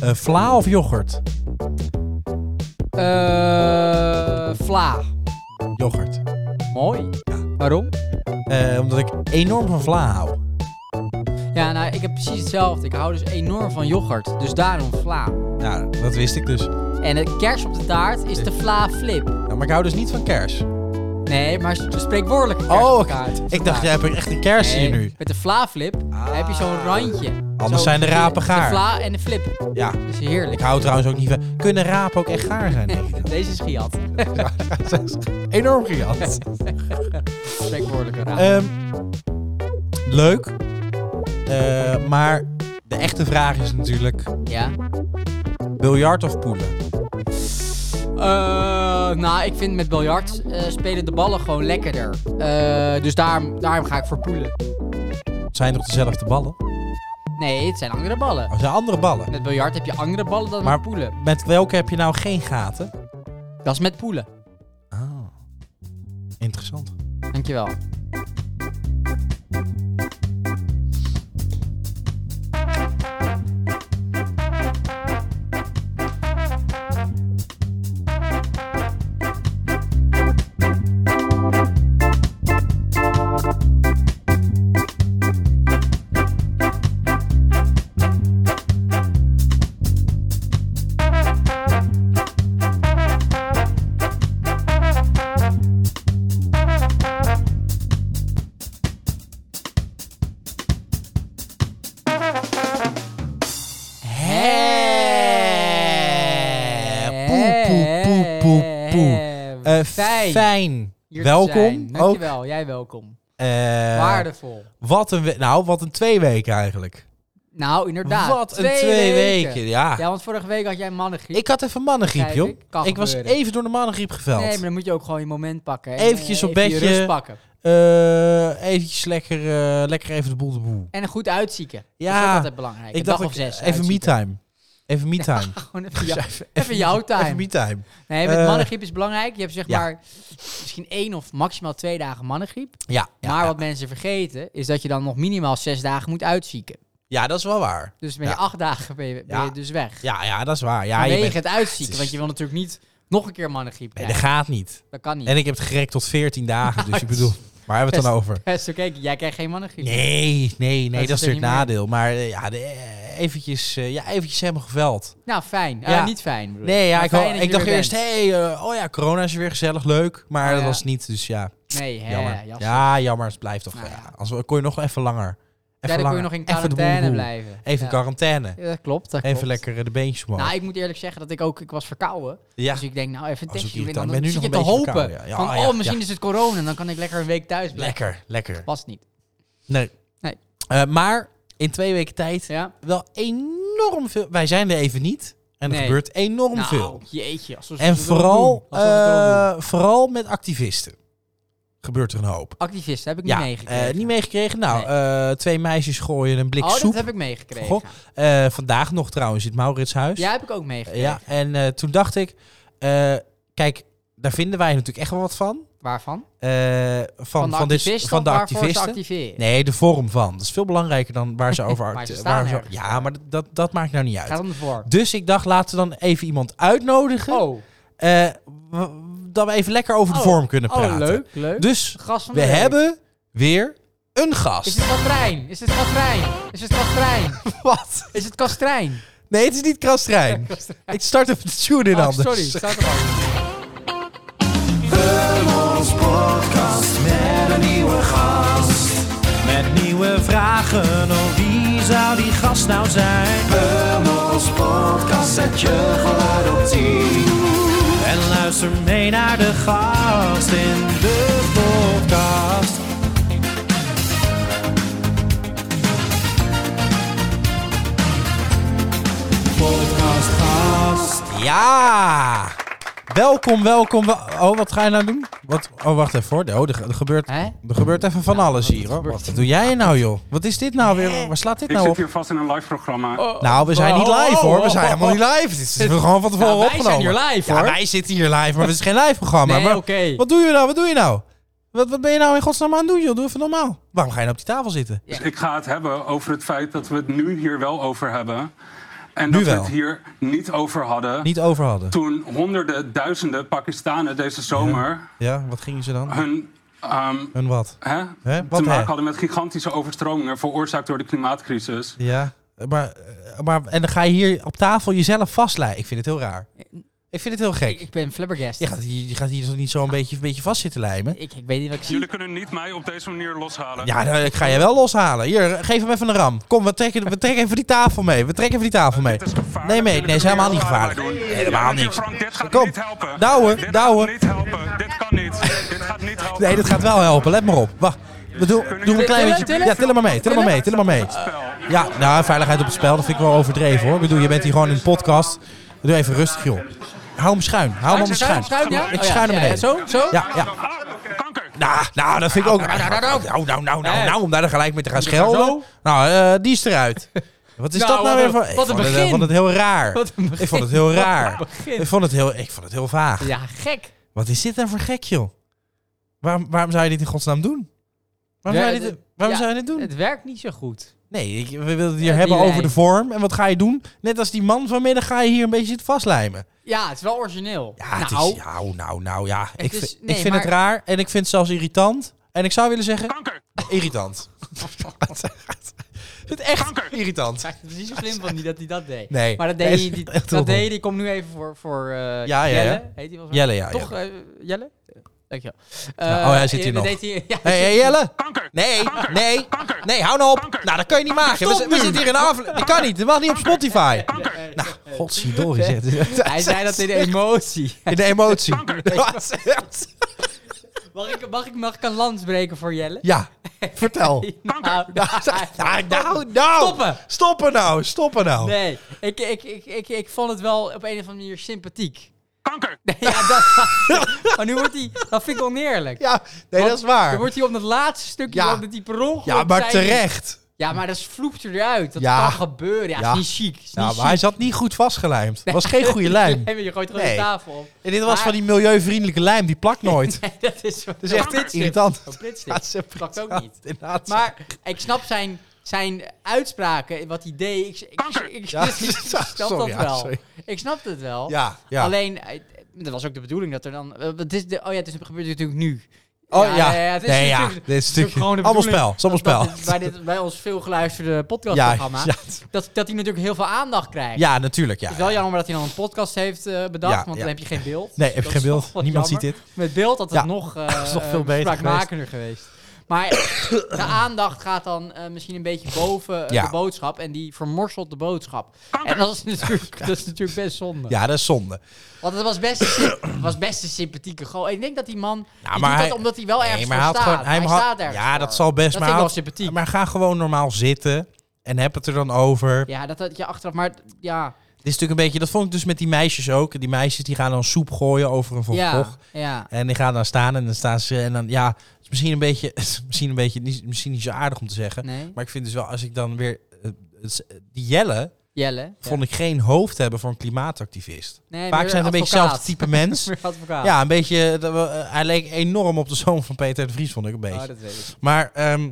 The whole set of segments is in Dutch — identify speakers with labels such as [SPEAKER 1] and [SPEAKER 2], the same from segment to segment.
[SPEAKER 1] Eh, vla of yoghurt?
[SPEAKER 2] Eh, vla.
[SPEAKER 1] Yoghurt.
[SPEAKER 2] Mooi. Waarom?
[SPEAKER 1] Eh, omdat ik enorm van vla hou.
[SPEAKER 2] Ja, nou, ik heb precies hetzelfde. Ik hou dus enorm van yoghurt. Dus daarom vla.
[SPEAKER 1] Ja, dat wist ik dus.
[SPEAKER 2] En de kers op de taart is de vla flip.
[SPEAKER 1] Ja, maar ik hou dus niet van kers.
[SPEAKER 2] Oh, Nee, maar de spreekwoordelijke kers
[SPEAKER 1] Oh,
[SPEAKER 2] op
[SPEAKER 1] ik,
[SPEAKER 2] de taart.
[SPEAKER 1] ik dacht, jij hebt echt een kers
[SPEAKER 2] Nee,
[SPEAKER 1] hier nu. Ah.
[SPEAKER 2] Met de vla flip heb je zo'n randje.
[SPEAKER 1] Anders
[SPEAKER 2] Zo,
[SPEAKER 1] zijn de rapen gaar.
[SPEAKER 2] De vla en de flip.
[SPEAKER 1] Ja,
[SPEAKER 2] Dat is
[SPEAKER 1] ik
[SPEAKER 2] heerlijk.
[SPEAKER 1] hou trouwens ook niet van... Kunnen rapen ook echt gaar zijn? denk ik?
[SPEAKER 2] Deze is giat.
[SPEAKER 1] enorm gigant.
[SPEAKER 2] Spreekwoordelijke raap.
[SPEAKER 1] Ehm, leuk. Eh, maar de echte vraag is natuurlijk...
[SPEAKER 2] ja.
[SPEAKER 1] Biljart of poelen?
[SPEAKER 2] Eh, nou, ik vind met biljart eh, spelen de ballen gewoon lekkerder. Eh, dus daarom, daarom ga ik voor poelen.
[SPEAKER 1] Het zijn toch dezelfde ballen?
[SPEAKER 2] Nee, het zijn andere ballen.
[SPEAKER 1] Er zijn andere ballen.
[SPEAKER 2] Met biljart heb je andere ballen dan
[SPEAKER 1] Maar-
[SPEAKER 2] met poelen.
[SPEAKER 1] Met welke heb je nou geen gaten?
[SPEAKER 2] Dat is met poelen. Oh.
[SPEAKER 1] Ah. Interessant.
[SPEAKER 2] Dankjewel.
[SPEAKER 1] Eh, Hè. Poe, poe, poe, poe, poe. Eh,
[SPEAKER 2] Eh, Fijn.
[SPEAKER 1] fijn.
[SPEAKER 2] Hier te
[SPEAKER 1] Welkom.
[SPEAKER 2] zijn.
[SPEAKER 1] Ook.
[SPEAKER 2] Dankjewel, jij welkom.
[SPEAKER 1] Eh,
[SPEAKER 2] Waardevol.
[SPEAKER 1] wat een, we- nou, wat een twee weken eigenlijk.
[SPEAKER 2] Nou, inderdaad.
[SPEAKER 1] wat een twee weken. Ja.
[SPEAKER 2] Ja, want vorige week had jij mannengriep.
[SPEAKER 1] Ik had even mannengriep,
[SPEAKER 2] Kijk,
[SPEAKER 1] joh.
[SPEAKER 2] ik kan
[SPEAKER 1] Ik was
[SPEAKER 2] gebeuren.
[SPEAKER 1] even door de mannengriep geveld.
[SPEAKER 2] Nee, maar dan moet je ook gewoon je moment pakken. En,
[SPEAKER 1] Eventjes
[SPEAKER 2] eh,
[SPEAKER 1] op
[SPEAKER 2] even je
[SPEAKER 1] bedje.
[SPEAKER 2] rust pakken.
[SPEAKER 1] Eh, eventjes lekker, eh, lekker even de boel de boel.
[SPEAKER 2] En een goed uitzieken. Ja. Dat is ook
[SPEAKER 1] Ja,
[SPEAKER 2] altijd belangrijk.
[SPEAKER 1] ik
[SPEAKER 2] Een
[SPEAKER 1] dacht
[SPEAKER 2] dag of
[SPEAKER 1] ik-
[SPEAKER 2] zes.
[SPEAKER 1] even
[SPEAKER 2] uitzieken.
[SPEAKER 1] me-time. Even me-time.
[SPEAKER 2] Gewoon even, jou-
[SPEAKER 1] even,
[SPEAKER 2] even jouw
[SPEAKER 1] Even
[SPEAKER 2] time.
[SPEAKER 1] me-time.
[SPEAKER 2] Nee, met
[SPEAKER 1] Eh,
[SPEAKER 2] mannengriep is belangrijk. Je hebt zeg
[SPEAKER 1] ja.
[SPEAKER 2] maar misschien één of maximaal twee dagen mannengriep.
[SPEAKER 1] Ja, ja,
[SPEAKER 2] maar
[SPEAKER 1] ja.
[SPEAKER 2] wat mensen vergeten is dat je dan nog minimaal zes dagen moet uitzieken.
[SPEAKER 1] ja, dat is wel waar.
[SPEAKER 2] Dus ben je
[SPEAKER 1] Ja.
[SPEAKER 2] acht dagen ben je, ben
[SPEAKER 1] Ja.
[SPEAKER 2] je dus weg.
[SPEAKER 1] Ja, ja dat is waar. Ja, je
[SPEAKER 2] Vanwege
[SPEAKER 1] bent-
[SPEAKER 2] het
[SPEAKER 1] het
[SPEAKER 2] uitzieken,
[SPEAKER 1] is-
[SPEAKER 2] want je wil natuurlijk niet nog een keer mannengriep
[SPEAKER 1] Nee,
[SPEAKER 2] krijgen.
[SPEAKER 1] dat gaat niet.
[SPEAKER 2] dat kan niet.
[SPEAKER 1] En ik heb het gerekt tot 14 dagen, dus ik
[SPEAKER 2] het is
[SPEAKER 1] bedoel... Waar hebben we het dan over?
[SPEAKER 2] Ja, is Dus oké, jij krijgt geen mannengriep.
[SPEAKER 1] Nee, nee, nee, dat,
[SPEAKER 2] Dat Oh, is
[SPEAKER 1] is natuurlijk het
[SPEAKER 2] er niet
[SPEAKER 1] nadeel. Maar eh, ja, de, eh, eventjes, eh, ja, eventjes helemaal geveld.
[SPEAKER 2] Nou, fijn. Eh,
[SPEAKER 1] Ja.
[SPEAKER 2] niet fijn. bedoel ik.
[SPEAKER 1] Nee, ja,
[SPEAKER 2] Maar
[SPEAKER 1] ik,
[SPEAKER 2] fijn
[SPEAKER 1] wou-
[SPEAKER 2] dat
[SPEAKER 1] ik
[SPEAKER 2] je
[SPEAKER 1] dacht
[SPEAKER 2] er
[SPEAKER 1] eerst,
[SPEAKER 2] bent.
[SPEAKER 1] hé, eh, oh ja, corona is weer gezellig, leuk. Maar
[SPEAKER 2] Ah,
[SPEAKER 1] dat
[SPEAKER 2] ja.
[SPEAKER 1] was niet, dus ja,
[SPEAKER 2] Nee, hè,
[SPEAKER 1] jammer.
[SPEAKER 2] jas. Ja,
[SPEAKER 1] Ja, jammer, het blijft toch.
[SPEAKER 2] Nou
[SPEAKER 1] ja.
[SPEAKER 2] ja.
[SPEAKER 1] Anders kon je nog even langer. Even
[SPEAKER 2] dan kun je
[SPEAKER 1] langer.
[SPEAKER 2] nog in
[SPEAKER 1] Even de boel,
[SPEAKER 2] quarantaine
[SPEAKER 1] boel.
[SPEAKER 2] blijven.
[SPEAKER 1] Even
[SPEAKER 2] ja.
[SPEAKER 1] quarantaine.
[SPEAKER 2] Ja, dat klopt, dat
[SPEAKER 1] Even
[SPEAKER 2] klopt.
[SPEAKER 1] lekker eh, de beentjes omhoog.
[SPEAKER 2] Nou, ik moet eerlijk zeggen dat ik ook, ik was verkouden.
[SPEAKER 1] ja.
[SPEAKER 2] Dus ik denk, nou, even
[SPEAKER 1] Dat is
[SPEAKER 2] een
[SPEAKER 1] ook
[SPEAKER 2] testje. doen.
[SPEAKER 1] irritant.
[SPEAKER 2] Dan,
[SPEAKER 1] Ik ben nu
[SPEAKER 2] zit je
[SPEAKER 1] nog
[SPEAKER 2] te
[SPEAKER 1] een beetje
[SPEAKER 2] hopen.
[SPEAKER 1] verkouden, ja. Ja,
[SPEAKER 2] van,
[SPEAKER 1] ja,
[SPEAKER 2] oh, misschien
[SPEAKER 1] ja.
[SPEAKER 2] is het corona. en Dan kan ik lekker een week thuis blijven.
[SPEAKER 1] lekker, lekker.
[SPEAKER 2] Past niet.
[SPEAKER 1] Nee.
[SPEAKER 2] Nee.
[SPEAKER 1] Eh, maar in twee weken tijd
[SPEAKER 2] Ja?
[SPEAKER 1] wel enorm veel. Wij zijn er even niet. En er
[SPEAKER 2] Nee.
[SPEAKER 1] gebeurt enorm
[SPEAKER 2] nou,
[SPEAKER 1] veel.
[SPEAKER 2] jeetje. alsof ze
[SPEAKER 1] En
[SPEAKER 2] het erop
[SPEAKER 1] vooral,
[SPEAKER 2] doen. Alsof ze het erop doen.
[SPEAKER 1] eh, vooral met activisten gebeurt er een hoop.
[SPEAKER 2] Activisten heb ik
[SPEAKER 1] ja,
[SPEAKER 2] niet meegekregen.
[SPEAKER 1] eh, niet meegekregen. Nou, eh, twee meisjes gooien een blik
[SPEAKER 2] Oh,
[SPEAKER 1] soep.
[SPEAKER 2] dat heb ik meegekregen.
[SPEAKER 1] Goh. Eh, vandaag nog trouwens in het Mauritshuis.
[SPEAKER 2] Ja, heb ik ook meegekregen.
[SPEAKER 1] ja en eh, toen dacht ik, eh, kijk, daar vinden wij natuurlijk echt wel wat van.
[SPEAKER 2] Waarvan?
[SPEAKER 1] Eh, van,
[SPEAKER 2] de
[SPEAKER 1] van, dit-
[SPEAKER 2] activisten
[SPEAKER 1] van de
[SPEAKER 2] of waarvoor ze
[SPEAKER 1] activisten.
[SPEAKER 2] activeren?
[SPEAKER 1] Nee, de vorm van. Dat is veel belangrijker dan waar ze over...
[SPEAKER 2] Maar ze
[SPEAKER 1] act-
[SPEAKER 2] staan
[SPEAKER 1] waar ze-
[SPEAKER 2] ergens.
[SPEAKER 1] ja, maar dat, dat, dat maakt nou niet uit.
[SPEAKER 2] Gaat om de vorm.
[SPEAKER 1] Dus ik dacht, laten we dan even iemand uitnodigen.
[SPEAKER 2] Oh,
[SPEAKER 1] eh, w- dat we even lekker over de
[SPEAKER 2] Oh,
[SPEAKER 1] vorm kunnen praten.
[SPEAKER 2] oh leuk, leuk.
[SPEAKER 1] Dus
[SPEAKER 2] Gast van
[SPEAKER 1] we
[SPEAKER 2] de week.
[SPEAKER 1] hebben weer een gast.
[SPEAKER 2] Is het Kastrijn? Is het Kastrijn? Is het Kastrijn?
[SPEAKER 1] Wat?
[SPEAKER 2] Is het Kastrijn?
[SPEAKER 1] Nee, het is niet Krastrijn. ik start even de tune in
[SPEAKER 2] Oh,
[SPEAKER 1] anders.
[SPEAKER 2] sorry, staat er al.
[SPEAKER 3] Met nieuwe vragen, oh wie zou die gast nou zijn? Hummels podcast zet je geluid op 10. En luister mee naar de gast in de podcast. Podcast gast.
[SPEAKER 1] Ja! Welkom, welkom. wel- Oh, wat ga je nou doen? Wat? Oh, wacht even hoor. Oh, er, ge- er gebeurt,
[SPEAKER 2] Hè?
[SPEAKER 1] er gebeurt even van alles
[SPEAKER 2] wat
[SPEAKER 1] hier hoor.
[SPEAKER 2] gebeurt
[SPEAKER 1] Wat doe jij nou joh? Wat is dit nou weer? Waar slaat dit
[SPEAKER 4] Ik
[SPEAKER 1] nou
[SPEAKER 4] zit
[SPEAKER 1] op?
[SPEAKER 4] hier vast in een live programma.
[SPEAKER 1] Nou, we zijn niet live hoor. We zijn
[SPEAKER 2] oh, oh.
[SPEAKER 1] helemaal niet live. Dit is gewoon van tevoren
[SPEAKER 2] Nou, wij zijn
[SPEAKER 1] opgenomen.
[SPEAKER 2] hier live,
[SPEAKER 1] Ja,
[SPEAKER 2] hoor.
[SPEAKER 1] wij zitten hier live, maar het is geen live programma.
[SPEAKER 2] Nee,
[SPEAKER 1] Maar
[SPEAKER 2] oké.
[SPEAKER 1] Wat doe je nou? Wat doe je nou? Wat, wat ben je nou in godsnaam aan het doen, joh? Doe even normaal. Waarom ga je nou op die tafel zitten?
[SPEAKER 4] Dus ik ga het hebben over het feit dat we het nu hier wel over hebben. En
[SPEAKER 1] Nu
[SPEAKER 4] dat we
[SPEAKER 1] wel.
[SPEAKER 4] het hier niet over hadden.
[SPEAKER 1] Niet over hadden.
[SPEAKER 4] Toen honderden, duizenden Pakistanen deze zomer
[SPEAKER 1] Ja, wat gingen ze dan?
[SPEAKER 4] hun. ehm,
[SPEAKER 1] Hun wat?
[SPEAKER 4] hè,
[SPEAKER 1] Hè?
[SPEAKER 4] te
[SPEAKER 1] Wat
[SPEAKER 4] maken
[SPEAKER 1] hè?
[SPEAKER 4] hadden met gigantische overstromingen veroorzaakt door de klimaatcrisis.
[SPEAKER 1] Ja, maar, eh, maar... En dan ga je hier op tafel jezelf vastlijden. Ik vind het heel raar. Ik vind het heel
[SPEAKER 2] Ik,
[SPEAKER 1] gek.
[SPEAKER 2] ik ben flabbergast.
[SPEAKER 1] Je gaat hier, je gaat hier toch niet zo een beetje, een beetje vast zitten lijmen?
[SPEAKER 2] Ik, ik weet niet wat ik zie.
[SPEAKER 4] Jullie kunnen niet mij op deze manier loshalen.
[SPEAKER 1] Ja, nou, ik ga je wel loshalen. Hier, geef hem even een ram. Kom, we trekken, we trekken even die tafel mee. We trekken even die tafel mee.
[SPEAKER 4] Eh, Dit is gevaarlijk.
[SPEAKER 1] Nee, nee,
[SPEAKER 4] Jullie
[SPEAKER 1] nee, is
[SPEAKER 4] kunnen
[SPEAKER 1] helemaal niet
[SPEAKER 4] heel
[SPEAKER 1] gevaarlijk.
[SPEAKER 4] zwaar doen.
[SPEAKER 1] Helemaal
[SPEAKER 4] Ja,
[SPEAKER 1] niks.
[SPEAKER 4] Frank, dit gaat
[SPEAKER 1] Kom.
[SPEAKER 4] niet helpen.
[SPEAKER 1] Douwen,
[SPEAKER 4] dit
[SPEAKER 1] douwen.
[SPEAKER 4] Gaat niet helpen. Dit kan niet. dit gaat niet helpen.
[SPEAKER 1] Nee, dat gaat wel helpen. Let maar op. Wacht. We doen, doen een klein
[SPEAKER 2] Tillen,
[SPEAKER 1] beetje.
[SPEAKER 2] tillen?
[SPEAKER 1] Ja, tillen maar mee. Tillen maar mee. Tillen maar mee.
[SPEAKER 4] Spel.
[SPEAKER 1] Ja, nou, veiligheid op het spel, dat vind ik wel overdreven hoor. Ik bedoel, je bent hier gewoon in de podcast. Doe even rustig, joh. Hou hem schuin. Hou hem schuin.
[SPEAKER 2] ja?
[SPEAKER 1] Ik
[SPEAKER 2] Oh ja,
[SPEAKER 1] schuin hem
[SPEAKER 2] ja, ja,
[SPEAKER 1] beneden.
[SPEAKER 2] Zo, zo?
[SPEAKER 1] Ja, ja.
[SPEAKER 4] Ah, kanker.
[SPEAKER 1] Nou, nou, dat vind ik ook. Nou, nou, nou, nou, nou, nou, nou, om daar dan gelijk mee te gaan schelden. Nou, eh, die is eruit. Wat is
[SPEAKER 2] Nou,
[SPEAKER 1] dat nou
[SPEAKER 2] wat
[SPEAKER 1] weer
[SPEAKER 2] een-
[SPEAKER 1] voor?
[SPEAKER 2] wat
[SPEAKER 1] ik
[SPEAKER 2] een
[SPEAKER 1] vond het, eh,
[SPEAKER 2] begin.
[SPEAKER 1] vond het heel raar.
[SPEAKER 2] Wat een begin.
[SPEAKER 1] Ik vond het heel raar.
[SPEAKER 2] Wat een begin.
[SPEAKER 1] Ik vond het heel, ik vond het heel vaag.
[SPEAKER 2] Ja, gek.
[SPEAKER 1] Wat is dit dan voor gek, joh? Waarom, waarom zou je dit in godsnaam doen? Waarom,
[SPEAKER 2] Ja,
[SPEAKER 1] zou, je dit,
[SPEAKER 2] d-
[SPEAKER 1] waarom
[SPEAKER 2] ja,
[SPEAKER 1] zou je dit doen?
[SPEAKER 2] Het werkt niet zo goed.
[SPEAKER 1] Nee, ik, we willen het hier
[SPEAKER 2] Ja,
[SPEAKER 1] hebben
[SPEAKER 2] die
[SPEAKER 1] over
[SPEAKER 2] lijn.
[SPEAKER 1] de vorm. En wat ga je doen? Net als die man vanmiddag ga je hier een beetje zitten vastlijmen.
[SPEAKER 2] Ja, het is wel origineel.
[SPEAKER 1] Ja, het
[SPEAKER 2] nou,
[SPEAKER 1] is, nou, nou, nou, ja. Ik,
[SPEAKER 2] is-
[SPEAKER 1] vind-
[SPEAKER 2] nee,
[SPEAKER 1] ik vind het
[SPEAKER 2] maar-
[SPEAKER 1] raar en ik vind het zelfs irritant. En ik zou willen zeggen,
[SPEAKER 4] Kanker.
[SPEAKER 1] irritant. het is echt
[SPEAKER 4] Kanker.
[SPEAKER 1] irritant.
[SPEAKER 2] Ja, Het is niet zo slim van die dat hij dat deed.
[SPEAKER 1] Nee.
[SPEAKER 2] Maar dat
[SPEAKER 1] Nee,
[SPEAKER 2] deed hij.
[SPEAKER 1] is
[SPEAKER 2] die-
[SPEAKER 1] echt heel
[SPEAKER 2] Dat
[SPEAKER 1] dom.
[SPEAKER 2] deed hij. Ik kom nu even voor, voor eh,
[SPEAKER 1] ja, ja.
[SPEAKER 2] Jelle. Heet hij wel zo?
[SPEAKER 1] Jelle, ja.
[SPEAKER 2] Toch,
[SPEAKER 1] Jelle.
[SPEAKER 2] eh, Jelle? Dankjewel. Eh,
[SPEAKER 1] Ja, oh, hij zit hier
[SPEAKER 2] dat
[SPEAKER 1] nog.
[SPEAKER 2] deed hij- ja,
[SPEAKER 1] Hé, hey, Jelle.
[SPEAKER 4] Kanker.
[SPEAKER 1] Nee,
[SPEAKER 4] Kanker.
[SPEAKER 1] nee,
[SPEAKER 4] Kanker.
[SPEAKER 1] nee, hou nou op.
[SPEAKER 4] Kanker.
[SPEAKER 1] Nou, dat kan je niet maken. We,
[SPEAKER 4] Stop
[SPEAKER 1] zi- we
[SPEAKER 4] nu.
[SPEAKER 1] zitten hier in een aflevering. Dat kan niet. Dat mag niet op Spotify. Nou, godzijdank.
[SPEAKER 2] Hij zei dat in de emotie.
[SPEAKER 1] In de emotie.
[SPEAKER 2] Mag ik, mag, ik, mag ik een lans breken voor Jelle?
[SPEAKER 1] Ja, vertel.
[SPEAKER 2] Nou,
[SPEAKER 1] Nou, nou, nou.
[SPEAKER 2] Stoppen.
[SPEAKER 1] Stoppen nou, stoppen nou.
[SPEAKER 2] Nee, ik, ik, ik, ik, ik vond het wel op een of andere manier sympathiek.
[SPEAKER 4] Kanker.
[SPEAKER 2] Ja, dat, maar nu wordt hij... Dat vind ik oneerlijk.
[SPEAKER 1] Ja, nee,
[SPEAKER 2] Want
[SPEAKER 1] dat is waar.
[SPEAKER 2] Dan wordt hij op dat laatste stukje...
[SPEAKER 1] Ja.
[SPEAKER 2] Omdat hij per ongeluk
[SPEAKER 1] Ja, maar
[SPEAKER 2] zei-
[SPEAKER 1] terecht.
[SPEAKER 2] Ja, maar dat vloept er eruit. Dat
[SPEAKER 1] Ja.
[SPEAKER 2] kan gebeuren. Ja,
[SPEAKER 1] Ja.
[SPEAKER 2] is niet chic. Is
[SPEAKER 1] Ja,
[SPEAKER 2] niet
[SPEAKER 1] maar hij
[SPEAKER 2] chic.
[SPEAKER 1] zat niet goed vastgelijmd. Was geen goede lijm.
[SPEAKER 2] Nee, maar je gooit gewoon
[SPEAKER 1] Nee.
[SPEAKER 2] de tafel op.
[SPEAKER 1] En dit was van die milieuvriendelijke lijm, die plakt nooit.
[SPEAKER 2] Nee, dat is... Dat
[SPEAKER 1] is echt irritant.
[SPEAKER 2] Een
[SPEAKER 1] Ja,
[SPEAKER 2] pritstip.
[SPEAKER 1] dat is een
[SPEAKER 2] Plakt ook niet.
[SPEAKER 1] Inderdaad.
[SPEAKER 2] Maar ik snap zijn, zijn uitspraken, wat hij deed. Ik, ik, ik,
[SPEAKER 4] Kanker.
[SPEAKER 2] ik-
[SPEAKER 1] Ja,
[SPEAKER 2] ik snap
[SPEAKER 1] sorry,
[SPEAKER 2] dat
[SPEAKER 1] ja,
[SPEAKER 2] wel.
[SPEAKER 1] sorry.
[SPEAKER 2] Ik snap het wel.
[SPEAKER 1] Ja, ja.
[SPEAKER 2] Alleen, eh, dat was ook de bedoeling dat er dan... eh, Het is de, oh ja, het is, gebeurt natuurlijk nu.
[SPEAKER 1] Oh ja,
[SPEAKER 2] het is
[SPEAKER 1] nee, ja.
[SPEAKER 2] natuurlijk-
[SPEAKER 1] Dit is
[SPEAKER 2] het is ook
[SPEAKER 1] natuurlijk
[SPEAKER 2] gewoon de
[SPEAKER 1] allemaal
[SPEAKER 2] bedoeling
[SPEAKER 1] spel, allemaal
[SPEAKER 2] dat-
[SPEAKER 1] spel.
[SPEAKER 2] dat dit- bij, dit, bij ons veel geluisterde
[SPEAKER 1] ja,
[SPEAKER 2] podcastprogramma,
[SPEAKER 1] ja,
[SPEAKER 2] dat, dat hij natuurlijk heel veel aandacht krijgt.
[SPEAKER 1] ja, natuurlijk.
[SPEAKER 2] Het
[SPEAKER 1] Ja.
[SPEAKER 2] is wel jammer dat hij dan een podcast heeft eh, bedacht,
[SPEAKER 1] Ja,
[SPEAKER 2] want
[SPEAKER 1] ja.
[SPEAKER 2] dan heb je geen beeld.
[SPEAKER 1] Nee, heb je
[SPEAKER 2] Dat
[SPEAKER 1] geen
[SPEAKER 2] is
[SPEAKER 1] beeld.
[SPEAKER 2] toch wat
[SPEAKER 1] Niemand
[SPEAKER 2] jammer.
[SPEAKER 1] ziet dit.
[SPEAKER 2] Met beeld had het
[SPEAKER 1] Ja,
[SPEAKER 2] nog, eh
[SPEAKER 1] is nog veel beter
[SPEAKER 2] spraakmakender geweest. Maar de aandacht gaat dan eh, misschien een beetje boven eh,
[SPEAKER 1] Ja.
[SPEAKER 2] de boodschap. En die vermorselt de boodschap. En dat is natuurlijk, dat is natuurlijk best zonde.
[SPEAKER 1] Ja, dat is zonde.
[SPEAKER 2] Want het was best, een symp- het was best een sympathieke goal. Ik denk dat die man.
[SPEAKER 1] Ja,
[SPEAKER 2] die
[SPEAKER 1] Ah, Nou, maar
[SPEAKER 2] doet
[SPEAKER 1] hij-
[SPEAKER 2] dat omdat hij wel
[SPEAKER 1] Nee,
[SPEAKER 2] ergens
[SPEAKER 1] maar
[SPEAKER 2] voor
[SPEAKER 1] hij had
[SPEAKER 2] staat.
[SPEAKER 1] gewoon-
[SPEAKER 2] hij
[SPEAKER 1] hij had-
[SPEAKER 2] staat ergens.
[SPEAKER 1] ja,
[SPEAKER 2] voor.
[SPEAKER 1] dat zal best, maar
[SPEAKER 2] Dat vind ik
[SPEAKER 1] hij
[SPEAKER 2] wel
[SPEAKER 1] had-
[SPEAKER 2] sympathiek.
[SPEAKER 1] Maar ga gewoon normaal zitten en heb het er dan over.
[SPEAKER 2] Ja, dat had je achteraf. Maar ja.
[SPEAKER 1] Dit is natuurlijk een beetje, dat vond ik dus met die meisjes ook. Die meisjes die gaan dan soep gooien over een
[SPEAKER 2] Ja,
[SPEAKER 1] vochtbocht.
[SPEAKER 2] ja.
[SPEAKER 1] En die gaan dan staan en dan staan ze en dan ja, het is misschien een beetje, het is misschien een beetje, niet, misschien niet zo aardig om te zeggen.
[SPEAKER 2] Nee.
[SPEAKER 1] Maar ik vind dus wel, als ik dan weer eh, het- die Jelle
[SPEAKER 2] Jelle. ja.
[SPEAKER 1] vond ik geen hoofd hebben voor een klimaatactivist.
[SPEAKER 2] Nee,
[SPEAKER 1] Vaak
[SPEAKER 2] meer
[SPEAKER 1] zijn het een beetje
[SPEAKER 2] advocaat.
[SPEAKER 1] hetzelfde type mens.
[SPEAKER 2] Meer advocaat.
[SPEAKER 1] ja, een beetje. dat we- eh, hij leek enorm op de zoon van Peter de Vries, vond ik een beetje.
[SPEAKER 2] Oh, dat weet ik.
[SPEAKER 1] Maar ehm,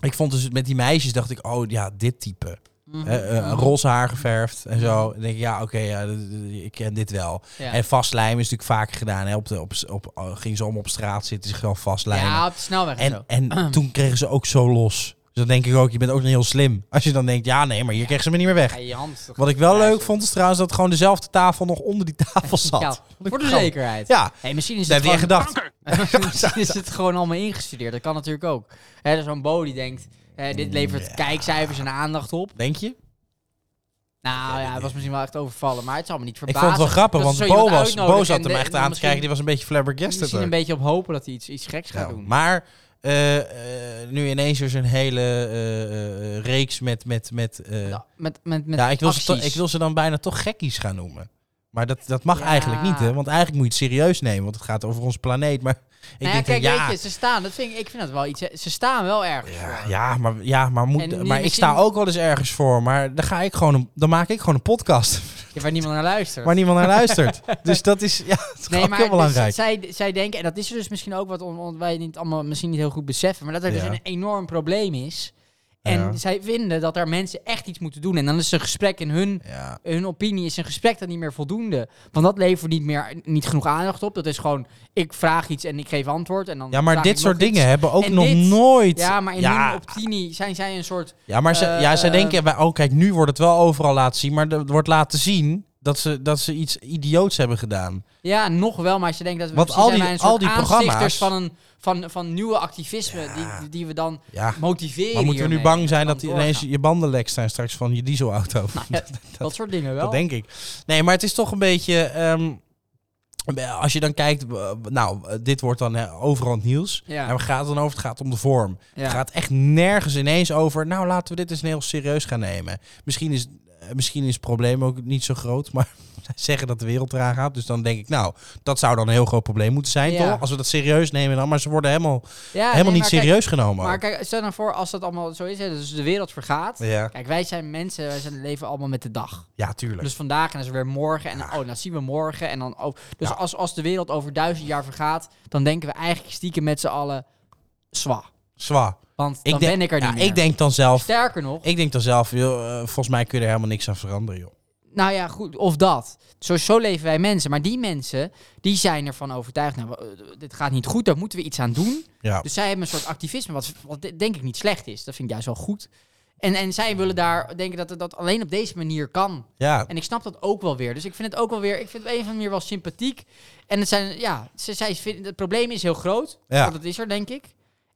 [SPEAKER 1] ik vond dus met die meisjes dacht ik, oh ja, dit type.
[SPEAKER 2] Mhm.
[SPEAKER 1] Eh, eh, roze haar geverfd en zo. En dan denk ik, ja, oké, ja, d- d- ik ken dit wel.
[SPEAKER 2] Ja.
[SPEAKER 1] En vastlijmen is natuurlijk vaker gedaan. Hè? Op de, op, op, eh, gingen ze allemaal op straat zitten, zich gewoon vastlijmen.
[SPEAKER 2] Ja, op de snelweg en zo. Ah.
[SPEAKER 1] en en toen kregen ze ook zo los. Dus dan denk ik ook, je bent ook niet heel slim. Als je dan denkt, ja, nee, maar hier kregen ze me niet meer
[SPEAKER 2] Ga
[SPEAKER 1] weg.
[SPEAKER 2] je je hand.
[SPEAKER 1] Wat ik wel
[SPEAKER 2] Ja,
[SPEAKER 1] leuk
[SPEAKER 2] zo.
[SPEAKER 1] vond, is trouwens dat gewoon dezelfde tafel nog onder die tafel zat.
[SPEAKER 2] Ja, voor de
[SPEAKER 1] Gewoon-
[SPEAKER 2] zekerheid.
[SPEAKER 1] Ja,
[SPEAKER 2] Hey, misschien is
[SPEAKER 1] dat
[SPEAKER 2] het
[SPEAKER 1] heb je
[SPEAKER 2] gewoon,
[SPEAKER 1] echt gedacht.
[SPEAKER 4] Kanker.
[SPEAKER 2] misschien is het gewoon allemaal ingestudeerd. Dat kan natuurlijk ook. Hè, er is Zo'n Bo die denkt, hè, dit levert kijkcijfers en aandacht op.
[SPEAKER 1] Denk je?
[SPEAKER 2] Nou ja, het was misschien wel echt overvallen, maar het zal me niet
[SPEAKER 1] Ik
[SPEAKER 2] verbazen.
[SPEAKER 1] vond het wel grappig,
[SPEAKER 2] dat
[SPEAKER 1] want
[SPEAKER 2] ze zo iemand
[SPEAKER 1] Bo, was,
[SPEAKER 2] uitnodigen
[SPEAKER 1] Bo zat
[SPEAKER 2] en
[SPEAKER 1] hem
[SPEAKER 2] de-
[SPEAKER 1] echt aan te
[SPEAKER 2] misschien-
[SPEAKER 1] kijken. Die was een beetje flabbergasted.
[SPEAKER 2] Misschien
[SPEAKER 1] er.
[SPEAKER 2] een beetje op hopen dat hij iets, iets geks gaat
[SPEAKER 1] Ja,
[SPEAKER 2] doen.
[SPEAKER 1] Maar eh, eh, nu ineens is er een hele eh, eh, reeks met... met, met eh,
[SPEAKER 2] Ja, met, met, met
[SPEAKER 1] ja, ik wil, ze to-
[SPEAKER 2] acties.
[SPEAKER 1] ik wil ze dan bijna toch gekkies gaan noemen. Maar dat, dat mag
[SPEAKER 2] Ja.
[SPEAKER 1] eigenlijk niet, hè? Want eigenlijk moet je het serieus nemen, want het gaat over ons planeet. Maar ik
[SPEAKER 2] Nou ja,
[SPEAKER 1] denk,
[SPEAKER 2] kijk,
[SPEAKER 1] dan, ja,
[SPEAKER 2] weet je, ze staan, dat vind ik, ik vind dat wel iets, hè, ze staan wel ergens
[SPEAKER 1] Ja,
[SPEAKER 2] voor.
[SPEAKER 1] ja, maar, ja, maar, moet,
[SPEAKER 2] En
[SPEAKER 1] maar
[SPEAKER 2] niet
[SPEAKER 1] ik sta
[SPEAKER 2] misschien-
[SPEAKER 1] ook wel eens ergens voor. Maar dan, ga ik gewoon een, dan maak ik gewoon een podcast.
[SPEAKER 2] Ja, waar niemand naar luistert.
[SPEAKER 1] Waar niemand naar luistert. dus dat is, ja, dat is ook heel
[SPEAKER 2] dus
[SPEAKER 1] belangrijk.
[SPEAKER 2] zij, zij denken, en dat is er dus misschien ook wat on- on- wij niet allemaal misschien niet heel goed beseffen, maar dat er
[SPEAKER 1] Ja.
[SPEAKER 2] dus een enorm probleem is. En
[SPEAKER 1] Ja.
[SPEAKER 2] zij vinden dat daar mensen echt iets moeten doen. En dan is een gesprek in hun,
[SPEAKER 1] Ja.
[SPEAKER 2] hun opinie, is een gesprek dan niet meer voldoende. Want dat levert niet meer niet genoeg aandacht op. Dat is gewoon, ik vraag iets en ik geef antwoord. En dan
[SPEAKER 1] ja, maar
[SPEAKER 2] vraag
[SPEAKER 1] dit
[SPEAKER 2] ik
[SPEAKER 1] soort
[SPEAKER 2] nog iets.
[SPEAKER 1] dingen hebben ook
[SPEAKER 2] En
[SPEAKER 1] nog
[SPEAKER 2] dit-
[SPEAKER 1] nooit...
[SPEAKER 2] Ja, maar in
[SPEAKER 1] Ja.
[SPEAKER 2] hun opinie zijn zij een soort...
[SPEAKER 1] Ja, maar ze,
[SPEAKER 2] Eh,
[SPEAKER 1] ja, zij
[SPEAKER 2] eh,
[SPEAKER 1] denken, wij- oh kijk, nu wordt het wel overal laten zien, maar er wordt laten zien dat ze, dat ze iets idioots hebben gedaan.
[SPEAKER 2] Ja, nog wel, maar als je denkt dat we
[SPEAKER 1] Want
[SPEAKER 2] precies
[SPEAKER 1] al die-
[SPEAKER 2] zijn wij een
[SPEAKER 1] al die
[SPEAKER 2] soort
[SPEAKER 1] programma's-
[SPEAKER 2] aanstichters van, een, van, van nieuwe activisme die, die we dan
[SPEAKER 1] Ja,
[SPEAKER 2] motiveren.
[SPEAKER 1] maar moeten we nu
[SPEAKER 2] hiermee.
[SPEAKER 1] bang zijn
[SPEAKER 2] Dan
[SPEAKER 1] dat ineens
[SPEAKER 2] doorgaan.
[SPEAKER 1] je banden lek zijn straks van je dieselauto?
[SPEAKER 2] Dat soort dingen wel.
[SPEAKER 1] Dat denk ik. Nee, maar het is toch een beetje. ehm, als je dan kijkt, eh, nou, eh, dit wordt dan eh, overal het nieuws.
[SPEAKER 2] Ja.
[SPEAKER 1] En waar gaat het dan over? Het gaat om de vorm.
[SPEAKER 2] Ja.
[SPEAKER 1] Het gaat echt nergens ineens over. Nou, laten we dit eens heel serieus gaan nemen. Misschien is, eh, misschien is het probleem ook niet zo groot, maar zij zeggen dat de wereld eraan gaat. Dus dan denk ik, nou, dat zou dan een heel groot probleem moeten zijn,
[SPEAKER 2] Ja.
[SPEAKER 1] toch? Als we dat serieus nemen dan. Maar ze worden helemaal,
[SPEAKER 2] Ja,
[SPEAKER 1] helemaal
[SPEAKER 2] nee,
[SPEAKER 1] niet
[SPEAKER 2] maar
[SPEAKER 1] serieus genomen.
[SPEAKER 2] Kijk, maar
[SPEAKER 1] ook.
[SPEAKER 2] kijk, stel nou voor als dat allemaal zo is, hè, dus de wereld vergaat.
[SPEAKER 1] ja.
[SPEAKER 2] Kijk, wij zijn mensen, wij zijn, leven allemaal met de dag.
[SPEAKER 1] ja, tuurlijk.
[SPEAKER 2] Dus vandaag en dan is er weer morgen en dan, oh, dan zien we morgen. En dan, ook. dus
[SPEAKER 1] Ja.
[SPEAKER 2] als, als de wereld over duizend jaar vergaat, dan denken we eigenlijk stiekem met z'n allen, zwa.
[SPEAKER 1] Zwa.
[SPEAKER 2] Want
[SPEAKER 1] Ik
[SPEAKER 2] dan
[SPEAKER 1] denk-
[SPEAKER 2] ben ik er
[SPEAKER 1] ja,
[SPEAKER 2] niet meer.
[SPEAKER 1] ik denk dan zelf,
[SPEAKER 2] Sterker nog,
[SPEAKER 1] Ik denk dan zelf, joh, eh, volgens mij kun je er helemaal niks aan veranderen, joh.
[SPEAKER 2] Nou ja, goed, of dat. Zo, zo leven wij mensen. Maar die mensen, die zijn ervan overtuigd. Nou, eh, dit gaat niet goed, daar moeten we iets aan doen.
[SPEAKER 1] Ja.
[SPEAKER 2] Dus zij hebben een soort activisme, wat, wat de- denk ik niet slecht is. Dat vind ik juist wel goed. En, en zij willen daar denken dat het dat alleen op deze manier kan.
[SPEAKER 1] ja.
[SPEAKER 2] En ik snap dat ook wel weer. Dus ik vind het ook wel weer, ik vind het op een of andere manier wel sympathiek. En het zijn, ja, ze, zij vinden, het probleem is heel groot.
[SPEAKER 1] Ja.
[SPEAKER 2] Want dat is er, denk ik.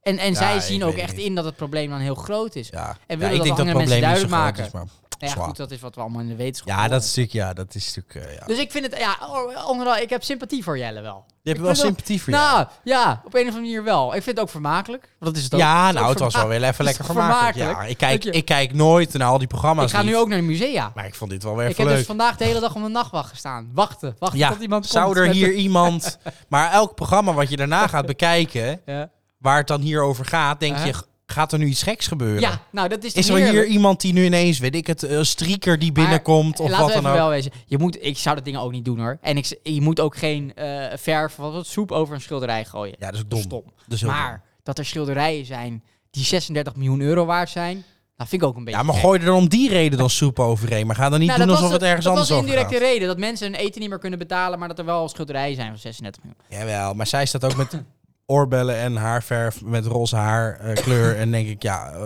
[SPEAKER 2] En, en zij
[SPEAKER 1] ik
[SPEAKER 2] zien
[SPEAKER 1] weet
[SPEAKER 2] ook
[SPEAKER 1] het
[SPEAKER 2] echt
[SPEAKER 1] niet.
[SPEAKER 2] in dat het probleem dan heel groot is.
[SPEAKER 1] ja.
[SPEAKER 2] En willen
[SPEAKER 1] ja,
[SPEAKER 2] dat
[SPEAKER 1] ik denk dat
[SPEAKER 2] andere
[SPEAKER 1] het
[SPEAKER 2] mensen
[SPEAKER 1] probleem niet zo
[SPEAKER 2] duidelijk
[SPEAKER 1] groot
[SPEAKER 2] maken.
[SPEAKER 1] is, maar...
[SPEAKER 2] Nou ja,
[SPEAKER 1] zwaar.
[SPEAKER 2] goed, dat is wat we allemaal in de wetenschap
[SPEAKER 1] Ja, dat
[SPEAKER 2] horen.
[SPEAKER 1] is natuurlijk, ja, dat is natuurlijk, eh, ja.
[SPEAKER 2] Dus ik vind het, ja, oh, onderal, ik heb sympathie voor Jelle wel.
[SPEAKER 1] Je hebt
[SPEAKER 2] Ik
[SPEAKER 1] wel
[SPEAKER 2] vind
[SPEAKER 1] sympathie voor jou.
[SPEAKER 2] Nou, ja, op een of andere manier wel. Ik vind het ook vermakelijk. Want dat is het ook.
[SPEAKER 1] ja,
[SPEAKER 2] is
[SPEAKER 1] nou,
[SPEAKER 2] ook
[SPEAKER 1] het was wel weer even
[SPEAKER 2] is
[SPEAKER 1] lekker
[SPEAKER 2] toch
[SPEAKER 1] vermakelijk. Ja,
[SPEAKER 2] vermakelijk?
[SPEAKER 1] ik kijk,
[SPEAKER 2] Dat je-
[SPEAKER 1] ik kijk nooit naar al die
[SPEAKER 2] Ik
[SPEAKER 1] programma's
[SPEAKER 2] ga nu
[SPEAKER 1] niet,
[SPEAKER 2] ook naar de musea.
[SPEAKER 1] Maar ik vond dit wel weer
[SPEAKER 2] Ik
[SPEAKER 1] even
[SPEAKER 2] heb
[SPEAKER 1] leuk.
[SPEAKER 2] dus vandaag de hele dag op mijn nachtwacht gestaan. Wachten, wachten
[SPEAKER 1] ja,
[SPEAKER 2] tot iemand komt.
[SPEAKER 1] zou er
[SPEAKER 2] met
[SPEAKER 1] hier iemand... Maar elk programma wat je daarna gaat bekijken,
[SPEAKER 2] de- Ja.
[SPEAKER 1] waar het dan hier over gaat, denk
[SPEAKER 2] Uh-huh.
[SPEAKER 1] je, gaat er nu iets geks gebeuren?
[SPEAKER 2] Ja, nou, dat is toch
[SPEAKER 1] Is er hier
[SPEAKER 2] heerlijk?
[SPEAKER 1] iemand die nu ineens, weet ik het, eh, strieker die binnenkomt
[SPEAKER 2] Maar,
[SPEAKER 1] of
[SPEAKER 2] laten
[SPEAKER 1] wat
[SPEAKER 2] we
[SPEAKER 1] dan
[SPEAKER 2] even
[SPEAKER 1] ook?
[SPEAKER 2] wel wezen. Je moet, ik zou dat ding ook niet doen hoor. En ik, z- je moet ook geen eh, verf of wat soep over een schilderij gooien.
[SPEAKER 1] Ja, dat is ook
[SPEAKER 2] Dat
[SPEAKER 1] dom.
[SPEAKER 2] is stom.
[SPEAKER 1] Dat is heel dom.
[SPEAKER 2] Maar dat er schilderijen zijn die 36 miljoen euro waard zijn, dat vind ik ook een beetje
[SPEAKER 1] Ja, maar
[SPEAKER 2] gek.
[SPEAKER 1] gooi er dan om die reden dan soep overheen. Maar ga dan niet
[SPEAKER 2] Nou,
[SPEAKER 1] doen
[SPEAKER 2] dat
[SPEAKER 1] alsof het
[SPEAKER 2] was de-
[SPEAKER 1] ergens anders
[SPEAKER 2] Dat was
[SPEAKER 1] over
[SPEAKER 2] de indirecte
[SPEAKER 1] gaat.
[SPEAKER 2] reden. Dat mensen hun eten niet meer kunnen betalen, maar dat er wel schilderijen zijn van 36 miljoen.
[SPEAKER 1] Jawel, maar zij staat ook met oorbellen en haarverf met roze haar eh, kleur. En denk ik, ja, eh,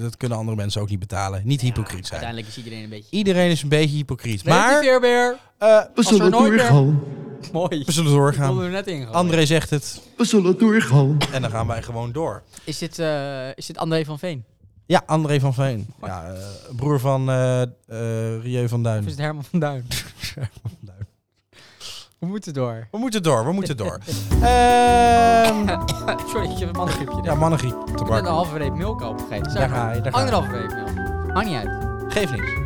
[SPEAKER 1] dat kunnen andere mensen ook niet betalen. Niet hypocriet zijn.
[SPEAKER 2] Uiteindelijk is iedereen een beetje...
[SPEAKER 1] Iedereen is een beetje hypocriet. Maar
[SPEAKER 2] weer weer.
[SPEAKER 1] eh,
[SPEAKER 5] We
[SPEAKER 2] Als er
[SPEAKER 5] zullen
[SPEAKER 2] nooit meer-
[SPEAKER 5] doorgaan.
[SPEAKER 2] Mooi.
[SPEAKER 1] we zullen
[SPEAKER 2] Konden
[SPEAKER 1] doorgaan.
[SPEAKER 2] we net in. gewoon.
[SPEAKER 1] André zegt het.
[SPEAKER 5] We zullen doorgaan.
[SPEAKER 1] En dan gaan wij gewoon door.
[SPEAKER 2] Is dit, eh, is dit André van Veen?
[SPEAKER 1] Ja, André van Veen. Ja, eh, broer van eh eh, Rieu van
[SPEAKER 2] Of
[SPEAKER 1] Duin.
[SPEAKER 2] is het Herman van Duin?
[SPEAKER 1] Duin.
[SPEAKER 2] We moeten door.
[SPEAKER 1] We moeten door, we moeten door. Ehm
[SPEAKER 2] Sorry, ik heb een mannengriepje.
[SPEAKER 1] ja,
[SPEAKER 2] Ja,
[SPEAKER 1] mannengriep te
[SPEAKER 2] ik ben een
[SPEAKER 1] pakken.
[SPEAKER 2] halve reep milk opgegeten.
[SPEAKER 1] Daar ga je, daar ga je.
[SPEAKER 2] Anderhalve reep milk. Maakt niet uit.
[SPEAKER 1] Geef niks.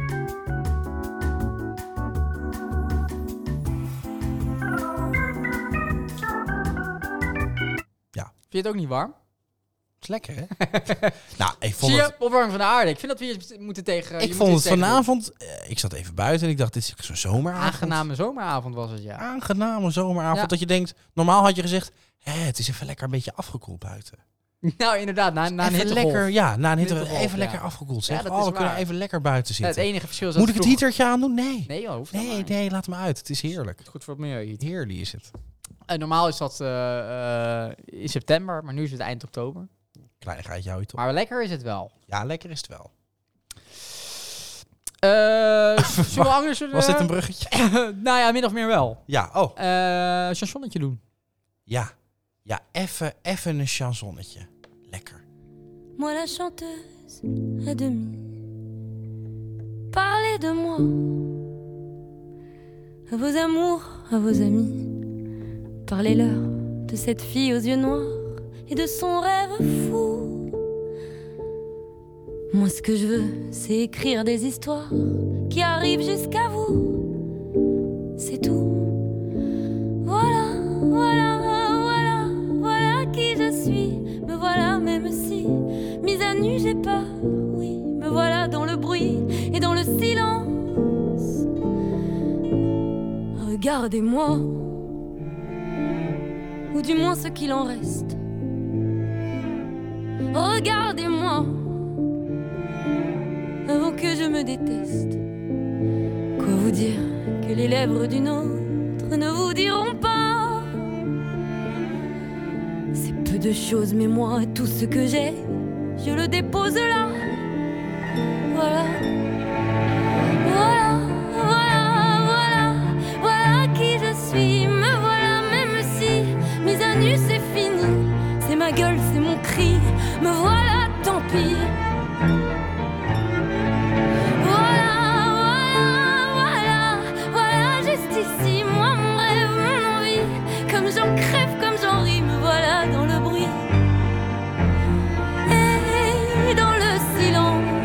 [SPEAKER 2] Vind je het ook niet warm?
[SPEAKER 1] is lekker, hè? nou, ik vond
[SPEAKER 2] Zie
[SPEAKER 1] het...
[SPEAKER 2] je? Opwarming van de aarde. Ik vind dat we hier moeten tegen... je
[SPEAKER 1] Ik
[SPEAKER 2] moet
[SPEAKER 1] vond
[SPEAKER 2] hier
[SPEAKER 1] het
[SPEAKER 2] tegen doen.
[SPEAKER 1] vanavond... eh, ik zat even buiten en ik dacht, dit is zo'n zomeravond.
[SPEAKER 2] Aangename zomeravond was het,
[SPEAKER 1] Ah.
[SPEAKER 2] ja.
[SPEAKER 1] Aangename zomeravond.
[SPEAKER 2] Ja.
[SPEAKER 1] Dat je denkt, normaal had je gezegd... Hè, het is even lekker een beetje afgekoeld buiten.
[SPEAKER 2] Nou, inderdaad. Na, na een
[SPEAKER 1] even
[SPEAKER 2] hittegolf.
[SPEAKER 1] lekker, ja, na een hitte,
[SPEAKER 2] Hittegolf,
[SPEAKER 1] even
[SPEAKER 2] ja.
[SPEAKER 1] lekker afgekoeld. Zeg.
[SPEAKER 2] Ja, dat
[SPEAKER 1] oh,
[SPEAKER 2] is
[SPEAKER 1] we kunnen
[SPEAKER 2] waar.
[SPEAKER 1] even lekker buiten
[SPEAKER 2] Ja, het
[SPEAKER 1] zitten.
[SPEAKER 2] enige verschil is dat
[SPEAKER 1] Moet ik het
[SPEAKER 2] vroeger-
[SPEAKER 1] heatertje aandoen? Nee.
[SPEAKER 2] Nee, joh, hoeft dat
[SPEAKER 1] Nee,
[SPEAKER 2] maar.
[SPEAKER 1] nee, laat me uit. Het is heerlijk.
[SPEAKER 2] Goed voor het milieu hier.
[SPEAKER 1] Heerlijk is het.
[SPEAKER 2] Eh, normaal is dat eh, eh, in september, maar nu is het eind oktober.
[SPEAKER 1] Kleinigheid jou je toch?
[SPEAKER 2] Maar lekker is het wel.
[SPEAKER 1] Ja, lekker is het wel.
[SPEAKER 2] Eh, zullen we anders... eh,
[SPEAKER 1] Was dit een bruggetje?
[SPEAKER 2] nou ja, min of meer wel.
[SPEAKER 1] Ja, oh.
[SPEAKER 2] Eh chansonnetje doen.
[SPEAKER 1] Ja. Ja, even even een chansonnetje. Lekker.
[SPEAKER 6] Moi la chanteuse à demi. Parlez de moi. À vos amours, à vos amis. Parlez-leur de cette fille aux yeux noirs et de son rêve fou. Moi ce que je veux, c'est écrire des histoires qui arrivent jusqu'à vous. C'est tout. Voilà, voilà, voilà, voilà qui je suis. Me voilà même si mise à nu j'ai pas. Oui, me voilà dans le bruit et dans le silence. Regardez-moi. Ou du moins ce qu'il en reste. Regardez-moi. Avant que je me déteste. Quoi vous dire que les lèvres d'une autre ne vous diront pas C'est peu de choses, mais moi, tout ce que j'ai, je le dépose là. Voilà. Voilà, voilà, voilà, voilà qui je suis. Me voilà, même si mise à nu c'est fini. C'est ma gueule, c'est mon cri. Me voilà, tant pis. Voilà, voilà, voilà, voilà, juste ici. Moi, mon rêve, mon envie. Comme j'en crève, comme j'en ris. Me voilà dans le bruit. Et dans le silence.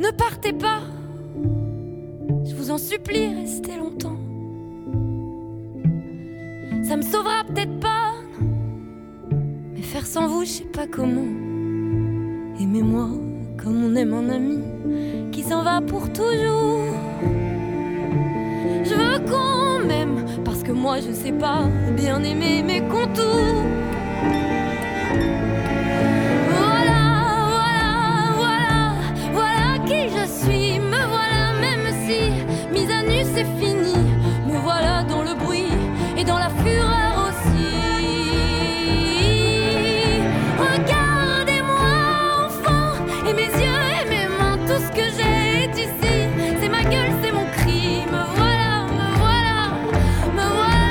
[SPEAKER 6] Ne partez pas. Je vous en supplie, restez longtemps. Ça me sauvera peut-être pas. non. Mais faire sans vous, je sais pas comment. Aimez-moi comme on aime un ami qui s'en va pour toujours. Je veux qu'on m'aime parce que moi je sais pas bien aimer mes contours. Voilà, voilà, voilà, voilà qui je suis. Me voilà, même si mise à nu c'est fini. Me voilà dans le bruit et dans la fureur aussi. Regardez-moi, enfant, et mes yeux et mes mains, tout ce que j'ai est ici. C'est ma gueule, c'est mon cri. Me voilà, me voilà, me voilà,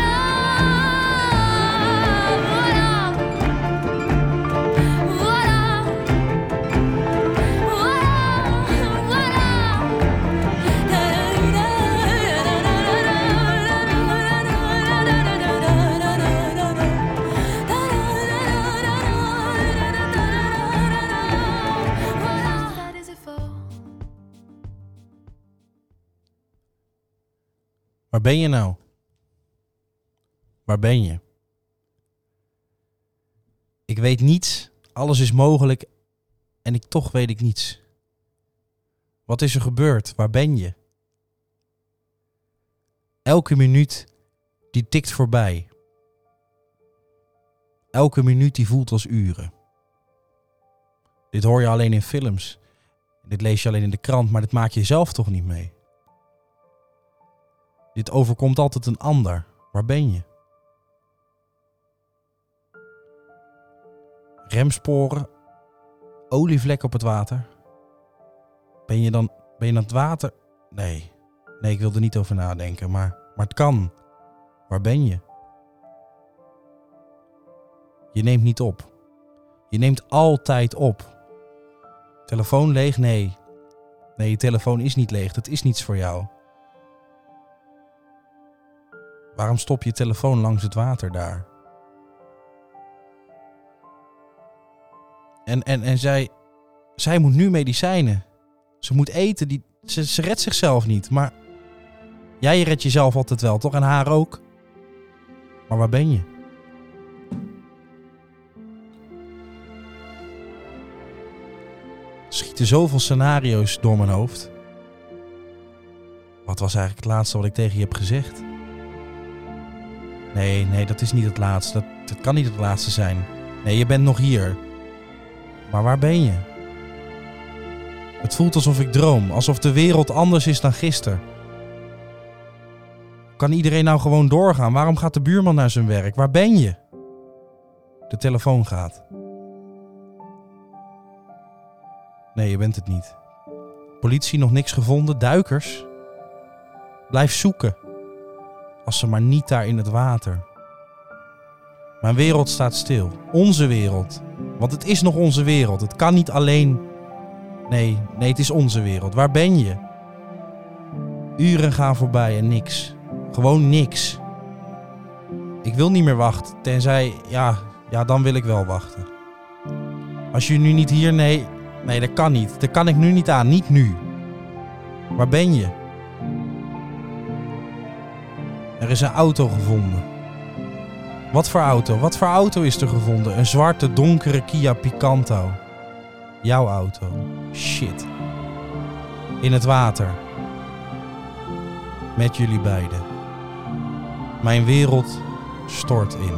[SPEAKER 6] voilà. Voilà, voilà, voilà. Voilà des efforts.
[SPEAKER 1] Waar ben je nou? Waar ben je? Ik weet niets, alles is mogelijk en ik toch weet ik niets. Wat is er gebeurd? Waar ben je? Elke minuut die tikt voorbij. Elke minuut die voelt als uren. Dit hoor je alleen in films. Dit lees je alleen in de krant, maar dit maak je zelf toch niet mee. Dit overkomt altijd een ander. Waar ben je? Remsporen, olievlek op het water. Ben je dan ben je aan het water? Nee, nee, ik wil er niet over nadenken, maar, maar het kan. Waar ben je? Je neemt niet op. Je neemt altijd op. Telefoon leeg? Nee. Nee, je telefoon is niet leeg. Dat is niets voor jou. Waarom stop je telefoon langs het water daar? En, en, en zij, zij moet nu medicijnen. Ze moet eten. Die, ze, ze redt zichzelf niet. Maar jij redt jezelf altijd wel, toch? En haar ook. Maar waar ben je? Er schieten zoveel scenario's door mijn hoofd. Wat was eigenlijk het laatste wat ik tegen je heb gezegd? Nee, nee, dat is niet het laatste. Dat, dat kan niet het laatste zijn. Nee, je bent nog hier. Maar waar ben je? Het voelt alsof ik droom, alsof de wereld anders is dan gisteren. Kan iedereen nou gewoon doorgaan? Waarom gaat de buurman naar zijn werk? Waar ben je? De telefoon gaat. Nee, je bent het niet. Politie nog niks gevonden, duikers. Blijf zoeken als ze maar niet daar in het water. Mijn wereld staat stil. Onze wereld. Want het is nog onze wereld. Het kan niet alleen. Nee, nee, het is onze wereld. Waar ben je? Uren gaan voorbij en niks. Gewoon niks. Ik wil niet meer wachten. Tenzij, ja, ja, dan wil ik wel wachten. Als je nu niet hier, nee, nee, dat kan niet. Dat kan ik nu niet aan. Niet nu. Waar ben je? Er is een auto gevonden. Wat voor auto? Wat voor auto is er gevonden? Een zwarte, donkere Kia Picanto. Jouw auto. Shit. In het water. met jullie beiden. Mijn wereld stort in.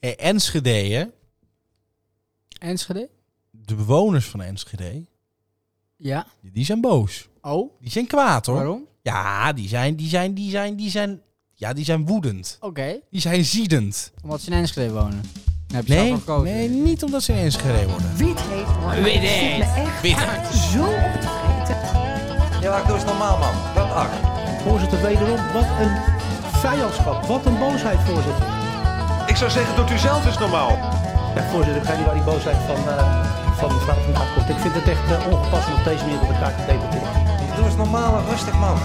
[SPEAKER 1] Hey, Eh, Enschede, hè?
[SPEAKER 2] Enschede?
[SPEAKER 1] de bewoners van Enschede,
[SPEAKER 2] Ja.
[SPEAKER 1] die zijn boos.
[SPEAKER 2] Oh,
[SPEAKER 1] Die zijn kwaad hoor.
[SPEAKER 2] waarom?
[SPEAKER 1] Ja, die zijn, die zijn, die zijn, die zijn, ja, die zijn woedend.
[SPEAKER 2] Oké,
[SPEAKER 1] Die zijn ziedend.
[SPEAKER 2] omdat ze in Enschede wonen. Dan heb je
[SPEAKER 1] Nee,
[SPEAKER 2] zelf voor gekozen.
[SPEAKER 1] nee, niet omdat ze in Enschede worden.
[SPEAKER 5] Wit heet worden. Wit heet. me echt zo op te vreten.
[SPEAKER 7] Ja, doe eens normaal, man. Wat acht.
[SPEAKER 8] Voorzitter, wederom, wat een vijandschap. Wat een boosheid, voorzitter.
[SPEAKER 7] Ik zou zeggen, doet u zelf eens normaal.
[SPEAKER 8] Ja, voorzitter, ik ga niet waar die boosheid van, eh, van mevrouw vandaan komt. Ik vind het echt eh, ongepast om op deze manier met elkaar te debatteren.
[SPEAKER 7] Doe eens normaal en rustig, man.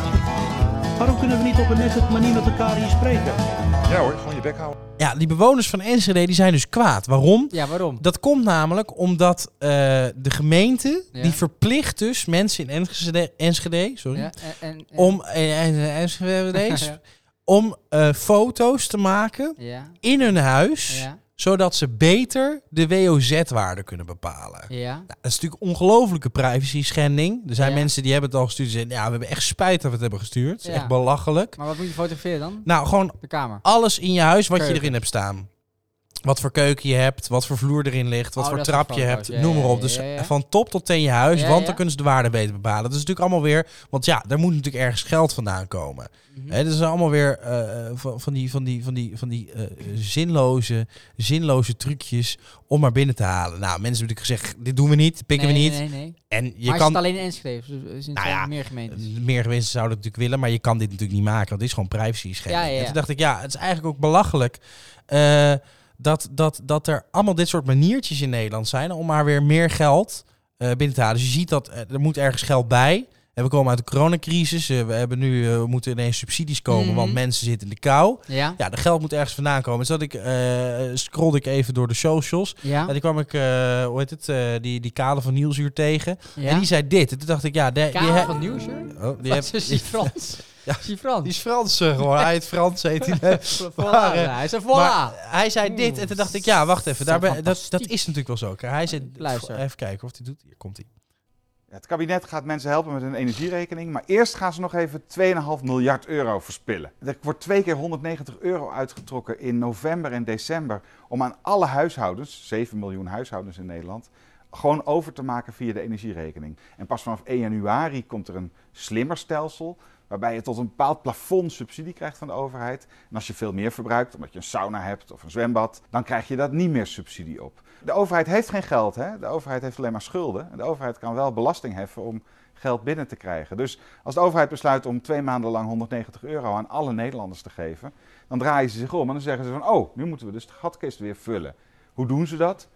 [SPEAKER 8] Waarom kunnen we niet op een nette manier met elkaar hier spreken?
[SPEAKER 9] Nou,
[SPEAKER 7] Ja hoor, gewoon je bek houden.
[SPEAKER 1] Ja, die bewoners van Enschede die zijn dus kwaad. Waarom?
[SPEAKER 2] Ja, waarom?
[SPEAKER 1] Dat komt namelijk omdat eh, de gemeente
[SPEAKER 2] Ja.
[SPEAKER 1] die verplicht dus mensen in Enschede, Enschede sorry,
[SPEAKER 2] Ja, en, en, en-
[SPEAKER 1] om eh, en- en- Enschede,
[SPEAKER 2] Ja.
[SPEAKER 1] om eh, foto's te maken
[SPEAKER 2] Ja,
[SPEAKER 1] in hun huis,
[SPEAKER 2] ja,
[SPEAKER 1] zodat ze beter de WOZ-waarde kunnen bepalen.
[SPEAKER 2] ja.
[SPEAKER 1] Nou, dat is natuurlijk ongelofelijke privacy schending. Er zijn
[SPEAKER 2] Ja.
[SPEAKER 1] mensen die hebben het al gestuurd. Die zeggen, ja, we hebben echt spijt dat we het hebben gestuurd. Het is
[SPEAKER 2] Ja.
[SPEAKER 1] echt belachelijk.
[SPEAKER 2] Maar wat moet je fotograferen dan?
[SPEAKER 1] Nou, gewoon
[SPEAKER 2] De kamer.
[SPEAKER 1] alles in je huis wat je
[SPEAKER 2] Keuken.
[SPEAKER 1] erin hebt staan. Wat voor keuken je hebt, wat voor vloer erin ligt, wat
[SPEAKER 2] Oh,
[SPEAKER 1] voor
[SPEAKER 2] dat soort
[SPEAKER 1] trap je
[SPEAKER 2] foto's.
[SPEAKER 1] hebt,
[SPEAKER 2] Ja,
[SPEAKER 1] noem
[SPEAKER 2] ja,
[SPEAKER 1] maar op.
[SPEAKER 2] ja,
[SPEAKER 1] dus
[SPEAKER 2] ja, ja.
[SPEAKER 1] van top tot teen je huis,
[SPEAKER 2] Ja,
[SPEAKER 1] want
[SPEAKER 2] ja.
[SPEAKER 1] dan kunnen ze de waarde beter bepalen. Dat is natuurlijk allemaal weer, want ja, daar moet natuurlijk ergens geld vandaan komen.
[SPEAKER 2] Mhm.
[SPEAKER 1] Hè, dat is allemaal weer eh, van, van die, van die, van die, van die eh, zinloze, zinloze trucjes om maar binnen te halen. Nou, mensen hebben natuurlijk gezegd, dit doen we niet, pikken
[SPEAKER 2] nee,
[SPEAKER 1] we niet.
[SPEAKER 2] Nee, nee, nee.
[SPEAKER 1] En je
[SPEAKER 2] maar
[SPEAKER 1] kan
[SPEAKER 2] is het alleen in Enschede? Of is het in
[SPEAKER 1] Nou ja,
[SPEAKER 2] meer gemeentes?
[SPEAKER 1] Meer mensen zouden het natuurlijk willen, maar je kan dit natuurlijk niet maken, want dit is gewoon privacy schending.
[SPEAKER 2] Ja, ja, ja.
[SPEAKER 1] En toen dacht ik, ja, het is eigenlijk ook belachelijk eh, dat, dat, dat er allemaal dit soort maniertjes in Nederland zijn om maar weer meer geld eh, binnen te halen. Dus je ziet dat eh, er moet ergens geld bij. En we komen uit de coronacrisis, eh, we hebben nu, eh, we moeten ineens subsidies komen,
[SPEAKER 2] Mhm.
[SPEAKER 1] want mensen zitten in de kou.
[SPEAKER 2] Ja,
[SPEAKER 1] Ja, de geld moet ergens vandaan komen. Dus dat ik, eh scrolde ik even door de socials. En
[SPEAKER 2] ja,
[SPEAKER 1] toen kwam ik, eh, hoe heet het, eh, die, die kale van Nieuwsuur tegen. En
[SPEAKER 2] ja.
[SPEAKER 1] die zei dit. En toen dacht ik, ja... De, die
[SPEAKER 2] Kamer
[SPEAKER 1] he-
[SPEAKER 2] van Nieuwsuur?
[SPEAKER 1] Oh, die,
[SPEAKER 2] Die
[SPEAKER 1] heb,
[SPEAKER 2] is die Frans?
[SPEAKER 1] Ja.
[SPEAKER 2] Is die Frans?
[SPEAKER 1] die is Frans eh, gewoon. Hij het Frans heet hij. Nee.
[SPEAKER 2] Voilà,
[SPEAKER 1] eh,
[SPEAKER 2] hij zei voilà.
[SPEAKER 1] Maar hij zei dit en toen dacht ik, ja, wacht even.
[SPEAKER 2] Zo
[SPEAKER 1] Daarbij, dat, dat
[SPEAKER 2] fantastiek.
[SPEAKER 1] is natuurlijk wel zo. Hij zei,
[SPEAKER 2] Luister.
[SPEAKER 1] even kijken of hij doet. Hier komt hij.
[SPEAKER 10] Het kabinet gaat mensen helpen met hun energierekening, maar eerst gaan ze nog even 2,5 miljard euro verspillen. Er wordt twee keer 190 euro uitgetrokken in november en december om aan alle huishoudens, 7 miljoen huishoudens in Nederland, gewoon over te maken via de energierekening. En pas vanaf 1 januari komt er een slimmer stelsel waarbij je tot een bepaald plafond subsidie krijgt van de overheid. En als je veel meer verbruikt, omdat je een sauna hebt of een zwembad, dan krijg je dat niet meer subsidie op. De overheid heeft geen geld, hè? de overheid heeft alleen maar schulden. En de overheid kan wel belasting heffen om geld binnen te krijgen. Dus als de overheid besluit om twee maanden lang 190 euro aan alle Nederlanders te geven, dan draaien ze zich om en dan zeggen ze van, oh, nu moeten we dus de gatkist weer vullen. Hoe doen ze dat?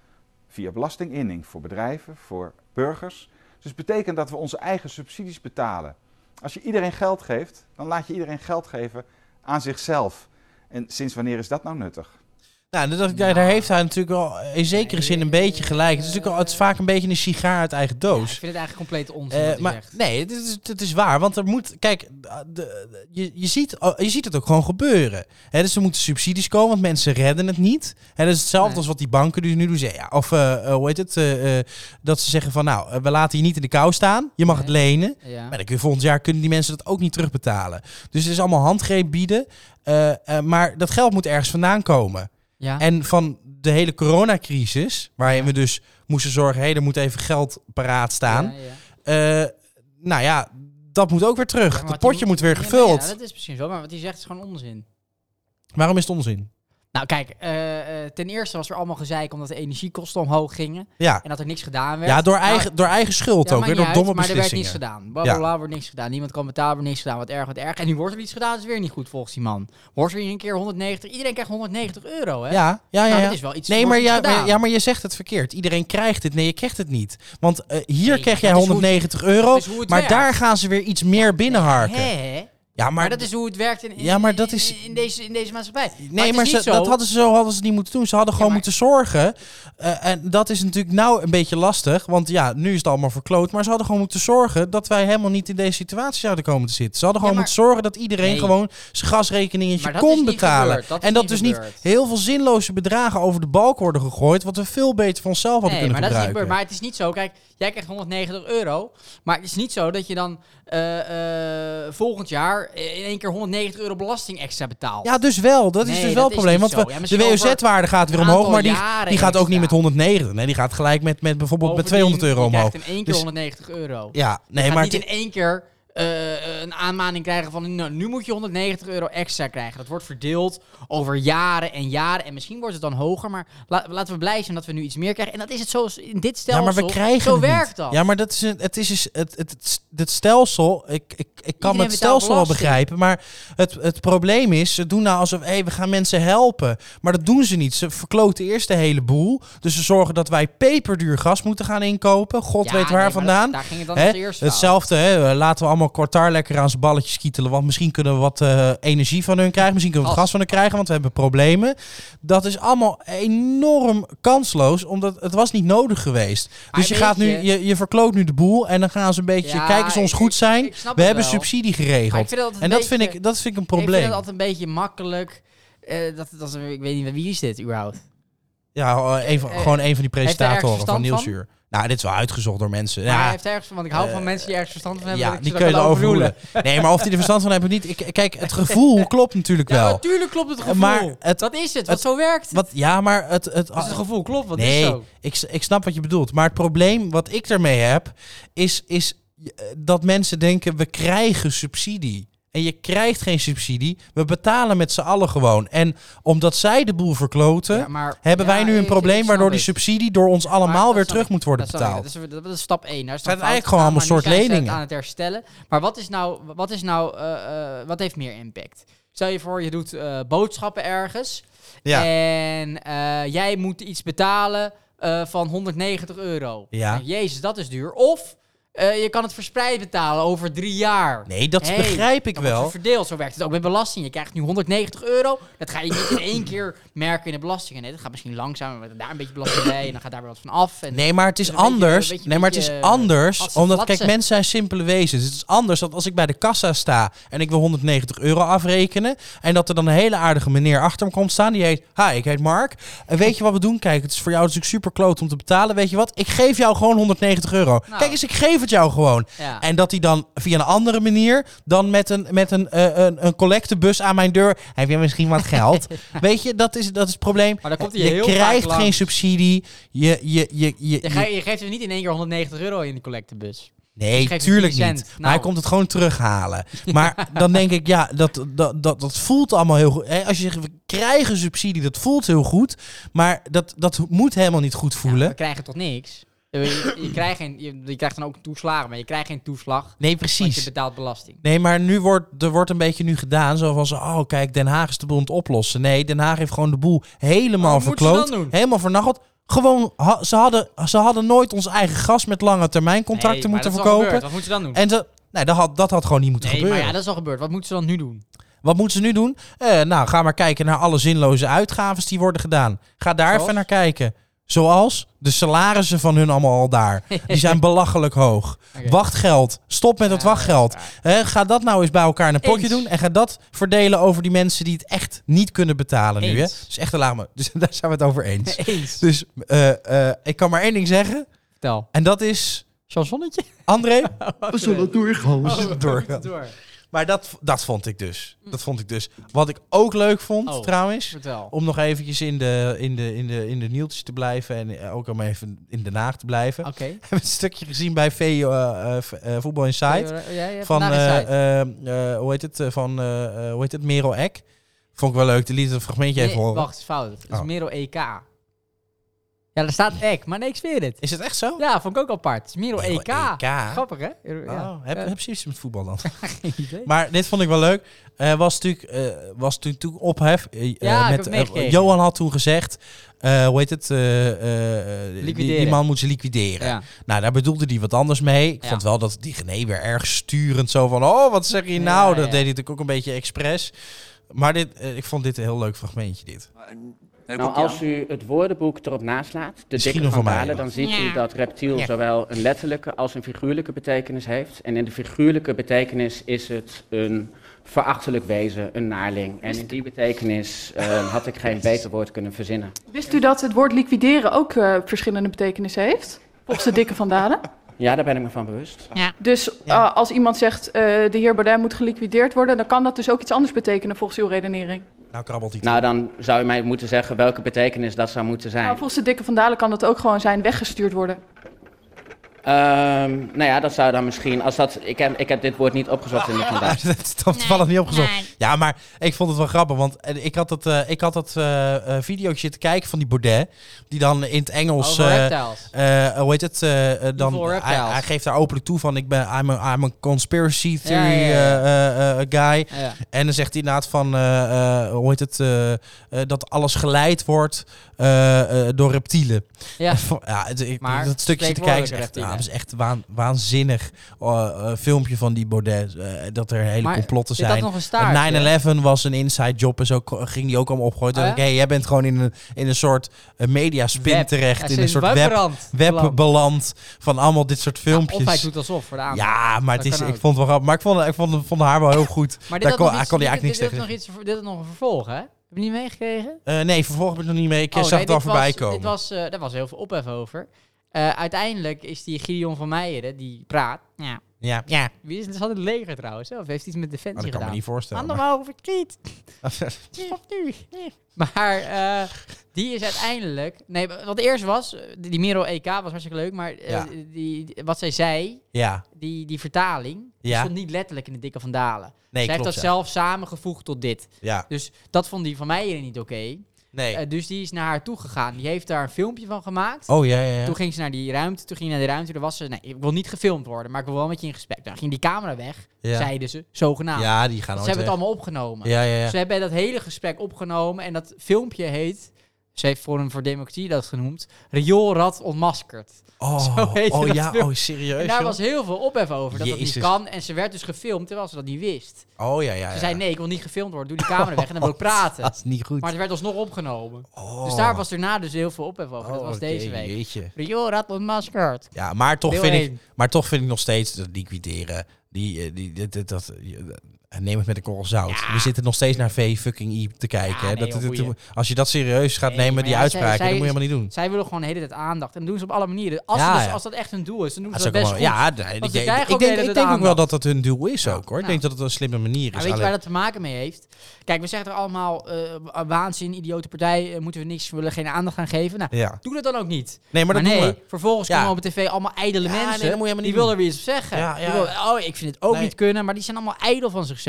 [SPEAKER 10] Via belastinginning voor bedrijven, voor burgers. Dus het betekent dat we onze eigen subsidies betalen. Als je iedereen geld geeft, dan laat je iedereen geld geven aan zichzelf. En sinds wanneer is dat nou nuttig?
[SPEAKER 1] Nou, dan dacht ik, daar daar heeft hij natuurlijk wel in zekere zin een beetje gelijk. Het is natuurlijk al, het is vaak een beetje een sigaar uit eigen
[SPEAKER 2] Ja, ik
[SPEAKER 1] doos.
[SPEAKER 2] vind het eigenlijk compleet onzin
[SPEAKER 1] Eh,
[SPEAKER 2] wat hij
[SPEAKER 1] maar
[SPEAKER 2] zegt.
[SPEAKER 1] nee, het is, het is waar. Want er moet. Kijk, de- de- je, je, ziet, oh, je ziet het ook gewoon gebeuren. Hè, dus er moeten subsidies komen, want mensen redden het niet. Hè, dat is hetzelfde
[SPEAKER 2] Nee.
[SPEAKER 1] als wat die banken dus nu doen. Ze- Ja, of eh, eh, hoe heet het? eh, eh, dat ze zeggen van nou, eh, we laten je niet in de kou staan. Je mag het
[SPEAKER 2] Nee.
[SPEAKER 1] lenen.
[SPEAKER 2] Ja.
[SPEAKER 1] Maar dan kun je volgend jaar kunnen die mensen dat ook niet terugbetalen. Dus het is allemaal handgreep bieden. eh, eh, maar dat geld moet ergens vandaan komen.
[SPEAKER 2] Ja.
[SPEAKER 1] En van de hele coronacrisis, waarin we dus moesten zorgen, hé, er moet even geld paraat staan.
[SPEAKER 2] Ja, ja.
[SPEAKER 1] Eh, nou ja, dat moet ook weer terug.
[SPEAKER 2] Maar
[SPEAKER 1] Het
[SPEAKER 2] wat
[SPEAKER 1] potje
[SPEAKER 2] hij-
[SPEAKER 1] moet weer
[SPEAKER 2] Ja, maar
[SPEAKER 1] gevuld.
[SPEAKER 2] Ja, dat is misschien zo, maar wat hij zegt is gewoon onzin.
[SPEAKER 1] Waarom is het onzin?
[SPEAKER 2] Nou kijk, eh, eh, ten eerste was er allemaal gezeik omdat de energiekosten omhoog gingen
[SPEAKER 1] Ja,
[SPEAKER 2] en dat er niks gedaan werd.
[SPEAKER 1] ja door,
[SPEAKER 2] Nou,
[SPEAKER 1] eigen, door eigen schuld
[SPEAKER 2] ja,
[SPEAKER 1] ook.
[SPEAKER 2] maakt
[SPEAKER 1] Weer
[SPEAKER 2] niet
[SPEAKER 1] door
[SPEAKER 2] uit,
[SPEAKER 1] domme
[SPEAKER 2] maar er werd
[SPEAKER 1] beslissingen.
[SPEAKER 2] niks gedaan. Blablabla, wordt niks gedaan. Niemand kan betalen, wordt niks gedaan. Wat erg, wat erg. En nu wordt er iets gedaan, dat is weer niet goed volgens die man. Wordt er in een keer 190... Iedereen krijgt 190 euro, hè?
[SPEAKER 1] Ja, ja, ja.
[SPEAKER 2] Nou,
[SPEAKER 1] ja.
[SPEAKER 2] dat is wel iets-
[SPEAKER 1] nee,
[SPEAKER 2] wordt
[SPEAKER 1] maar,
[SPEAKER 2] iets
[SPEAKER 1] ja,
[SPEAKER 2] gedaan.
[SPEAKER 1] maar- ja, maar je zegt het verkeerd. Iedereen krijgt het. Nee, je krijgt het niet. Want eh, hier
[SPEAKER 2] Nee,
[SPEAKER 1] krijg jij
[SPEAKER 2] maar dat is hoe-
[SPEAKER 1] 190 euro,
[SPEAKER 2] dat is hoe het
[SPEAKER 1] maar
[SPEAKER 2] werkt.
[SPEAKER 1] daar gaan ze weer iets meer binnenharken.
[SPEAKER 2] Hè? Maar,
[SPEAKER 1] Ja, maar,
[SPEAKER 2] dat is hoe het werkt in, in-
[SPEAKER 1] Ja, maar dat
[SPEAKER 2] in-
[SPEAKER 1] is-
[SPEAKER 2] in, deze, in deze maatschappij.
[SPEAKER 1] Nee, maar,
[SPEAKER 2] het is
[SPEAKER 1] ze,
[SPEAKER 2] niet zo-
[SPEAKER 1] dat hadden ze zo hadden ze het niet moeten doen. Ze hadden gewoon
[SPEAKER 2] maar-
[SPEAKER 1] moeten zorgen. eh, en dat is natuurlijk nou een beetje lastig. Want ja, nu is het allemaal verkloot. Maar ze hadden gewoon moeten zorgen dat wij helemaal niet in deze situatie zouden komen te zitten. Ze hadden gewoon
[SPEAKER 2] Ja, maar-
[SPEAKER 1] moeten zorgen dat iedereen
[SPEAKER 2] Nee.
[SPEAKER 1] gewoon zijn gasrekeningetje
[SPEAKER 2] Maar dat is
[SPEAKER 1] kon
[SPEAKER 2] niet
[SPEAKER 1] betalen.
[SPEAKER 2] gebeurd. Dat is
[SPEAKER 1] en dat
[SPEAKER 2] niet
[SPEAKER 1] dus
[SPEAKER 2] gebeurd.
[SPEAKER 1] niet heel veel zinloze bedragen over de balk worden gegooid. Wat we veel beter van onszelf hadden
[SPEAKER 2] nee,
[SPEAKER 1] kunnen
[SPEAKER 2] maar dat is niet
[SPEAKER 1] gebruiken.
[SPEAKER 2] gebeurd. Maar het is niet zo. Kijk, jij krijgt 190 euro. Maar het is niet zo dat je dan eh, eh, volgend jaar in één keer 190 euro belasting extra betaalt.
[SPEAKER 1] Ja, dus wel. Dat is
[SPEAKER 2] Nee,
[SPEAKER 1] dus
[SPEAKER 2] dat
[SPEAKER 1] wel
[SPEAKER 2] is
[SPEAKER 1] het probleem.
[SPEAKER 2] niet
[SPEAKER 1] Want
[SPEAKER 2] zo.
[SPEAKER 1] we-
[SPEAKER 2] Ja,
[SPEAKER 1] de
[SPEAKER 2] misschien over
[SPEAKER 1] WOZ-waarde gaat weer
[SPEAKER 2] een
[SPEAKER 1] omhoog.
[SPEAKER 2] aantal
[SPEAKER 1] Maar die,
[SPEAKER 2] jaren
[SPEAKER 1] die gaat ook niet met
[SPEAKER 2] extra.
[SPEAKER 1] 190. Nee, die gaat gelijk met, met bijvoorbeeld met
[SPEAKER 2] Bovendien,
[SPEAKER 1] 200 euro
[SPEAKER 2] je
[SPEAKER 1] omhoog.
[SPEAKER 2] krijgt in één keer
[SPEAKER 1] Dus-
[SPEAKER 2] 190 euro.
[SPEAKER 1] Ja, nee,
[SPEAKER 2] je gaat
[SPEAKER 1] maar
[SPEAKER 2] niet
[SPEAKER 1] het-
[SPEAKER 2] in één keer eh, een aanmaning krijgen van... Nou, nu moet je 190 euro extra krijgen. Dat wordt verdeeld over jaren en jaren. En misschien wordt het dan hoger. Maar la- laten we blij zijn dat we nu iets meer krijgen. En dat is het zo in dit stelsel.
[SPEAKER 1] Ja, maar we krijgen
[SPEAKER 2] Zo
[SPEAKER 1] het niet.
[SPEAKER 2] werkt dat.
[SPEAKER 1] Ja, maar dat is een, het is is- het, het, het, het stelsel. Ik, ik, ik kan
[SPEAKER 2] Iedereen
[SPEAKER 1] het
[SPEAKER 2] betaalt
[SPEAKER 1] stelsel wel
[SPEAKER 2] belasting.
[SPEAKER 1] begrijpen, maar het, het probleem is, ze doen nou alsof hey, we gaan mensen helpen, maar dat doen ze niet. Ze verkloten eerst de hele boel, dus ze zorgen dat wij peperduur gas moeten gaan inkopen. God
[SPEAKER 2] Ja,
[SPEAKER 1] weet
[SPEAKER 2] nee,
[SPEAKER 1] waar
[SPEAKER 2] maar
[SPEAKER 1] vandaan.
[SPEAKER 2] dat- daar ging het dan
[SPEAKER 1] Hè?
[SPEAKER 2] als eerste fout.
[SPEAKER 1] Hetzelfde, hè? Eh, laten we allemaal kwartaar lekker aan zijn balletjes kietelen, want misschien kunnen we wat eh, energie van hun krijgen, misschien kunnen we wat
[SPEAKER 2] Als-
[SPEAKER 1] gas van hun krijgen, want we hebben problemen. Dat is allemaal enorm kansloos, omdat het was niet nodig geweest.
[SPEAKER 2] Maar
[SPEAKER 1] Dus je,
[SPEAKER 2] weet
[SPEAKER 1] gaat nu,
[SPEAKER 2] je-
[SPEAKER 1] je, je verkloot nu de boel en dan gaan ze een beetje,
[SPEAKER 2] Ja,
[SPEAKER 1] kijken ze ons
[SPEAKER 2] ik-
[SPEAKER 1] goed zijn.
[SPEAKER 2] ik snap
[SPEAKER 1] we
[SPEAKER 2] het
[SPEAKER 1] hebben
[SPEAKER 2] wel.
[SPEAKER 1] subsidie
[SPEAKER 2] Maar ik
[SPEAKER 1] geregeld.
[SPEAKER 2] vind dat altijd
[SPEAKER 1] En
[SPEAKER 2] een
[SPEAKER 1] dat vind,
[SPEAKER 2] beetje-
[SPEAKER 1] ik, dat vind ik een
[SPEAKER 2] Ik vind
[SPEAKER 1] probleem.
[SPEAKER 2] het altijd een beetje makkelijk. Eh, dat, dat is- ik weet niet, wie is dit überhaupt?
[SPEAKER 1] Ja, eh, een van,
[SPEAKER 2] Eh,
[SPEAKER 1] gewoon een van die
[SPEAKER 2] heeft hij ergens
[SPEAKER 1] presentatoren van
[SPEAKER 2] verstand van?
[SPEAKER 1] Nieuwsuur. Nou, dit is wel uitgezocht door mensen.
[SPEAKER 2] Maar hij
[SPEAKER 1] Ja, Eh,
[SPEAKER 2] heeft ergens, want ik hou van mensen die ergens verstand van hebben.
[SPEAKER 1] ja
[SPEAKER 2] dat ik
[SPEAKER 1] die
[SPEAKER 2] ze
[SPEAKER 1] kun je
[SPEAKER 2] dan
[SPEAKER 1] dan
[SPEAKER 2] kan
[SPEAKER 1] overroelen. Nee, maar of die er verstand van hebben of niet. Ik, kijk, het gevoel klopt natuurlijk
[SPEAKER 2] Ja,
[SPEAKER 1] wel.
[SPEAKER 2] natuurlijk klopt het gevoel.
[SPEAKER 1] Maar het-
[SPEAKER 2] dat is het, wat
[SPEAKER 1] het-
[SPEAKER 2] zo werkt. het.
[SPEAKER 1] Wat, ja, maar het... het,
[SPEAKER 2] Dus het gevoel klopt, wat is
[SPEAKER 1] nee,
[SPEAKER 2] zo?
[SPEAKER 1] ik, s- ik snap wat je bedoelt. Maar het probleem wat ik daarmee heb, is, is eh, dat mensen denken, we krijgen subsidie. En je krijgt geen subsidie. We betalen met z'n allen gewoon. En omdat zij de boel verkloten,
[SPEAKER 2] Ja, maar-
[SPEAKER 1] hebben wij
[SPEAKER 2] ja,
[SPEAKER 1] nu
[SPEAKER 2] ik-
[SPEAKER 1] een
[SPEAKER 2] ik
[SPEAKER 1] probleem
[SPEAKER 2] snap
[SPEAKER 1] waardoor die
[SPEAKER 2] het.
[SPEAKER 1] subsidie door ons
[SPEAKER 2] Maar
[SPEAKER 1] allemaal
[SPEAKER 2] dat
[SPEAKER 1] weer
[SPEAKER 2] snap
[SPEAKER 1] terug
[SPEAKER 2] ik.
[SPEAKER 1] moet worden
[SPEAKER 2] Dat snap ik.
[SPEAKER 1] betaald.
[SPEAKER 2] Dat is, dat is stap 1. Daar is
[SPEAKER 1] zijn
[SPEAKER 2] dan fout
[SPEAKER 1] eigenlijk gewoon
[SPEAKER 2] gegaan,
[SPEAKER 1] allemaal
[SPEAKER 2] maar nu
[SPEAKER 1] soort
[SPEAKER 2] zijn ze het
[SPEAKER 1] leningen.
[SPEAKER 2] aan het herstellen. Maar wat is nou, wat is nou, eh, eh, wat heeft meer impact? Stel je voor, je doet eh, boodschappen ergens.
[SPEAKER 1] Ja.
[SPEAKER 2] En eh, jij moet iets betalen eh, van 190 euro.
[SPEAKER 1] Ja.
[SPEAKER 2] Nou, Jezus, dat is duur. Of eh, je kan het verspreid betalen over drie jaar.
[SPEAKER 1] Nee, dat
[SPEAKER 2] Hey,
[SPEAKER 1] begrijp ik
[SPEAKER 2] dan wordt
[SPEAKER 1] wel.
[SPEAKER 2] het verdeeld. Zo werkt het ook met belasting. Je krijgt nu 190 euro. Dat ga je niet in één keer merken in de belastingen. Nee, dat gaat misschien langzamer. Maar daar een beetje belasting bij. En dan gaat daar weer wat van af. En
[SPEAKER 1] Nee, maar het is
[SPEAKER 2] een beetje-
[SPEAKER 1] anders.
[SPEAKER 2] een beetje-
[SPEAKER 1] nee, maar het is
[SPEAKER 2] beetje, eh,
[SPEAKER 1] anders.
[SPEAKER 2] atsen
[SPEAKER 1] Omdat,
[SPEAKER 2] flatsen.
[SPEAKER 1] kijk, mensen zijn simpele wezens. Het is anders dan als ik bij de kassa sta en ik wil 190 euro afrekenen. En dat er dan een hele aardige meneer achter me komt staan. Die heet, hi, ik heet Mark. En weet je wat we doen? Kijk, het is voor jou natuurlijk super kloot om te betalen. Weet je wat? Ik geef jou gewoon 190 euro.
[SPEAKER 2] Nou.
[SPEAKER 1] Kijk eens, ik geef het jou gewoon.
[SPEAKER 2] Ja.
[SPEAKER 1] En dat hij dan via een andere manier dan met een, met een, eh, een, een collectebus aan mijn deur. Heb je misschien wat geld? Weet je, dat is, dat is het probleem.
[SPEAKER 2] Maar dan komt hij
[SPEAKER 1] je
[SPEAKER 2] heel vaak
[SPEAKER 1] krijgt geen
[SPEAKER 2] langs.
[SPEAKER 1] subsidie. Je, je, je, je,
[SPEAKER 2] je,
[SPEAKER 1] je-
[SPEAKER 2] ge- je geeft hem niet in één keer 190 euro in de collectebus.
[SPEAKER 1] Nee,
[SPEAKER 2] Geef hem
[SPEAKER 1] tuurlijk
[SPEAKER 2] 10
[SPEAKER 1] niet.
[SPEAKER 2] cent.
[SPEAKER 1] Maar hij
[SPEAKER 2] Nou.
[SPEAKER 1] komt het gewoon terughalen. Maar dan denk ik, ja, dat, dat, dat, dat voelt allemaal heel goed. Hè, Als je zegt, we krijgen subsidie, dat voelt heel goed. Maar dat, dat moet helemaal niet goed
[SPEAKER 2] Ja,
[SPEAKER 1] voelen.
[SPEAKER 2] we krijgen toch niks? Eh, Je, je krijgt geen, je, je krijgt dan ook toeslagen, maar je krijgt geen toeslag. want
[SPEAKER 1] nee,
[SPEAKER 2] je
[SPEAKER 1] precies.
[SPEAKER 2] betaalt belasting.
[SPEAKER 1] Nee, maar nu wordt, er wordt een beetje nu gedaan. Zo van, zo, oh kijk, Den Haag is de boel aan het oplossen. Nee, Den Haag heeft gewoon de boel helemaal
[SPEAKER 2] Oh, Wat moeten ze
[SPEAKER 1] verkloot.
[SPEAKER 2] dan doen?
[SPEAKER 1] Helemaal vernacheld. Gewoon, ha- ze, hadden, ze hadden nooit ons eigen gas met lange termijn contracten
[SPEAKER 2] Nee,
[SPEAKER 1] moeten
[SPEAKER 2] maar dat is al
[SPEAKER 1] verkopen.
[SPEAKER 2] gebeurd. Wat moeten ze dan doen?
[SPEAKER 1] En ze, nee, dat, had, dat had gewoon niet moeten
[SPEAKER 2] nee, maar
[SPEAKER 1] gebeuren.
[SPEAKER 2] ja, dat is al gebeurd. Wat moeten ze dan nu doen?
[SPEAKER 1] Wat moeten ze nu doen? Eh, nou, ga maar kijken naar alle zinloze uitgaves die worden gedaan. Ga daar even naar kijken. Zoals de salarissen van hun allemaal al daar. Die zijn belachelijk hoog.
[SPEAKER 2] Oké.
[SPEAKER 1] Wachtgeld. Stop met dat
[SPEAKER 2] Ja,
[SPEAKER 1] wachtgeld. Hè, ga dat nou eens bij elkaar in een potje
[SPEAKER 2] Eens.
[SPEAKER 1] doen. En ga dat verdelen over die mensen die het echt niet kunnen betalen nu. Hè?
[SPEAKER 2] Eens.
[SPEAKER 1] Dus echt een laag. ma- Dus daar zijn we het over eens.
[SPEAKER 2] Eens.
[SPEAKER 1] Dus eh, eh, ik kan maar één ding zeggen.
[SPEAKER 2] Vertel.
[SPEAKER 1] En dat is.
[SPEAKER 2] Chansonnetje? Oh,
[SPEAKER 1] André?
[SPEAKER 2] We zullen doorgaan.
[SPEAKER 1] doorgaan.
[SPEAKER 2] door.
[SPEAKER 1] Maar dat, dat vond ik dus. Dat vond ik dus. Wat ik ook leuk vond,
[SPEAKER 2] Oh.
[SPEAKER 1] trouwens.
[SPEAKER 2] Vertel.
[SPEAKER 1] Om nog eventjes in de, in, de, in, de, in de nieltjes te blijven. En eh, ook om even in Den Haag te blijven.
[SPEAKER 2] Oké.
[SPEAKER 1] We hebben een stukje gezien bij VO, eh, eh, v- eh, Voetbal Inside.
[SPEAKER 2] Ja, ja,
[SPEAKER 1] van,
[SPEAKER 2] vandaag is
[SPEAKER 1] eh,
[SPEAKER 2] hij.
[SPEAKER 1] eh, eh, hoe heet het? eh, Van, eh, eh, hoe heet het? Merel Eck. Vond ik wel leuk. Die liet het fragmentje even
[SPEAKER 2] nee,
[SPEAKER 1] horen.
[SPEAKER 2] wacht, het is fout. Het is
[SPEAKER 1] Oh.
[SPEAKER 2] Merel EK. Ja, daar staat EK, maar nee, ik zweer het.
[SPEAKER 1] Is het echt zo?
[SPEAKER 2] Ja, vond ik ook apart. Het is Merel
[SPEAKER 1] Merel
[SPEAKER 2] EK.
[SPEAKER 1] EK.
[SPEAKER 2] Grappig, hè? Ja.
[SPEAKER 1] Oh, heb,
[SPEAKER 2] Ja,
[SPEAKER 1] heb ze iets met voetbal dan?
[SPEAKER 2] geen idee.
[SPEAKER 1] Maar dit vond ik wel leuk. Eh, was natuurlijk, eh, was natuurlijk toen ophef. eh, eh,
[SPEAKER 2] Ja, ik heb
[SPEAKER 1] met,
[SPEAKER 2] het meegekregen.
[SPEAKER 1] eh, Johan had toen gezegd, eh, hoe heet het? eh, eh, eh, die,
[SPEAKER 2] Liquideren.
[SPEAKER 1] die man moet ze liquideren.
[SPEAKER 2] Ja.
[SPEAKER 1] Nou, daar bedoelde hij wat anders mee. Ik
[SPEAKER 2] Ja.
[SPEAKER 1] vond wel dat die Gené weer erg sturend zo van... Oh, wat zeg je nou?
[SPEAKER 2] ja,
[SPEAKER 1] dat
[SPEAKER 2] ja.
[SPEAKER 1] deed hij natuurlijk ook een beetje expres. Maar dit, eh, ik vond dit een heel leuk fragmentje, dit.
[SPEAKER 9] Nou, als u het woordenboek erop naslaat, de
[SPEAKER 1] Misschien
[SPEAKER 9] dikke
[SPEAKER 1] nog
[SPEAKER 9] van
[SPEAKER 1] wel mij,
[SPEAKER 9] Dalen,
[SPEAKER 1] maar-
[SPEAKER 9] dan ziet u dat reptiel zowel een letterlijke als een figuurlijke betekenis heeft. En in de figuurlijke betekenis is het een verachtelijk wezen, een naarling. En in die betekenis eh, had ik geen beter woord kunnen verzinnen.
[SPEAKER 11] Wist u dat het woord liquideren ook eh, verschillende betekenissen heeft? Volgens de dikke van Dalen.
[SPEAKER 9] Ja, daar ben ik me van bewust.
[SPEAKER 11] Dus eh, als iemand zegt eh, de heer Baudet moet geliquideerd worden, dan kan dat dus ook iets anders betekenen volgens uw redenering.
[SPEAKER 1] Nou krabbelt hij.
[SPEAKER 9] Nou, dan zou u mij moeten zeggen welke betekenis dat zou moeten zijn.
[SPEAKER 11] Nou, volgens de dikke van Dalen kan dat ook gewoon zijn weggestuurd worden.
[SPEAKER 9] Ehm, nou ja, dat zou dan misschien, als dat, ik heb, ik heb dit woord niet opgezocht in de vandaag.
[SPEAKER 1] dat is toch toevallig niet opgezocht. Ja, maar ik vond het wel grappig. Want eh, ik had dat, eh ik had dat eh eh, videootje zitten kijken van die Baudet. Die dan in het Engels...
[SPEAKER 2] Over
[SPEAKER 1] eh,
[SPEAKER 2] reptiles.
[SPEAKER 1] eh, hoe heet het? eh, eh, dan,
[SPEAKER 2] Evil
[SPEAKER 1] hij,
[SPEAKER 2] reptiles.
[SPEAKER 1] hij geeft daar openlijk toe van... Ik ben, I'm a, I'm a conspiracy theory
[SPEAKER 2] Ja, ja, ja.
[SPEAKER 1] eh, eh, eh, guy.
[SPEAKER 2] Ja.
[SPEAKER 1] En dan zegt hij inderdaad van... eh, eh, hoe heet het? eh, eh, dat alles geleid wordt eh, eh, door reptielen.
[SPEAKER 2] Ja.
[SPEAKER 1] Ja, het- ik-
[SPEAKER 2] Maar
[SPEAKER 1] dat stukje te kijken is echt,
[SPEAKER 2] spreekwoordelijke
[SPEAKER 1] nou, dat is echt waan- waanzinnig eh, eh, filmpje van die Baudet. eh, dat er hele
[SPEAKER 2] Maar
[SPEAKER 1] complotten
[SPEAKER 2] zit dat
[SPEAKER 1] zijn.
[SPEAKER 2] nog een eh, staartje?
[SPEAKER 1] En 9-11 was een inside job en zo ko- ging die ook allemaal opgooien.
[SPEAKER 2] Oh
[SPEAKER 1] Toen
[SPEAKER 2] ja?
[SPEAKER 1] dacht ik, hey, jij bent gewoon in een, in een soort eh, mediaspin
[SPEAKER 2] Web. Hij
[SPEAKER 1] terecht.
[SPEAKER 2] zit
[SPEAKER 1] In een soort web,
[SPEAKER 2] webbrand.
[SPEAKER 1] web beland van allemaal dit soort
[SPEAKER 2] Of hij
[SPEAKER 1] filmpjes.
[SPEAKER 2] doet alsof voor de aandacht.
[SPEAKER 1] Ja, maar het
[SPEAKER 2] Dat
[SPEAKER 1] is, ik
[SPEAKER 2] kan ook.
[SPEAKER 1] vond het wel grappig. Maar ik vond, ik vond, vond haar wel heel goed.
[SPEAKER 2] Maar dit
[SPEAKER 1] Daar
[SPEAKER 2] had
[SPEAKER 1] kon,
[SPEAKER 2] nog
[SPEAKER 1] hij
[SPEAKER 2] iets-
[SPEAKER 1] kon hij
[SPEAKER 2] dit-
[SPEAKER 1] eigenlijk
[SPEAKER 2] dit
[SPEAKER 1] niks
[SPEAKER 2] had
[SPEAKER 1] tegen.
[SPEAKER 2] nog iets, dit had nog een vervolg, hè? Heb je niet meegekregen?
[SPEAKER 1] Eh, nee, vervolgens heb ik het nog niet mee. Ik eh, zag
[SPEAKER 2] Oh, nee,
[SPEAKER 1] het al
[SPEAKER 2] dit
[SPEAKER 1] voorbij
[SPEAKER 2] was-
[SPEAKER 1] komen.
[SPEAKER 2] Dit was, eh, daar was heel veel ophef over. Eh, uiteindelijk is die Gideon van Meijeren, die praat. Ja.
[SPEAKER 1] Ja, ja. Maar
[SPEAKER 2] Wie is, is dat in het leger trouwens? hè? Of heeft iets met defensie
[SPEAKER 1] Nou, dat kan ik me
[SPEAKER 2] gedaan?
[SPEAKER 1] niet voorstellen.
[SPEAKER 2] Handen
[SPEAKER 1] maar-
[SPEAKER 2] omhoog, verkiet. Stop nu. Maar eh, die is uiteindelijk... Nee, wat eerst was, eh, die Miro EK was hartstikke leuk, maar eh,
[SPEAKER 1] Ja.
[SPEAKER 2] die, die- wat zij zei,
[SPEAKER 1] ja,
[SPEAKER 2] die, die vertaling, die
[SPEAKER 1] Ja.
[SPEAKER 2] stond niet letterlijk in de dikke van Dalen.
[SPEAKER 1] nee,
[SPEAKER 2] zij
[SPEAKER 1] klopt.
[SPEAKER 2] heeft dat
[SPEAKER 1] ja.
[SPEAKER 2] zelf samengevoegd tot dit.
[SPEAKER 1] Ja,
[SPEAKER 2] Dus dat vond die van mij hier niet oké.
[SPEAKER 1] nee.
[SPEAKER 2] Eh, dus die is naar haar toe gegaan. Die heeft daar een filmpje van gemaakt.
[SPEAKER 1] oh ja, ja, ja.
[SPEAKER 2] Toen ging ze naar die ruimte. Toen ging je naar die ruimte. Toen was ze. Nee, ik wil niet gefilmd worden, maar ik wil wel met je in gesprek. Dan ging die camera weg.
[SPEAKER 1] Ja.
[SPEAKER 2] Zeiden ze, zogenaamd.
[SPEAKER 1] ja, die gaan nooit
[SPEAKER 2] Want ze hebben
[SPEAKER 1] weg.
[SPEAKER 2] het allemaal opgenomen.
[SPEAKER 1] Ja, ja, ja.
[SPEAKER 2] Ze hebben dat hele gesprek opgenomen. En dat filmpje heet. Ze heeft Forum voor Democratie dat genoemd. Rioolrad ontmaskerd.
[SPEAKER 1] Oh,
[SPEAKER 2] Zo heet
[SPEAKER 1] oh
[SPEAKER 2] dat
[SPEAKER 1] ja,
[SPEAKER 2] film.
[SPEAKER 1] oh serieus.
[SPEAKER 2] en daar
[SPEAKER 1] joh?
[SPEAKER 2] was heel veel ophef over dat dat
[SPEAKER 1] Jezus.
[SPEAKER 2] niet kan. En ze werd dus gefilmd terwijl ze dat niet wist. Ze
[SPEAKER 1] Oh ja, ja. ja.
[SPEAKER 2] zei: Nee, ik wil niet gefilmd worden. Doe die camera weg en dan wil ik praten.
[SPEAKER 1] Dat is niet goed.
[SPEAKER 2] Maar het werd alsnog opgenomen.
[SPEAKER 1] Oh.
[SPEAKER 2] Dus daar was daarna dus heel veel ophef over. dat
[SPEAKER 1] Oh,
[SPEAKER 2] was
[SPEAKER 1] oké,
[SPEAKER 2] deze week.
[SPEAKER 1] jeetje.
[SPEAKER 2] Rioolrad ontmaskerd.
[SPEAKER 1] Ja, maar toch,
[SPEAKER 2] Deel
[SPEAKER 1] vind ik,
[SPEAKER 2] één.
[SPEAKER 1] maar toch vind ik nog steeds dat liquideren. Die, eh, die, dit- dit- dat, je- eh, neem het met een korrel zout. We zitten nog steeds naar V fucking I te kijken.
[SPEAKER 2] Ja,
[SPEAKER 1] hè.
[SPEAKER 2] nee,
[SPEAKER 1] dat,
[SPEAKER 2] joh,
[SPEAKER 1] dat-
[SPEAKER 2] boeien.
[SPEAKER 1] als je dat serieus gaat
[SPEAKER 2] Nee,
[SPEAKER 1] nemen,
[SPEAKER 2] maar
[SPEAKER 1] die
[SPEAKER 2] ja, zij-
[SPEAKER 1] uitspraken,
[SPEAKER 2] zij
[SPEAKER 1] dat moet je
[SPEAKER 2] is-
[SPEAKER 1] helemaal niet doen.
[SPEAKER 2] Zij willen gewoon de hele tijd aandacht. En dat doen ze op alle manieren. Als, ze
[SPEAKER 1] Hm. Ja,
[SPEAKER 2] dus,
[SPEAKER 1] ja.
[SPEAKER 2] als dat echt hun doel is, dan doen
[SPEAKER 1] Dat
[SPEAKER 2] ze
[SPEAKER 1] is ook
[SPEAKER 2] dat best
[SPEAKER 1] wel-
[SPEAKER 2] goed.
[SPEAKER 1] ja, nee,
[SPEAKER 2] Want
[SPEAKER 1] ik,
[SPEAKER 2] ze
[SPEAKER 1] denk-
[SPEAKER 2] krijgen
[SPEAKER 1] ik
[SPEAKER 2] ook
[SPEAKER 1] denk,
[SPEAKER 2] de hele
[SPEAKER 1] ik
[SPEAKER 2] tijd
[SPEAKER 1] denk ook wel
[SPEAKER 2] aandacht.
[SPEAKER 1] dat dat hun doel is ook hoor. Ik
[SPEAKER 2] nou.
[SPEAKER 1] denk dat het een slimme manier
[SPEAKER 2] Maar
[SPEAKER 1] is.
[SPEAKER 2] weet je waar
[SPEAKER 1] Alleen-
[SPEAKER 2] dat te maken mee heeft? Kijk, we zeggen er allemaal, eh, wa- waanzin, idiote partij, eh, moeten we niks, we willen geen aandacht aan geven. Nou,
[SPEAKER 1] Ja.
[SPEAKER 2] doe dat dan ook niet.
[SPEAKER 1] Nee, maar dat
[SPEAKER 2] nee,
[SPEAKER 1] doen we.
[SPEAKER 2] vervolgens
[SPEAKER 1] Ja.
[SPEAKER 2] komen op de tv allemaal ijdele
[SPEAKER 1] Ja, nee,
[SPEAKER 2] mensen.
[SPEAKER 1] dat moet je helemaal niet
[SPEAKER 2] die willen
[SPEAKER 1] doen.
[SPEAKER 2] er weer iets op zeggen.
[SPEAKER 1] Ja,
[SPEAKER 2] Die
[SPEAKER 1] ja.
[SPEAKER 2] willen, oh, ik vind het ook
[SPEAKER 1] Nee.
[SPEAKER 2] niet kunnen. Maar die zijn allemaal ijdel van zichzelf.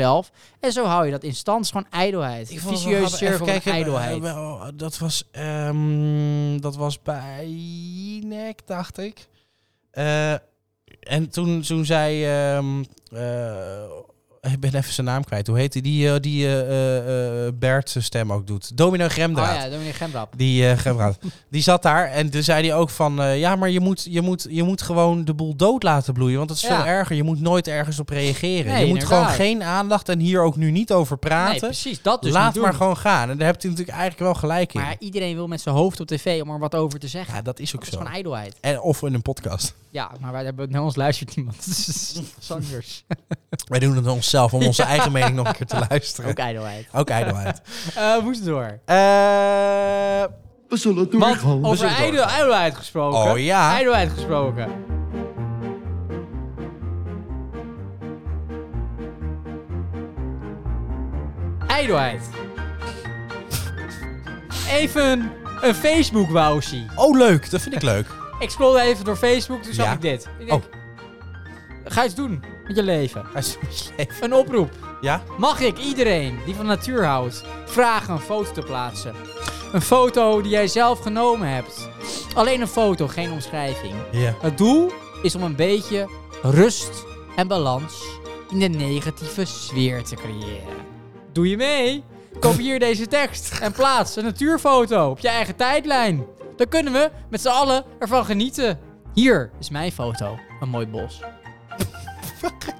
[SPEAKER 2] En zo hou je dat in stand. Het is gewoon ijdelheid.
[SPEAKER 1] Ik
[SPEAKER 2] Een
[SPEAKER 1] vond het wel
[SPEAKER 2] Vicieuze
[SPEAKER 1] grappig.
[SPEAKER 2] cirkel
[SPEAKER 1] Even
[SPEAKER 2] van
[SPEAKER 1] kijken,
[SPEAKER 2] ijdelheid. Oh
[SPEAKER 1] eh, wel, dat, was, ehm, dat was bij Nek, dacht ik. Eh, en toen, toen zei ehm, eh, Ik ben even zijn naam kwijt. Hoe heette die eh, die eh, eh, eh, Bert zijn stem ook doet? Domino Gremdraad.
[SPEAKER 2] Oh ja, Dominic Gembrap.
[SPEAKER 1] Die eh, Gemraad. die zat daar en toen zei hij ook van... eh, ja, maar je moet, je, moet, je moet gewoon de boel dood laten bloeien. Want dat is
[SPEAKER 2] Ja.
[SPEAKER 1] veel erger. Je moet nooit ergens op reageren.
[SPEAKER 2] Nee,
[SPEAKER 1] je moet
[SPEAKER 2] inderdaad.
[SPEAKER 1] gewoon geen aandacht en hier ook nu niet over praten.
[SPEAKER 2] Nee, precies, dat dus
[SPEAKER 1] Laat
[SPEAKER 2] niet doen.
[SPEAKER 1] maar gewoon gaan. En daar hebt hij natuurlijk eigenlijk wel gelijk in.
[SPEAKER 2] Maar ja, iedereen wil met zijn hoofd op tv om er wat over te zeggen.
[SPEAKER 1] Ja, dat is ook
[SPEAKER 2] Dat
[SPEAKER 1] zo.
[SPEAKER 2] is gewoon ijdelheid.
[SPEAKER 1] En, of in een podcast.
[SPEAKER 2] Ja, maar wij, naar ons luistert niemand. Dat is anders.
[SPEAKER 1] Wij doen het onszelf om onze
[SPEAKER 2] Ja.
[SPEAKER 1] eigen mening nog een keer te luisteren.
[SPEAKER 2] Ook ijdelheid.
[SPEAKER 1] Ook ijdelheid.
[SPEAKER 2] Eh, moest door.
[SPEAKER 1] we zullen
[SPEAKER 2] Want eh, over ijdel, ijdelheid gesproken.
[SPEAKER 1] Eh, Oh ja.
[SPEAKER 2] Ijdelheid gesproken. Ijdelheid. Even een facebook wauwsie
[SPEAKER 1] Oh, leuk. Dat vind ik leuk.
[SPEAKER 2] Ik scrollde even door Facebook, toen zag
[SPEAKER 1] Ja. Oh.
[SPEAKER 2] ik dit. Ik denk, Ga iets doen met je leven. Een oproep.
[SPEAKER 1] Ja?
[SPEAKER 2] Mag ik iedereen die van natuur houdt vragen een foto te plaatsen? Een foto die jij zelf genomen hebt. Alleen een foto, geen omschrijving.
[SPEAKER 1] Ja.
[SPEAKER 2] Het doel is om een beetje rust en balans in de negatieve sfeer te creëren. Doe je mee? Kopieer deze tekst en plaats een natuurfoto op je eigen tijdlijn. Dan kunnen we met z'n allen ervan genieten. Hier is mijn foto. Een mooi bos.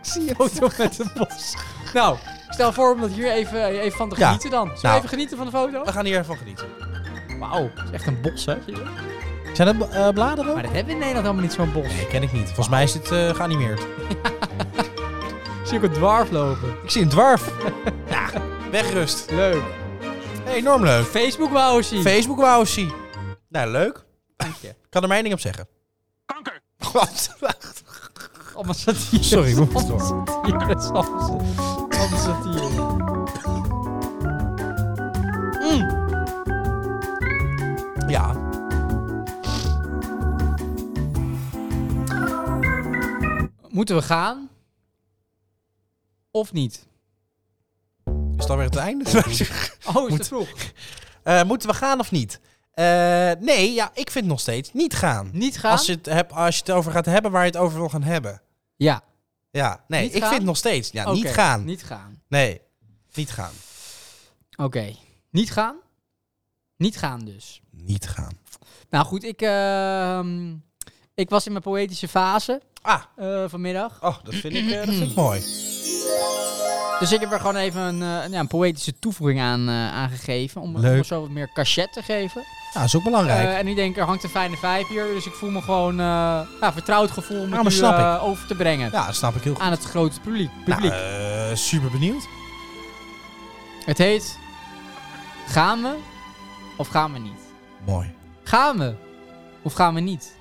[SPEAKER 1] zie je
[SPEAKER 2] foto met een bos. Nou, stel voor om dat hier even, even van te
[SPEAKER 1] Ja.
[SPEAKER 2] genieten dan. Zullen we
[SPEAKER 1] Nou.
[SPEAKER 2] even genieten van de foto?
[SPEAKER 1] We gaan hier even van genieten.
[SPEAKER 2] Wauw, het is echt een bos hè. Zie je dat?
[SPEAKER 1] Zijn dat eh, bladeren?
[SPEAKER 2] Maar dat hebben we in Nederland helemaal niet zo'n bos.
[SPEAKER 1] Nee, ken ik niet. Volgens mij is dit eh, geanimeerd.
[SPEAKER 2] Zie ik een dwarf lopen.
[SPEAKER 1] Ik zie een dwarf. ja, wegrust.
[SPEAKER 2] Leuk.
[SPEAKER 1] Enorm leuk.
[SPEAKER 2] Facebook wauwsie.
[SPEAKER 1] Facebook wauwsie. Nou, leuk.
[SPEAKER 2] Dank je.
[SPEAKER 1] Ik kan er mijn ding op zeggen. Kanker. Wat? Wacht.
[SPEAKER 2] Allemaal satire.
[SPEAKER 1] Sorry, we moeten door.
[SPEAKER 2] Satire, allemaal satire. Mm.
[SPEAKER 1] Ja.
[SPEAKER 2] Moeten we gaan? Of niet?
[SPEAKER 1] Is dat weer het einde?
[SPEAKER 2] Oh, is te vroeg.
[SPEAKER 1] Eh, moeten we gaan of niet? Eh, nee, ja, ik vind nog steeds niet gaan.
[SPEAKER 2] Niet gaan?
[SPEAKER 1] Als je, het hebt- als je het over gaat hebben waar je het over wil gaan hebben.
[SPEAKER 2] Ja.
[SPEAKER 1] Ja, nee,
[SPEAKER 2] Niet
[SPEAKER 1] ik
[SPEAKER 2] gaan?
[SPEAKER 1] vind nog steeds. Ja, niet
[SPEAKER 2] Oké,
[SPEAKER 1] gaan.
[SPEAKER 2] Niet gaan.
[SPEAKER 1] Nee, niet gaan.
[SPEAKER 2] Oké. Niet gaan? Niet gaan dus.
[SPEAKER 1] Niet gaan.
[SPEAKER 2] Nou goed, ik, ehm, ik was in mijn poëtische fase eh,
[SPEAKER 1] ah.
[SPEAKER 2] vanmiddag.
[SPEAKER 1] Oh, dat vind ik, eh, dat vind ik mooi.
[SPEAKER 2] Dus ik heb er gewoon even een, eh, ja, een poëtische toevoeging aan, eh aangegeven. Om,
[SPEAKER 1] Leuk.
[SPEAKER 2] om zo wat meer cachet te geven.
[SPEAKER 1] Ja, is ook belangrijk.
[SPEAKER 2] Eh, en nu denk ik, er hangt een fijne vijf hier. Dus ik voel me gewoon eh ja, vertrouwd gevoel om
[SPEAKER 1] Ja,
[SPEAKER 2] het
[SPEAKER 1] maar
[SPEAKER 2] u,
[SPEAKER 1] snap
[SPEAKER 2] eh,
[SPEAKER 1] ik.
[SPEAKER 2] over te brengen.
[SPEAKER 1] ja, dat snap ik heel goed.
[SPEAKER 2] Aan het grote publiek.
[SPEAKER 1] Nou,
[SPEAKER 2] publiek.
[SPEAKER 1] eh, super benieuwd.
[SPEAKER 2] Het heet Gaan we of gaan we niet?
[SPEAKER 1] Mooi.
[SPEAKER 2] Gaan we of gaan we niet?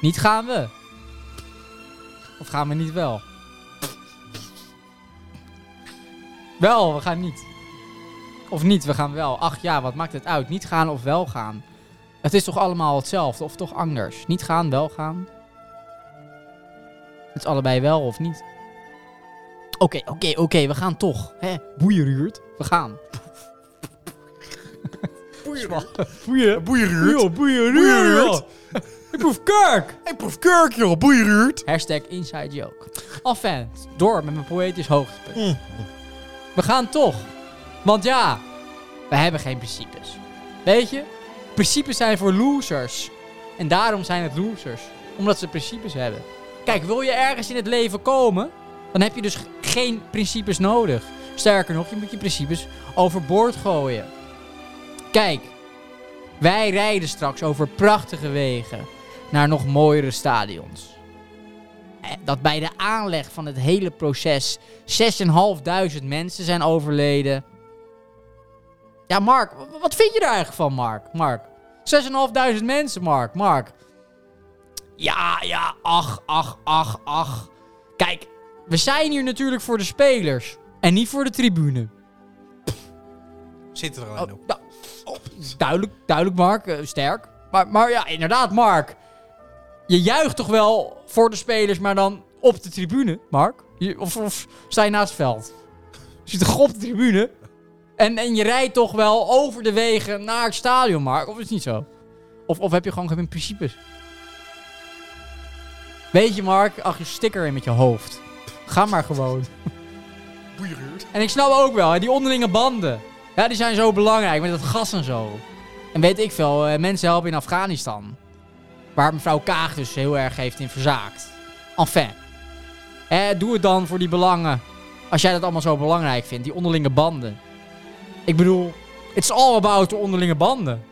[SPEAKER 2] Niet gaan we. Of gaan we niet wel? Wel, we gaan niet. Of niet, we gaan wel. Ach ja, wat maakt het uit? Niet gaan of wel gaan? Het is toch allemaal hetzelfde of toch anders? Niet gaan, wel gaan? Het is allebei wel of niet? Oké, oké, oké, we gaan toch. Hè? Boeieruurt, we gaan. Boeien.
[SPEAKER 1] Boeieruurt.
[SPEAKER 2] Joh,
[SPEAKER 1] Boeieruurt.
[SPEAKER 2] joh. Ik proef kurk.
[SPEAKER 1] Ik proef kurk, joh. Boeieruurt.
[SPEAKER 2] Hashtag inside joke. Enfin, door met mijn poëtisch hoogtepunt. We gaan toch. Want ja, we hebben geen principes. Weet je? Principes zijn voor losers. En daarom zijn het losers. Omdat ze principes hebben. Kijk, wil je ergens in het leven komen, dan heb je dus g- geen principes nodig. Sterker nog, je moet je principes overboord gooien. Kijk, wij rijden straks over prachtige wegen naar nog mooiere stadions. Eh, Dat bij de aanleg van het hele proces 6.500 mensen zijn overleden. Ja, Mark, w- wat vind je daar eigenlijk van, Mark? Mark, 6.500 mensen, Mark, Mark. Ja, ja, ach, ach, ach, ach. Kijk, we zijn hier natuurlijk voor de spelers en niet voor de tribune.
[SPEAKER 1] Zit er
[SPEAKER 2] Oh,
[SPEAKER 1] alleen op.
[SPEAKER 2] nou, oh, duidelijk, duidelijk, Mark. eh, sterk. Maar, maar ja, inderdaad, Mark. Je juicht toch wel voor de spelers, maar dan op de tribune, Mark? Je- of, of sta je naast het veld? Je zit toch op de tribune? En, en je rijdt toch wel over de wegen naar het stadion, Mark? Of is het niet zo? Of, of heb je gewoon geen principes? Weet je, Mark, ach, je sticker in met je hoofd. Ga maar gewoon. En ik snap ook wel, hè, die onderlinge banden. Ja, die zijn zo belangrijk met dat gas en zo. En weet ik veel, eh, mensen helpen in Afghanistan. Waar mevrouw Kaag dus heel erg heeft in verzaakt. Enfin. Hè, doe het dan voor die belangen. Als jij dat allemaal zo belangrijk vindt, die onderlinge banden. Ik bedoel, it's all about de onderlinge banden.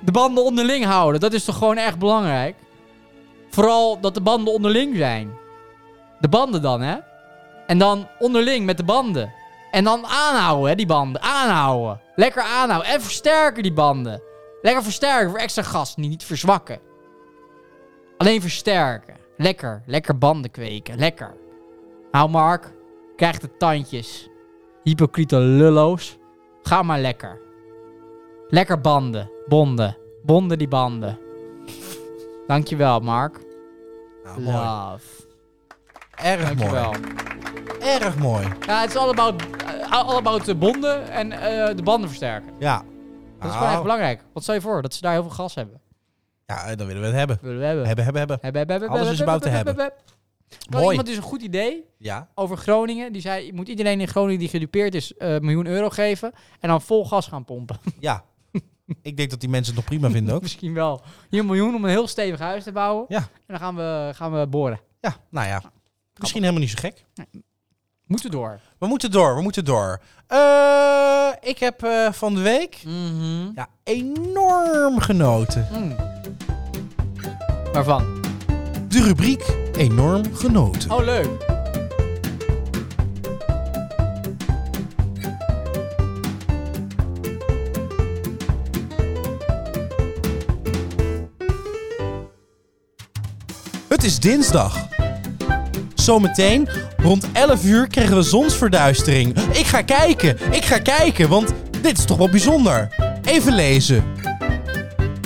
[SPEAKER 2] De banden onderling houden, dat is toch gewoon echt belangrijk? Vooral dat de banden onderling zijn. De banden dan, hè? En dan onderling met de banden. En dan aanhouden, hè, die banden. Aanhouden. Lekker aanhouden. En versterken die banden. Lekker versterken voor extra gas. Niet, niet verzwakken. Alleen versterken. Lekker. Lekker banden kweken. Lekker. Nou, Mark. Krijg de tandjes. Hypocriete lullo's. Ga maar lekker. Lekker banden. Bonden. Bonden die banden. Dankjewel, Mark.
[SPEAKER 1] mooi.
[SPEAKER 2] Love.
[SPEAKER 1] Erg
[SPEAKER 2] Dankjewel.
[SPEAKER 1] Erg mooi.
[SPEAKER 2] Ja, het is all about, eh, all about de bonden en eh, de banden versterken.
[SPEAKER 1] Ja.
[SPEAKER 2] Dat is
[SPEAKER 1] Nou.
[SPEAKER 2] gewoon echt belangrijk. Wat stel je voor? Dat ze daar heel veel gas hebben.
[SPEAKER 1] Ja, dan willen we het hebben.
[SPEAKER 2] Willen we hebben.
[SPEAKER 1] Hebben, hebben, hebben.
[SPEAKER 2] Hebben, hebben, hebben,
[SPEAKER 1] Alles is
[SPEAKER 2] hebben,
[SPEAKER 1] about te hebben.
[SPEAKER 2] Er had
[SPEAKER 1] Mooi.
[SPEAKER 2] iemand dus een goed idee
[SPEAKER 1] Ja.
[SPEAKER 2] over Groningen. Die zei, je moet iedereen in Groningen die gedupeerd is eh, een miljoen euro geven. En dan vol gas gaan pompen.
[SPEAKER 1] Ja. Ik denk dat die mensen het nog prima vinden ook.
[SPEAKER 2] Misschien wel. Hier een miljoen om een heel stevig huis te bouwen.
[SPEAKER 1] Ja.
[SPEAKER 2] En dan gaan we, gaan we boren.
[SPEAKER 1] Ja, nou ja. Misschien helemaal niet zo gek.
[SPEAKER 2] Moeten door.
[SPEAKER 1] We moeten door, we moeten door. Eh, ik heb eh, van de week ja, enorm genoten.
[SPEAKER 2] Waarvan?
[SPEAKER 1] De rubriek Enorm genoten.
[SPEAKER 2] Oh, leuk.
[SPEAKER 1] Het is dinsdag. Zometeen rond 11 uur krijgen we zonsverduistering. Ik ga kijken, ik ga kijken, want dit is toch wel bijzonder. Even lezen.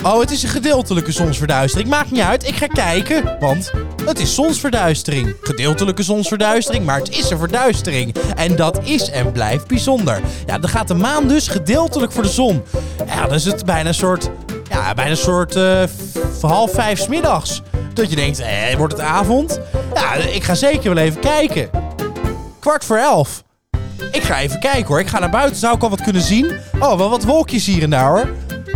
[SPEAKER 1] Oh, het is een gedeeltelijke zonsverduistering. Maakt niet uit, ik ga kijken, want het is zonsverduistering. Gedeeltelijke zonsverduistering, maar het is een verduistering. En dat is en blijft bijzonder. Ja, dan gaat de maan dus gedeeltelijk voor de zon. Ja, dan is het bijna een soort, ja, bijna een soort eh, v- half vijf 's middags. Dat je denkt, eh, wordt het avond? Ja, ik ga zeker wel even kijken. Kwart voor elf. Ik ga even kijken hoor. Ik ga naar buiten. Zou ik al wat kunnen zien? Oh, wel wat wolkjes hier en daar hoor.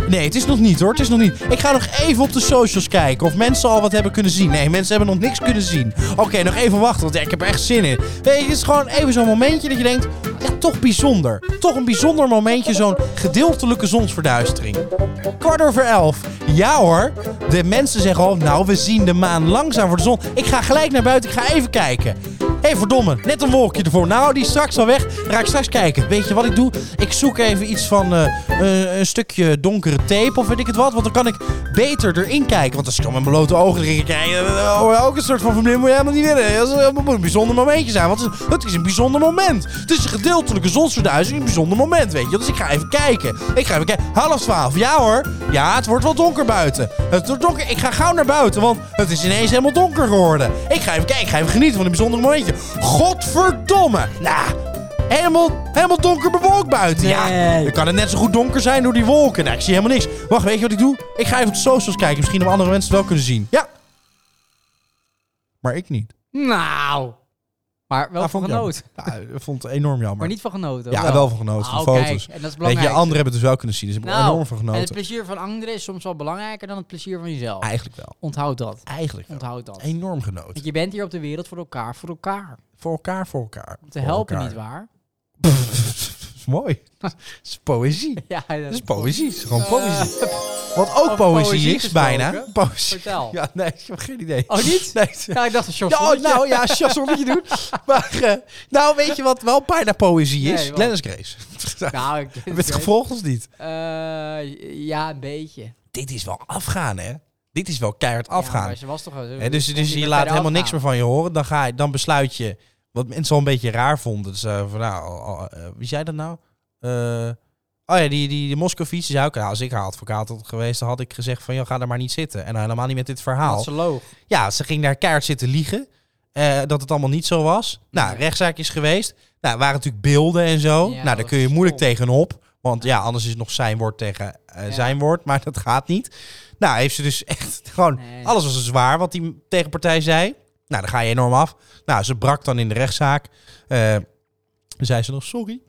[SPEAKER 1] Nee, het is nog niet hoor. Het is nog niet. Ik ga nog even op de socials kijken of mensen al wat hebben kunnen zien. Nee, mensen hebben nog niks kunnen zien. Oké, nog even wachten, want ja, ik heb er echt zin in. Nee, het is gewoon even zo'n momentje dat je denkt... Ja, toch bijzonder. Toch een bijzonder momentje, zo'n gedeeltelijke zonsverduistering. Kwart over elf. Ja hoor. De mensen zeggen al, nou, we zien de maan langzaam voor de zon. Ik ga gelijk naar buiten, ik ga even kijken. Hé, verdomme, net een wolkje ervoor. Nou, die is straks al weg. Raak straks kijken. Weet je wat ik doe? Ik zoek even iets van eh, eh, een stukje donkere tape of weet ik het wat. Want dan kan ik beter erin kijken. Want als ik dan met mijn blote ogen erin kijk, eh, oh, ook een soort van verblinding moet je helemaal niet willen. Dat is een- dat moet een bijzonder momentje zijn. Want het is- het is een bijzonder moment. Het is een gedeeltelijke zonsverduistering, een bijzonder moment, weet je. Dus ik ga even kijken. Ik ga even kijken. Half twaalf, ja hoor. Ja, het wordt wel donker buiten. Het wordt donker. Ik ga gauw naar buiten, want het is ineens helemaal donker geworden. Ik ga even kijken, ik ga even genieten van een bijzonder momentje. Godverdomme. Nou, helemaal, helemaal donker bewolkt buiten. Ja, dan kan het net zo goed donker zijn door die wolken. Nou, ik zie helemaal niks. Wacht, weet je wat ik doe? Ik ga even op de socials kijken. Misschien hebben andere mensen het wel kunnen zien. Ja. Maar ik niet.
[SPEAKER 2] Nou. Maar wel
[SPEAKER 1] Ja,
[SPEAKER 2] Oh, van
[SPEAKER 1] vond ik jammer.
[SPEAKER 2] genoten.
[SPEAKER 1] Ja, ik vond het enorm jammer.
[SPEAKER 2] Maar niet van genoten.
[SPEAKER 1] Ja,
[SPEAKER 2] of wel?
[SPEAKER 1] wel van genoten. Van
[SPEAKER 2] Ah, oh, kijk,
[SPEAKER 1] foto's.
[SPEAKER 2] En dat is
[SPEAKER 1] Weet
[SPEAKER 2] belangrijk.
[SPEAKER 1] je, anderen hebben het dus wel kunnen zien. Dus ik heb er enorm van
[SPEAKER 2] Nou, En het
[SPEAKER 1] genoten.
[SPEAKER 2] plezier van anderen is soms wel belangrijker dan het plezier van jezelf.
[SPEAKER 1] Eigenlijk wel.
[SPEAKER 2] Onthoud dat.
[SPEAKER 1] Eigenlijk wel.
[SPEAKER 2] Onthoud dat.
[SPEAKER 1] Enorm genoten.
[SPEAKER 2] Want je bent hier op de wereld voor elkaar, voor elkaar.
[SPEAKER 1] Voor elkaar, voor elkaar.
[SPEAKER 2] Om te helpen, nietwaar?
[SPEAKER 1] Dat is mooi. Dat is poëzie.
[SPEAKER 2] Ja, Eh,
[SPEAKER 1] Dat is poëzie. Dat is gewoon poëzie. Wat ook poëzie is, bijna. Poëzie.
[SPEAKER 2] Oh, Vertel.
[SPEAKER 1] Ja, nee, ik heb geen idee.
[SPEAKER 2] Oh, niet?
[SPEAKER 1] Nee.
[SPEAKER 2] Ja, ik dacht een
[SPEAKER 1] Ja,
[SPEAKER 2] chansonnetje.
[SPEAKER 1] oh, nou ja, chansonnetje doen. Maar, eh, nou, weet je wat wel bijna poëzie is?
[SPEAKER 2] Nee, wat?
[SPEAKER 1] Glennis Grace.
[SPEAKER 2] Nou, ik-
[SPEAKER 1] Heb je het gevolgd of niet?
[SPEAKER 2] Eh, ja, een beetje.
[SPEAKER 1] Dit is wel afgaan, hè? Dit is wel keihard afgaan.
[SPEAKER 2] Ja, maar ze was toch wel... ze
[SPEAKER 1] Hè, dus
[SPEAKER 2] kon
[SPEAKER 1] dus
[SPEAKER 2] niet
[SPEAKER 1] je
[SPEAKER 2] meer
[SPEAKER 1] laat
[SPEAKER 2] verder
[SPEAKER 1] helemaal niks
[SPEAKER 2] afgaan.
[SPEAKER 1] meer van je horen. Dan, ga je, dan besluit je, wat mensen al een beetje raar vonden. Dus eh, van nou, al- al- eh, wie zei dat nou? Eh, oh ja, die, die, die Moscovici zei ook, nou, als ik haar advocaat had geweest, dan had ik gezegd van, joh, ga daar maar niet zitten. En dan helemaal niet met dit verhaal.
[SPEAKER 2] Dat ze loog.
[SPEAKER 1] Ja, ze ging daar keihard zitten liegen. eh, dat het allemaal niet zo was. Nou, rechtszaak is geweest. Nou, er waren natuurlijk beelden en zo. nou, daar kun je moeilijk tegenop. Want ja, anders is het nog zijn woord tegen eh, zijn woord. Maar dat gaat niet. Nou, heeft ze dus echt gewoon... Alles was er zwaar wat die tegenpartij zei. Nou, dan ga je enorm af. Nou, ze brak dan in de rechtszaak. Eh, zei ze nog sorry.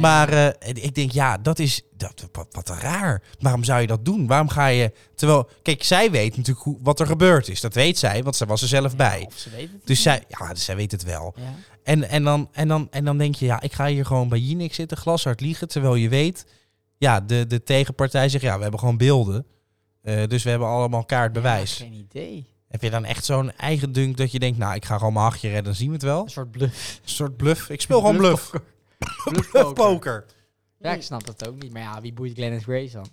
[SPEAKER 1] Maar eh, ik denk, ja, dat is dat, wat, wat raar. Waarom zou je dat doen? Waarom ga je... Terwijl, kijk, zij weet natuurlijk hoe, wat er gebeurd is. Dat weet zij, want zij was er zelf bij.
[SPEAKER 2] Of ze weet het.
[SPEAKER 1] Dus zij, ja, dus zij weet het wel. En, en, dan, en, dan, en dan denk je, ja, ik ga hier gewoon bij Jinek zitten, glashard liegen. Terwijl je weet, ja, de, de tegenpartij zegt, ja, we hebben gewoon beelden. Eh, dus we hebben allemaal kaartbewijs.
[SPEAKER 2] Geen idee.
[SPEAKER 1] Heb je dan echt zo'n eigen dunk dat je denkt, nou, ik ga gewoon mijn hachje redden, dan zien we het wel? Een
[SPEAKER 2] soort bluff.
[SPEAKER 1] Een soort bluff. Ik speel gewoon bluff.
[SPEAKER 2] Bluffpoker.
[SPEAKER 1] Poker.
[SPEAKER 2] Ja, ik snap dat ook niet. Maar ja, wie boeit Glennis Grace dan?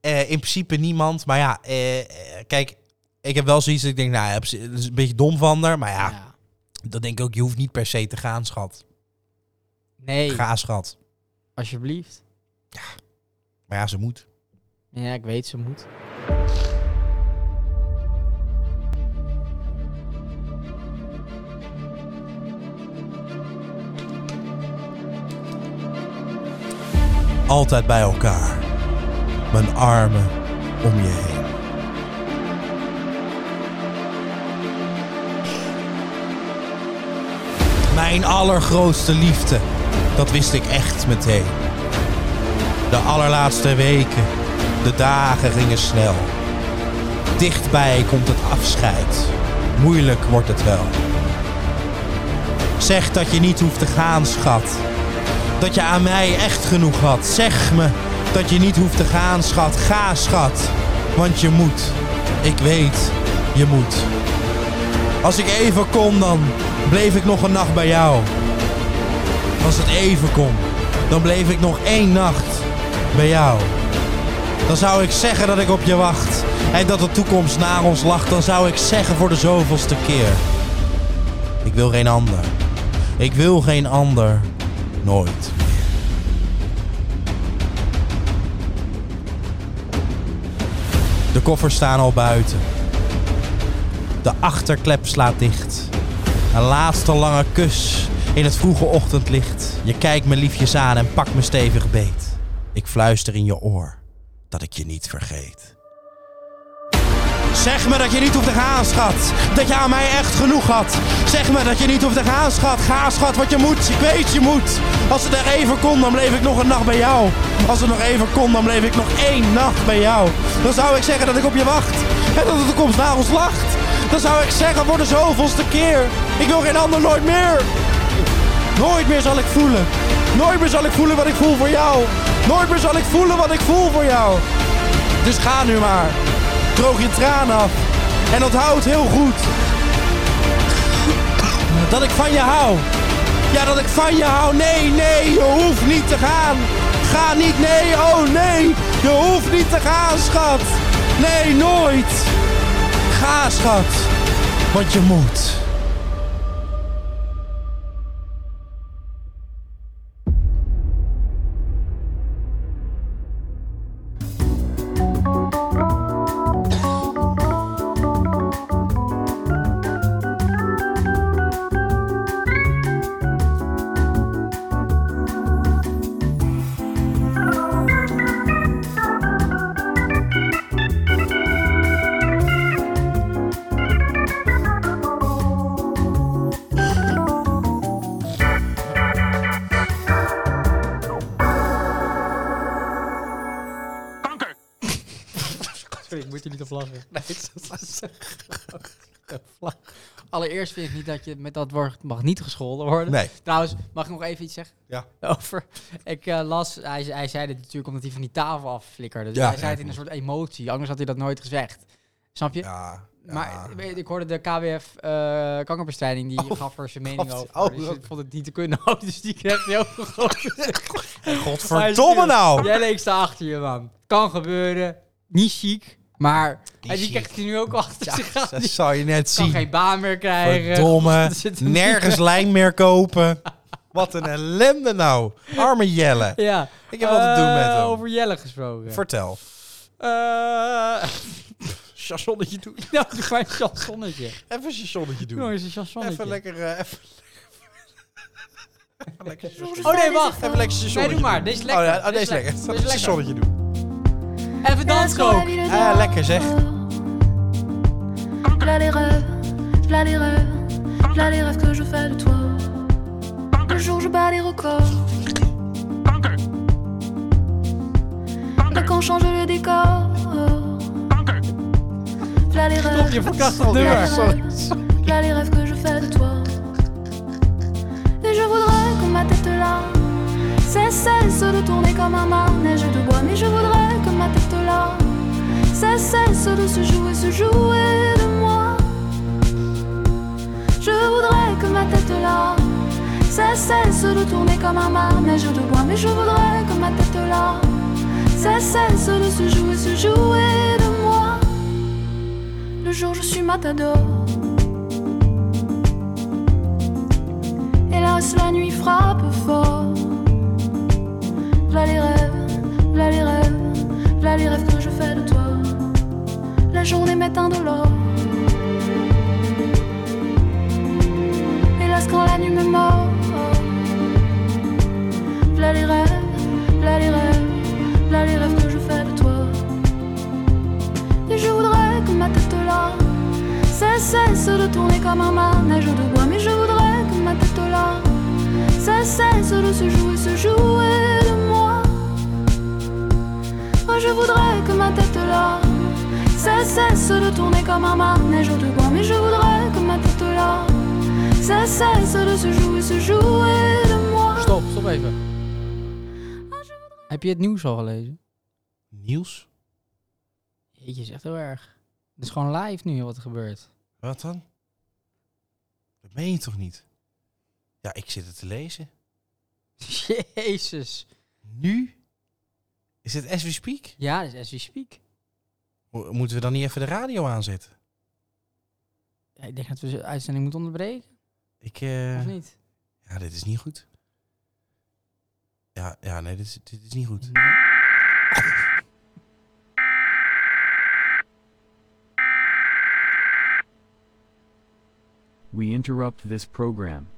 [SPEAKER 1] Eh, in principe niemand, maar ja, eh, eh, kijk, ik heb wel zoiets dat ik denk, nou, ja, op zich, dat is een beetje dom van haar, maar ja, dat denk ik ook, je hoeft niet per se te gaan, schat.
[SPEAKER 2] Nee,
[SPEAKER 1] Ga, schat.
[SPEAKER 2] alsjeblieft.
[SPEAKER 1] Maar ja, ze moet.
[SPEAKER 2] Ja, ik weet, ze moet.
[SPEAKER 1] Altijd bij elkaar. Mijn armen om je heen. Mijn allergrootste liefde. Dat wist ik echt meteen. De allerlaatste weken. De dagen gingen snel. Dichtbij komt het afscheid. Moeilijk wordt het wel. Zeg dat je niet hoeft te gaan, schat dat je aan mij echt genoeg had. Zeg me dat je niet hoeft te gaan, schat. Ga, schat. Want je moet. Ik weet, je moet. Als ik even kon, dan bleef ik nog een nacht bij jou. Als het even kon, dan bleef ik nog één nacht bij jou. Dan zou ik zeggen dat ik op je wacht. En dat de toekomst naar ons lacht. Dan zou ik zeggen voor de zoveelste keer. Ik wil geen ander. Ik wil geen ander. Nooit. De koffers staan al buiten. De achterklep slaat dicht. Een laatste lange kus in het vroege ochtendlicht. Je kijkt me liefjes aan en pakt me stevig beet. Ik fluister in je oor dat ik je niet vergeet. Zeg me dat je niet hoeft te gaan, schat. Dat je aan mij echt genoeg had. Zeg me dat je niet hoeft te gaan, schat. Ga, schat, wat je moet. Ik weet, je moet. Als het er even kon, dan bleef ik nog een nacht bij jou. Als het nog even kon, dan bleef ik nog één nacht bij jou. Dan zou ik zeggen dat ik op je wacht. En dat de toekomst naar ons lacht. Dan zou ik zeggen voor de zoveelste keer. Ik wil geen ander nooit meer. Nooit meer zal ik voelen. Nooit meer zal ik voelen wat ik voel voor jou. Nooit meer zal ik voelen wat ik voel voor jou. Dus ga nu maar. Droog je tranen af. En onthoud heel goed. Dat ik van je hou. Ja, dat ik van je hou. Nee, nee, je hoeft niet te gaan. Ga niet, nee, oh nee. Je hoeft niet te gaan, schat. Nee, nooit. Ga, schat. Want je moet.
[SPEAKER 2] Sorry, ik moet er niet op lachen. Nee, dat is Allereerst vind ik niet dat je met dat woord mag niet gescholden worden.
[SPEAKER 1] Nee.
[SPEAKER 2] Trouwens, mag ik nog even iets zeggen?
[SPEAKER 1] Ja.
[SPEAKER 2] Over. Ik eh, las, hij, hij zei dit natuurlijk omdat hij van die tafel afflikkerde. Dus
[SPEAKER 1] Ja,
[SPEAKER 2] hij zei
[SPEAKER 1] ja.
[SPEAKER 2] het in een soort emotie. Anders had hij dat nooit gezegd. Snap je?
[SPEAKER 1] Ja.
[SPEAKER 2] Maar eh, weet je, ik hoorde de KWF eh, kankerbestrijding, die gaf er zijn mening
[SPEAKER 1] Oh, God.
[SPEAKER 2] over.
[SPEAKER 1] Oh,
[SPEAKER 2] dus
[SPEAKER 1] dat-
[SPEAKER 2] ik vond het niet te kunnen ook, dus die kreeg heel veel grote
[SPEAKER 1] Godverdomme nou.
[SPEAKER 2] Jij leek sta achter je, man. Kan gebeuren. Niet chic, maar... en die krijgt hij nu ook achter zich aan.
[SPEAKER 1] Dat
[SPEAKER 2] Die
[SPEAKER 1] zou je net
[SPEAKER 2] kan
[SPEAKER 1] zien.
[SPEAKER 2] geen baan meer krijgen.
[SPEAKER 1] Verdomme.
[SPEAKER 2] Er zit een-
[SPEAKER 1] Nergens lijn meer kopen. Wat een ellende nou. Arme Jelle.
[SPEAKER 2] Ja.
[SPEAKER 1] Ik heb wat te doen met
[SPEAKER 2] Eh,
[SPEAKER 1] hem.
[SPEAKER 2] Over Jelle gesproken.
[SPEAKER 1] Vertel.
[SPEAKER 2] Eh,
[SPEAKER 1] Chassonnetje doen.
[SPEAKER 2] nou, doe maar een chansonnetje.
[SPEAKER 1] Even een chassonnetje doen.
[SPEAKER 2] Doe nou eens een chansonnetje.
[SPEAKER 1] Even lekker... eh, even... Even lekker chansonnetje.
[SPEAKER 2] Oh nee, wacht.
[SPEAKER 1] Even lekker chansonnetje
[SPEAKER 2] Nee, doe maar.
[SPEAKER 1] doen.
[SPEAKER 2] Dit is lekker.
[SPEAKER 1] Oh, ja, oh,
[SPEAKER 2] Dit
[SPEAKER 1] deze
[SPEAKER 2] is
[SPEAKER 1] is lekker. Even
[SPEAKER 2] lekker. Dit is
[SPEAKER 1] een chansonnetje doen.
[SPEAKER 2] Even dansen ook.
[SPEAKER 1] Ah, lekker zeg.
[SPEAKER 5] V'là les rêves, v'là les rêves, v'là les rêves que je fais de toi. Le jour je bats les
[SPEAKER 6] Marocco. Dès qu'on change le décor. V'là les rêves.
[SPEAKER 12] Je verkast het
[SPEAKER 6] V'là
[SPEAKER 12] nummer.
[SPEAKER 6] les rêves. V'là les rêves que je fais de toi. Et je voudrais que ma tête là c'est cesse de tourner comme un manège de bois. Mais je voudrais que ma tête là c'est cesse de se jouer, se jouer de moi. Je voudrais que ma tête là c'est cesse de tourner comme un manège de bois. Mais je voudrais que ma tête là c'est cesse de se jouer, se jouer de moi. Le jour je suis matador. Hélas, la nuit frappe fort. V'là les rêves, v'là les rêves, v'là les rêves que je fais de toi. La journée m'est indolore. Hélas, quand la nuit me mord. V'là les rêves, v'là les rêves, v'là les rêves que je fais de toi. Et je voudrais que ma tête là cesse, cesse de tourner comme un manège de bois. Mais je voudrais que ma tête là cesse, cesse de se jouer, se jouer de moi. Oh, je voudrais que ma tête là cesse, cesse de tourner comme un manège de bois. Mais je voudrais que ma tête là cesse, cesse de se jouer, se jouer de moi.
[SPEAKER 2] Stop, stop even. Heb je het nieuws al gelezen?
[SPEAKER 1] Nieuws?
[SPEAKER 2] Jeetje, is echt heel erg. Het is gewoon live nu wat er gebeurt.
[SPEAKER 1] Wat dan? Dat meen je toch niet? Ja, ik zit het te lezen.
[SPEAKER 2] Jezus.
[SPEAKER 1] Nu? Is het as we speak?
[SPEAKER 2] Ja, dat is as we speak.
[SPEAKER 1] Mo- Moeten we dan niet even de radio aanzetten?
[SPEAKER 2] Ja, ik denk dat we de uitzending moeten onderbreken,
[SPEAKER 1] Ik, eh,
[SPEAKER 2] of niet?
[SPEAKER 1] Ja, dit is niet goed. Ja, ja nee, dit is, dit is niet goed.
[SPEAKER 9] We interrupt this program.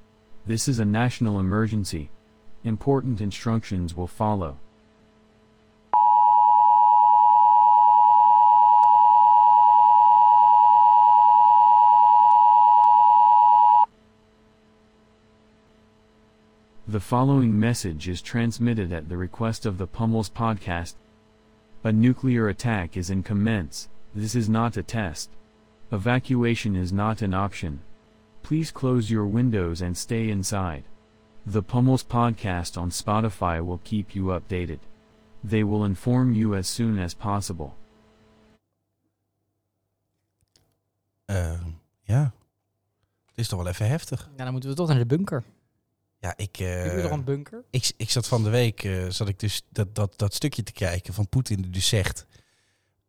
[SPEAKER 9] This is a national emergency. Important instructions will follow. The following message is transmitted at the request of the Pummels podcast. A nuclear attack is in commence. This is not a test. Evacuation is not an option. Please close your windows and stay inside. The Pummels podcast on Spotify will keep you updated. They will inform you as soon as possible.
[SPEAKER 1] Eh, ja. Het is toch wel even heftig.
[SPEAKER 2] Ja, dan moeten we toch naar de bunker.
[SPEAKER 1] Ja, ik... eh,
[SPEAKER 2] Heb je toch een bunker?
[SPEAKER 1] Ik, ik zat van de week, eh, zat ik dus dat, dat, dat stukje te kijken van Poetin die dus zegt...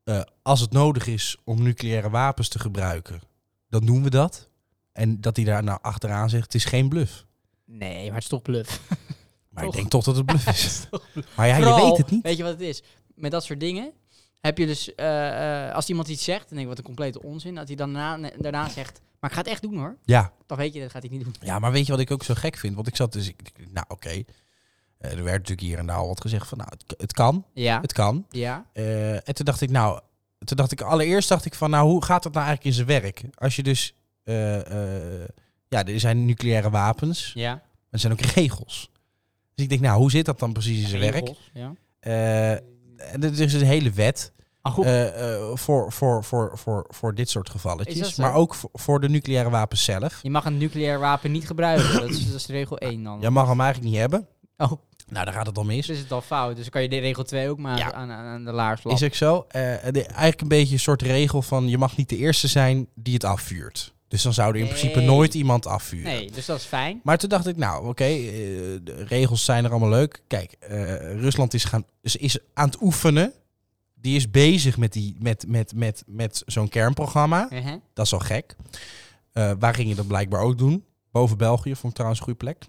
[SPEAKER 1] eh, als het nodig is om nucleaire wapens te gebruiken, dan doen we dat. En dat hij daar nou achteraan zegt, het is geen bluff.
[SPEAKER 2] Nee, maar het is toch bluff.
[SPEAKER 1] Maar ik denk toch dat het bluff is. Maar ja,
[SPEAKER 2] jij
[SPEAKER 1] je weet het niet.
[SPEAKER 2] Weet je wat het is? Met dat soort dingen heb je dus, eh, eh, als iemand iets zegt, dan denk ik wat een complete onzin, dat hij daarna, daarna zegt, maar ik ga het echt doen hoor.
[SPEAKER 1] Ja.
[SPEAKER 2] Dan weet je, dat gaat hij niet doen.
[SPEAKER 1] Ja, maar weet je wat ik ook zo gek vind? Want ik zat dus, ik, ik- nou oké, Eh, er werd natuurlijk hier en daar al wat gezegd van, nou het, k- het kan,
[SPEAKER 2] Ja.
[SPEAKER 1] het kan.
[SPEAKER 2] Ja.
[SPEAKER 1] Eh, en toen dacht ik, nou, toen dacht ik, allereerst dacht ik van, nou hoe gaat dat nou eigenlijk in zijn werk? Als je dus, eh, eh, ja, er zijn nucleaire wapens,
[SPEAKER 2] Ja.
[SPEAKER 1] maar er zijn ook regels. Dus ik denk, nou hoe zit dat dan precies in zijn werk?
[SPEAKER 2] Regels, ja.
[SPEAKER 1] Eh, en er is dus een hele wet
[SPEAKER 2] Ah, goed.
[SPEAKER 1] eh, eh, voor, voor, voor, voor, voor dit soort gevalletjes.
[SPEAKER 2] zo?
[SPEAKER 1] Maar ook voor, voor de nucleaire wapens zelf.
[SPEAKER 2] Je mag een nucleair wapen niet gebruiken. dat, is, dat is regel 1 dan.
[SPEAKER 1] Jij mag hem eigenlijk niet hebben.
[SPEAKER 2] Oh.
[SPEAKER 1] Nou, daar gaat het om mis.
[SPEAKER 2] Dus is het al fout. Dus dan kan je de regel 2 ook maar aan, aan, aan de laars lappen.
[SPEAKER 1] Is ook zo. Eh, de- eigenlijk een beetje een soort regel van je mag niet de eerste zijn die het afvuurt. Dus dan zou er in principe
[SPEAKER 2] Nee.
[SPEAKER 1] nooit iemand afvuren.
[SPEAKER 2] Nee, dus dat is fijn.
[SPEAKER 1] Maar toen dacht ik, nou oké, eh, de regels zijn er allemaal leuk. Kijk, eh, Rusland is, gaan, is, is aan het oefenen. Die is bezig met, die- met, met, met, met zo'n kernprogramma.
[SPEAKER 2] Mhm.
[SPEAKER 1] Dat is al gek. Eh, waar ging je dat blijkbaar ook doen? Boven België, vond ik trouwens een goede plek.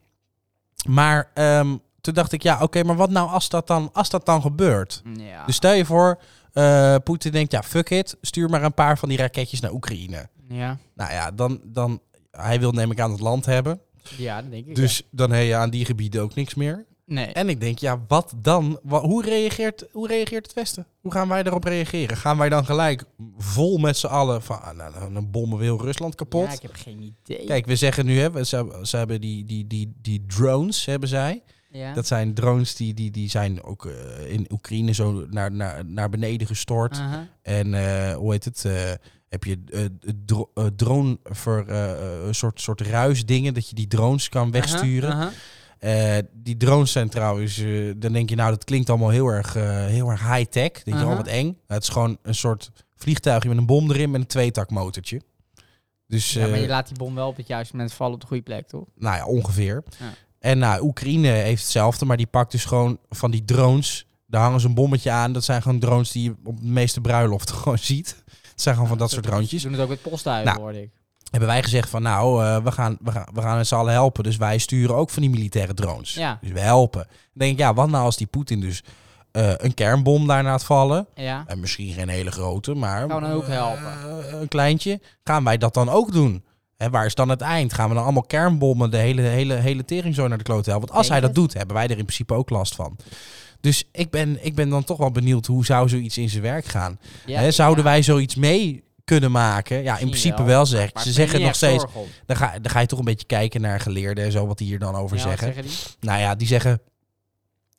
[SPEAKER 1] Maar ehm, toen dacht ik, ja, oké, maar wat nou als dat dan, als dat dan gebeurt?
[SPEAKER 2] Ja.
[SPEAKER 1] Dus stel je voor, eh, Poetin denkt, ja, fuck it, stuur maar een paar van die raketjes naar Oekraïne.
[SPEAKER 2] Ja.
[SPEAKER 1] Nou ja, dan, dan hij wil neem ik aan het land hebben.
[SPEAKER 2] Ja, dat denk ik.
[SPEAKER 1] Dus dan heb je aan die gebieden ook niks meer.
[SPEAKER 2] Nee.
[SPEAKER 1] En ik denk, ja, wat dan? Wa- hoe, reageert, hoe reageert het Westen? Hoe gaan wij daarop reageren? Gaan wij dan gelijk vol met z'n allen van, ah, nou, dan- dan bommen we heel Rusland kapot?
[SPEAKER 2] Ja, ik heb geen idee.
[SPEAKER 1] Kijk, we zeggen nu, hè, we- ze, hebben- ze hebben die, die, die, die drones, hebben zij.
[SPEAKER 2] Ja.
[SPEAKER 1] Dat zijn drones die, die, die zijn ook eh, in Oekraïne zo naar, naar, naar beneden gestort.
[SPEAKER 2] Aha.
[SPEAKER 1] En eh, hoe heet het? eh, heb je eh, dro- eh, drone voor eh, eh, een soort, soort ruisdingen, dat je die drones kan wegsturen.
[SPEAKER 2] aha.
[SPEAKER 1] Eh, die drones zijn trouwens, eh, dan denk je, nou, dat klinkt allemaal heel erg, eh, heel erg high-tech. Denk je,
[SPEAKER 2] Aha.
[SPEAKER 1] oh, wat eng. Nou, het is
[SPEAKER 2] Uh-huh.
[SPEAKER 1] gewoon een soort vliegtuigje met een bom erin met een tweetakmotortje. Dus,
[SPEAKER 2] Ja, maar
[SPEAKER 1] eh,
[SPEAKER 2] je laat die bom wel op het juiste moment vallen op de goede plek, toch?
[SPEAKER 1] nou ja, ongeveer.
[SPEAKER 2] Ja.
[SPEAKER 1] En nou, Oekraïne heeft hetzelfde, maar die pakt dus gewoon van die drones. Daar hangen ze een bommetje aan. Dat zijn gewoon drones die je op de meeste bruiloften gewoon ziet. Het zijn gewoon van dat soort
[SPEAKER 2] Ze
[SPEAKER 1] droontjes.
[SPEAKER 2] doen het ook met posthuizen,
[SPEAKER 1] Nou,
[SPEAKER 2] hoorde ik.
[SPEAKER 1] Hebben wij gezegd van nou, eh, we, gaan, we, gaan, we gaan met z'n allen helpen. Dus wij sturen ook van die militaire drones.
[SPEAKER 2] Ja.
[SPEAKER 1] Dus we helpen. Dan denk ik, ja, wat nou als die Poetin dus eh, een kernbom daar laat vallen?
[SPEAKER 2] Ja.
[SPEAKER 1] En misschien geen hele grote, maar
[SPEAKER 2] Gaan we dan ook
[SPEAKER 1] eh,
[SPEAKER 2] helpen?
[SPEAKER 1] een kleintje. Gaan wij dat dan ook doen? En waar is dan het eind? Gaan we dan allemaal kernbommen de hele, hele, hele tering zo naar de klote helpen? Want als
[SPEAKER 2] Denk
[SPEAKER 1] hij dat
[SPEAKER 2] het.
[SPEAKER 1] doet, hebben wij er in principe ook last van. Dus ik ben, ik ben dan toch wel benieuwd hoe zou zoiets in zijn werk gaan.
[SPEAKER 2] Ja,
[SPEAKER 1] Hè, zouden wij zoiets mee kunnen maken? Ja, in principe
[SPEAKER 2] wel.
[SPEAKER 1] wel, zeg.
[SPEAKER 2] Maar
[SPEAKER 1] Ze
[SPEAKER 2] ik ben
[SPEAKER 1] zeggen
[SPEAKER 2] niet
[SPEAKER 1] nog
[SPEAKER 2] echt
[SPEAKER 1] steeds.
[SPEAKER 2] zorg om.
[SPEAKER 1] Dan ga, dan ga je toch een beetje kijken naar geleerden en zo, wat die hier dan over
[SPEAKER 2] Ja, wat
[SPEAKER 1] zeggen.
[SPEAKER 2] zeggen die?
[SPEAKER 1] Nou ja, die zeggen.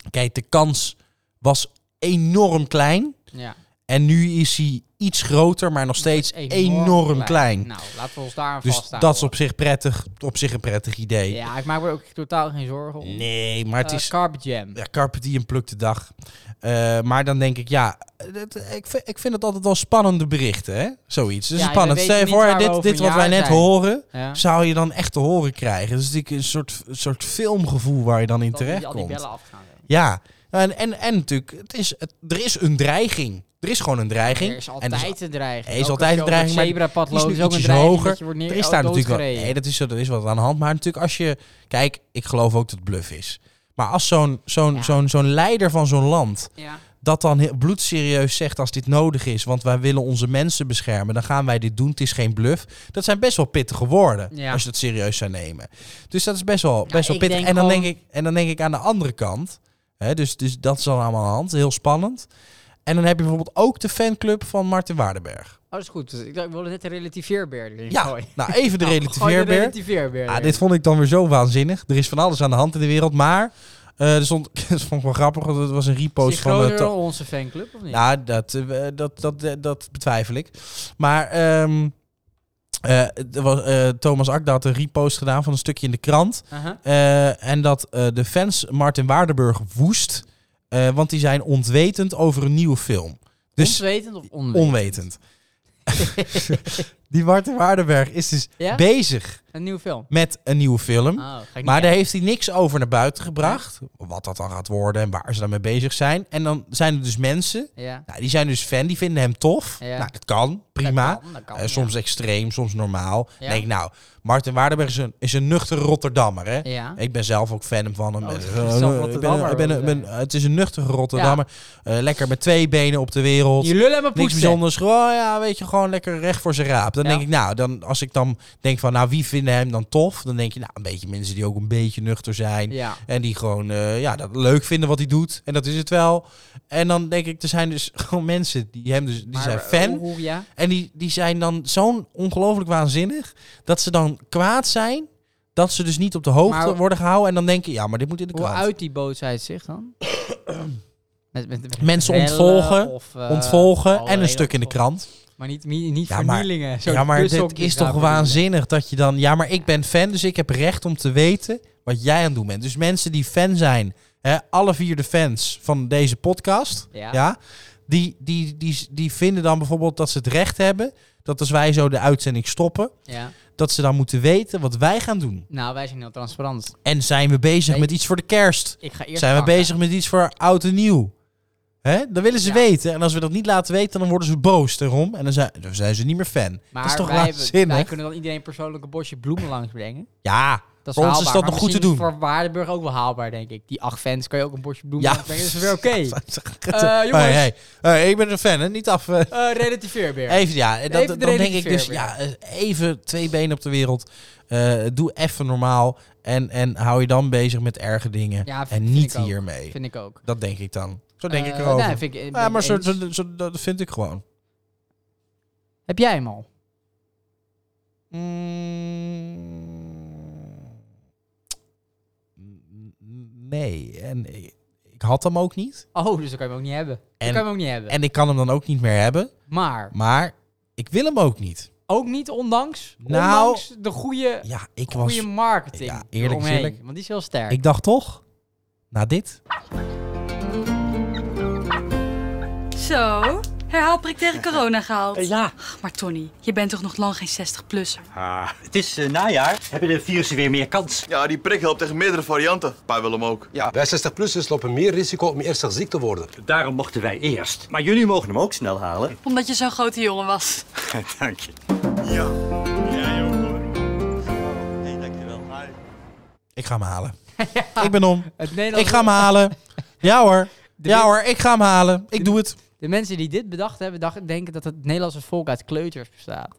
[SPEAKER 1] Kijk, de kans was enorm klein.
[SPEAKER 2] Ja.
[SPEAKER 1] En nu is hij iets groter, maar nog steeds enorm, klein.
[SPEAKER 2] Nou, laten we ons daar aan
[SPEAKER 1] dus
[SPEAKER 2] vasthouden.
[SPEAKER 1] dat is op zich prettig, op zich een prettig idee.
[SPEAKER 2] Ja, ik maak me er ook totaal geen zorgen om.
[SPEAKER 1] Nee, maar het
[SPEAKER 2] Eh,
[SPEAKER 1] is-
[SPEAKER 2] Carpe Jam.
[SPEAKER 1] Ja, Carpe Diem plukt de dag. Eh, maar dan denk ik, ja, het- ik, vind, ik vind het altijd wel spannende berichten, hè? Zoiets. Dus
[SPEAKER 2] Ja,
[SPEAKER 1] is
[SPEAKER 2] dan
[SPEAKER 1] spannend.
[SPEAKER 2] weet
[SPEAKER 1] Stel
[SPEAKER 2] je
[SPEAKER 1] je
[SPEAKER 2] niet
[SPEAKER 1] voor,
[SPEAKER 2] waar we
[SPEAKER 1] dit,
[SPEAKER 2] over
[SPEAKER 1] dit
[SPEAKER 2] een
[SPEAKER 1] wat wij
[SPEAKER 2] jaar
[SPEAKER 1] net
[SPEAKER 2] zijn.
[SPEAKER 1] horen,
[SPEAKER 2] Ja.
[SPEAKER 1] zou je dan echt te horen krijgen. Dus natuurlijk een soort, soort filmgevoel waar je dan in
[SPEAKER 2] Dat die- al die
[SPEAKER 1] terecht
[SPEAKER 2] bellen
[SPEAKER 1] komt.
[SPEAKER 2] afgaan, hè.
[SPEAKER 1] Ja, en, en, en natuurlijk, het is, het, er is een dreiging. Er is gewoon een dreiging.
[SPEAKER 2] Er is
[SPEAKER 1] En er
[SPEAKER 2] altijd een dreiging.
[SPEAKER 1] Er is
[SPEAKER 2] Ook
[SPEAKER 1] altijd
[SPEAKER 2] als
[SPEAKER 1] een
[SPEAKER 2] je over het
[SPEAKER 1] dreiging, maar
[SPEAKER 2] zebrapad
[SPEAKER 1] die is
[SPEAKER 2] loopt,
[SPEAKER 1] nu
[SPEAKER 2] is ook een
[SPEAKER 1] ietsjes
[SPEAKER 2] dreiging dat
[SPEAKER 1] hoger.
[SPEAKER 2] je wordt neer-
[SPEAKER 1] Er is daar natuurlijk wel,
[SPEAKER 2] doodgereden.
[SPEAKER 1] nee, dat is, er is wat aan de hand. Maar natuurlijk als je, kijk, ik geloof ook dat het bluff is. Maar als zo'n zo'n zo'n zo'n leider van zo'n land
[SPEAKER 2] Ja.
[SPEAKER 1] dat dan heel bloedserieus zegt als dit nodig is, want wij willen onze mensen beschermen, dan gaan wij dit doen. Het is geen bluff. Dat zijn best wel pittige woorden
[SPEAKER 2] Ja.
[SPEAKER 1] als je dat serieus zou nemen. Dus dat is best wel, best wel
[SPEAKER 2] ik
[SPEAKER 1] pittig.
[SPEAKER 2] denk
[SPEAKER 1] En dan,
[SPEAKER 2] gewoon-
[SPEAKER 1] denk ik, en dan denk ik aan de andere kant. Hè, dus, dus dat is dan allemaal aan de hand. Heel spannend. En dan heb je bijvoorbeeld ook de fanclub van Martin Waardenberg.
[SPEAKER 2] Oh, dat is goed. Ik dacht, ik wilde net de relativeerbeer erin
[SPEAKER 1] Ja,
[SPEAKER 2] gooien.
[SPEAKER 1] nou even de
[SPEAKER 2] Nou, gooi de
[SPEAKER 1] relativeerbeer.
[SPEAKER 2] relativeerbeer
[SPEAKER 1] Ah,
[SPEAKER 2] erin.
[SPEAKER 1] dit vond ik dan weer zo waanzinnig. Er is van alles aan de hand in de wereld, maar eh, er stond, dat vond ik wel grappig, want het was een
[SPEAKER 2] Is die
[SPEAKER 1] repost van...
[SPEAKER 2] groter
[SPEAKER 1] eh,
[SPEAKER 2] dan
[SPEAKER 1] To-
[SPEAKER 2] onze fanclub, of niet?
[SPEAKER 1] Nou, dat, eh, we- dat, dat, eh, dat betwijfel ik. Maar ehm, eh, er was, eh, Thomas Akda had een repost gedaan van een stukje in de krant.
[SPEAKER 2] Aha.
[SPEAKER 1] Eh, en dat eh, de fans Martin Waardenburg woest, eh, want die zijn ontwetend over een nieuwe film. Dus
[SPEAKER 2] Ontwetend of onwetend?
[SPEAKER 1] onwetend. die Martin Waardenberg is dus
[SPEAKER 2] Ja?
[SPEAKER 1] bezig
[SPEAKER 2] Een nieuwe film.
[SPEAKER 1] met een nieuwe film.
[SPEAKER 2] Oh, ga ik niet
[SPEAKER 1] maar daar
[SPEAKER 2] kijken.
[SPEAKER 1] heeft hij niks over naar buiten gebracht. Wat dat dan gaat worden en waar ze daarmee bezig zijn. En dan zijn er dus mensen.
[SPEAKER 2] Ja.
[SPEAKER 1] Nou, die zijn dus fan, die vinden hem tof.
[SPEAKER 2] Ja.
[SPEAKER 1] Nou, dat kan, prima.
[SPEAKER 2] kan, dat kan,
[SPEAKER 1] Eh, soms extreem, soms normaal.
[SPEAKER 2] Ja.
[SPEAKER 1] Dan Denk ik, nou, Martin Waardenberg is een, is een nuchtere Rotterdammer. Hè?
[SPEAKER 2] Ja. Oh,
[SPEAKER 1] Ik ben zelf ook fan van hem. Eh,
[SPEAKER 2] zelf
[SPEAKER 1] eh, ik ben,
[SPEAKER 2] Rotterdammer,
[SPEAKER 1] ik ben, ik ben- het is een nuchtere Rotterdammer. Eh, lekker met twee benen op de wereld.
[SPEAKER 2] Je lullen en mijn
[SPEAKER 1] Niks
[SPEAKER 2] poetsen.
[SPEAKER 1] bijzonders. Gewoon, oh ja, weet je, gewoon lekker recht voor zijn raap. Dan
[SPEAKER 2] Ja.
[SPEAKER 1] denk ik, nou, dan, als ik dan denk van, nou, wie vinden hem dan tof? Dan denk je, nou, een beetje mensen die ook een beetje nuchter zijn.
[SPEAKER 2] Ja.
[SPEAKER 1] En die gewoon eh, ja, dat leuk vinden wat hij doet. En dat is het wel. En dan denk ik, er zijn dus gewoon mensen die hem dus, die
[SPEAKER 2] Maar,
[SPEAKER 1] zijn
[SPEAKER 2] eh,
[SPEAKER 1] fan.
[SPEAKER 2] hoe- hoe- ja?
[SPEAKER 1] En die, die zijn dan zo'n ongelooflijk waanzinnig dat ze dan kwaad zijn. Dat ze dus niet op de hoogte
[SPEAKER 2] Maar-
[SPEAKER 1] worden gehouden. En dan denken, ja, maar dit moet in de
[SPEAKER 2] Hoe
[SPEAKER 1] krant.
[SPEAKER 2] uit die boosheid zich dan? Met- met- met
[SPEAKER 1] Mensen
[SPEAKER 2] rellen
[SPEAKER 1] ontvolgen,
[SPEAKER 2] of, eh,
[SPEAKER 1] ontvolgen en
[SPEAKER 2] allerlei
[SPEAKER 1] een stuk in de
[SPEAKER 2] ontvolgen.
[SPEAKER 1] krant.
[SPEAKER 2] Maar niet, niet, niet
[SPEAKER 1] Ja, maar,
[SPEAKER 2] vernielingen. Zo'n
[SPEAKER 1] ja, maar dit
[SPEAKER 2] bushokjes
[SPEAKER 1] is toch
[SPEAKER 2] daar
[SPEAKER 1] waanzinnig dat je dan... Ja, maar ik ben fan, dus ik heb recht om te weten wat jij aan het doen bent. Dus mensen die fan zijn, hè, alle vier de fans van deze podcast...
[SPEAKER 2] Ja.
[SPEAKER 1] Ja. die, die, die, die vinden dan bijvoorbeeld dat ze het recht hebben... dat als wij zo de uitzending stoppen...
[SPEAKER 2] Ja.
[SPEAKER 1] dat ze dan moeten weten wat wij gaan doen.
[SPEAKER 2] Nou, wij zijn heel transparant.
[SPEAKER 1] En zijn we bezig
[SPEAKER 2] Nee.
[SPEAKER 1] met iets voor de kerst?
[SPEAKER 2] Ik ga eerst
[SPEAKER 1] zijn we
[SPEAKER 2] kanker.
[SPEAKER 1] bezig met iets voor oud en nieuw? Hè? Dan willen ze weten. En als we dat niet laten weten, dan worden ze boos daarom. En dan zijn, dan zijn ze niet meer fan.
[SPEAKER 2] Maar
[SPEAKER 1] dat is toch
[SPEAKER 2] wij, hebben-
[SPEAKER 1] waanzinnig?
[SPEAKER 2] wij kunnen dan iedereen persoonlijk een bosje bloemen langs brengen.
[SPEAKER 1] Ja,
[SPEAKER 2] Dat is
[SPEAKER 1] Voor ons
[SPEAKER 2] haalbaar.
[SPEAKER 1] is dat
[SPEAKER 2] Maar
[SPEAKER 1] nog goed te
[SPEAKER 2] misschien
[SPEAKER 1] doen.
[SPEAKER 2] Voor Waardenburg ook wel haalbaar, denk ik. Die acht fans kan je ook een bosje bloemen
[SPEAKER 1] Ja.
[SPEAKER 2] brengen. Dat is weer oké. Eh,
[SPEAKER 1] Hey,
[SPEAKER 2] jongens,
[SPEAKER 1] hey. Hey, ik ben een fan, hè? Niet af. eh.
[SPEAKER 2] eh, relativeer weer.
[SPEAKER 1] Even, ja. en
[SPEAKER 2] Even
[SPEAKER 1] Dat,
[SPEAKER 2] de
[SPEAKER 1] dan denk ik
[SPEAKER 2] relativeer
[SPEAKER 1] dus,
[SPEAKER 2] weer.
[SPEAKER 1] ja, eh, even twee benen op de wereld. Eh, doe even normaal. En, en hou je dan bezig met erge dingen.
[SPEAKER 2] Ja, v-
[SPEAKER 1] en
[SPEAKER 2] vind
[SPEAKER 1] niet
[SPEAKER 2] ik ook.
[SPEAKER 1] hiermee.
[SPEAKER 2] Vind ik ook.
[SPEAKER 1] Dat denk ik dan. Zo denk ik
[SPEAKER 2] Eh,
[SPEAKER 1] erover.
[SPEAKER 2] nee, vind ik- ben
[SPEAKER 1] ja,
[SPEAKER 2] ik
[SPEAKER 1] maar zo,
[SPEAKER 2] eens.
[SPEAKER 1] zo- zo- dat vind ik gewoon.
[SPEAKER 2] Heb jij hem al?
[SPEAKER 1] Mm. Nee. En ik, ik had hem ook niet.
[SPEAKER 2] Oh, dus dan kan je hem ook niet hebben. Dan
[SPEAKER 1] En-
[SPEAKER 2] kan je hem ook niet hebben.
[SPEAKER 1] En ik kan hem dan ook niet meer hebben.
[SPEAKER 2] Maar?
[SPEAKER 1] Maar ik wil hem ook niet.
[SPEAKER 2] Ook niet ondanks,
[SPEAKER 1] Nou,
[SPEAKER 2] ondanks de goede,
[SPEAKER 1] ja, ik
[SPEAKER 2] goede
[SPEAKER 1] was-
[SPEAKER 2] marketing.
[SPEAKER 1] ja, eerlijk
[SPEAKER 2] eromheen,
[SPEAKER 1] eerlijk.
[SPEAKER 2] Want die is heel sterk.
[SPEAKER 1] Ik dacht toch, na dit.
[SPEAKER 13] Zo, herhaalprik tegen corona gehaald.
[SPEAKER 14] Eh, ja.
[SPEAKER 13] Ach, maar Tony, je bent toch nog lang geen 60-plusser?
[SPEAKER 14] Ah, het is eh, najaar. Hebben de virussen weer meer kans?
[SPEAKER 15] Ja, die prik helpt tegen meerdere varianten. Wij willen hem ook.
[SPEAKER 14] Ja, wij 60-plussers lopen meer risico om ernstig ziek te worden. Daarom mochten wij eerst. Maar jullie mogen hem ook snel halen.
[SPEAKER 13] Omdat je zo'n grote jongen was.
[SPEAKER 14] Dank je.
[SPEAKER 15] Ja.
[SPEAKER 1] Ik ga hem halen. Ik ben om.
[SPEAKER 2] Het Nederlands-
[SPEAKER 1] Ik ga hem halen. Ja hoor.
[SPEAKER 2] De
[SPEAKER 1] ja
[SPEAKER 2] men-
[SPEAKER 1] hoor, ik ga hem halen. Ik doe het.
[SPEAKER 2] De mensen die dit bedacht hebben, dachten, denken dat het Nederlandse volk uit kleuters bestaat.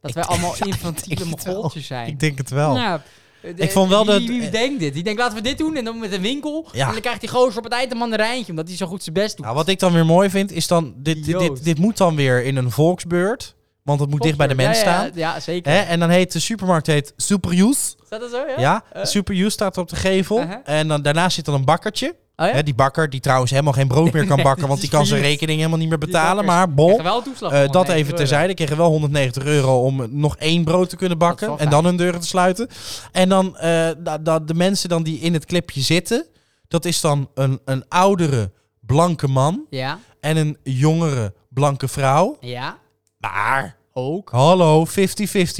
[SPEAKER 2] Dat wij allemaal infantiele mogoltjes zijn.
[SPEAKER 1] Ik denk het wel.
[SPEAKER 2] Nou,
[SPEAKER 1] Ik vond wel dat-
[SPEAKER 2] Wie, wie denkt dit? Die denkt, laten we dit doen en dan met een winkel.
[SPEAKER 1] Ja.
[SPEAKER 2] En dan krijgt die gozer op het eind een mandarijntje, omdat hij zo goed zijn best doet.
[SPEAKER 1] Nou, wat ik dan weer mooi vind, is dan... Dit, dit,
[SPEAKER 2] Idioot.
[SPEAKER 1] dit, dit moet dan weer in een volksbeurt. Want het moet dicht bij de mens
[SPEAKER 2] Ja, ja,
[SPEAKER 1] staan.
[SPEAKER 2] ja, zeker.
[SPEAKER 1] Hè? En dan heet de supermarkt heet Superuse.
[SPEAKER 2] Staat dat zo, ja?
[SPEAKER 1] Ja,
[SPEAKER 2] Eh.
[SPEAKER 1] Super U staat op de gevel.
[SPEAKER 2] Uh-huh.
[SPEAKER 1] En dan, daarnaast zit dan een bakkertje.
[SPEAKER 2] Oh ja?
[SPEAKER 1] Hè, die bakker, die trouwens helemaal geen brood meer kan
[SPEAKER 2] Nee,
[SPEAKER 1] bakken,
[SPEAKER 2] dat
[SPEAKER 1] want
[SPEAKER 2] is
[SPEAKER 1] die kan zijn
[SPEAKER 2] failliet.
[SPEAKER 1] rekening helemaal niet meer
[SPEAKER 2] Die
[SPEAKER 1] betalen.
[SPEAKER 2] bakkers
[SPEAKER 1] Maar bon,
[SPEAKER 2] krijgen wel een toeslag
[SPEAKER 1] eh,
[SPEAKER 2] van
[SPEAKER 1] dat
[SPEAKER 2] 190
[SPEAKER 1] even terzijde. Kregen wel 190 euro om nog één brood te kunnen bakken
[SPEAKER 2] wel
[SPEAKER 1] en dan hun deuren te sluiten. En dan eh, da- da- de mensen dan die in het clipje zitten, dat is dan een, een oudere blanke man
[SPEAKER 2] Ja.
[SPEAKER 1] en een jongere blanke vrouw.
[SPEAKER 2] Ja.
[SPEAKER 1] Maar
[SPEAKER 2] ook.
[SPEAKER 1] Hallo, 50-50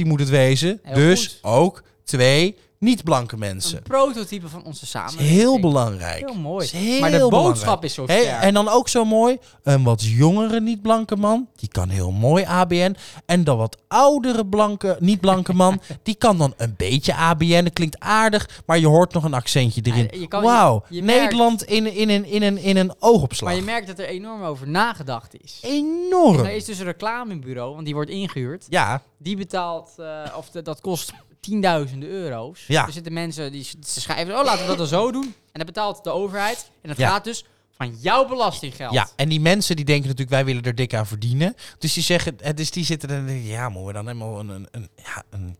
[SPEAKER 1] moet het wezen.
[SPEAKER 2] Heel
[SPEAKER 1] dus ook twee niet-blanke mensen.
[SPEAKER 2] Prototype van onze
[SPEAKER 1] Dat
[SPEAKER 2] samenleving.
[SPEAKER 1] is heel belangrijk.
[SPEAKER 2] Heel mooi.
[SPEAKER 1] Dat is heel
[SPEAKER 2] maar de boodschap
[SPEAKER 1] belangrijk.
[SPEAKER 2] is zo
[SPEAKER 1] Hé,
[SPEAKER 2] sterk.
[SPEAKER 1] en dan ook zo mooi, een wat jongere niet-blanke man, die kan heel mooi ABN. En dan wat oudere blanke, niet-blanke man, die kan dan een beetje ABN. Dat klinkt aardig, maar je hoort nog een accentje
[SPEAKER 2] Ja,
[SPEAKER 1] erin.
[SPEAKER 2] je kan-
[SPEAKER 1] Wauw,
[SPEAKER 2] je- je merkt-
[SPEAKER 1] Nederland in, in, een, in, een, in een oogopslag.
[SPEAKER 2] Maar je merkt dat er enorm over nagedacht is.
[SPEAKER 1] Enorm.
[SPEAKER 2] Er is dus een reclamebureau, want die wordt ingehuurd.
[SPEAKER 1] Ja.
[SPEAKER 2] Die betaalt, eh, of de- dat kost tienduizenden euro's.
[SPEAKER 1] Ja.
[SPEAKER 2] Er zitten mensen die s- ze schrijven, oh laten we dat dan zo doen. En dat betaalt de overheid. En dat
[SPEAKER 1] Ja.
[SPEAKER 2] gaat dus van jouw belastinggeld.
[SPEAKER 1] Ja, en die mensen die denken natuurlijk, wij willen er dik aan verdienen. Dus die zeggen, eh, dus die zitten dan, en denken, ja, moeten we dan helemaal een, een, een, ja, een,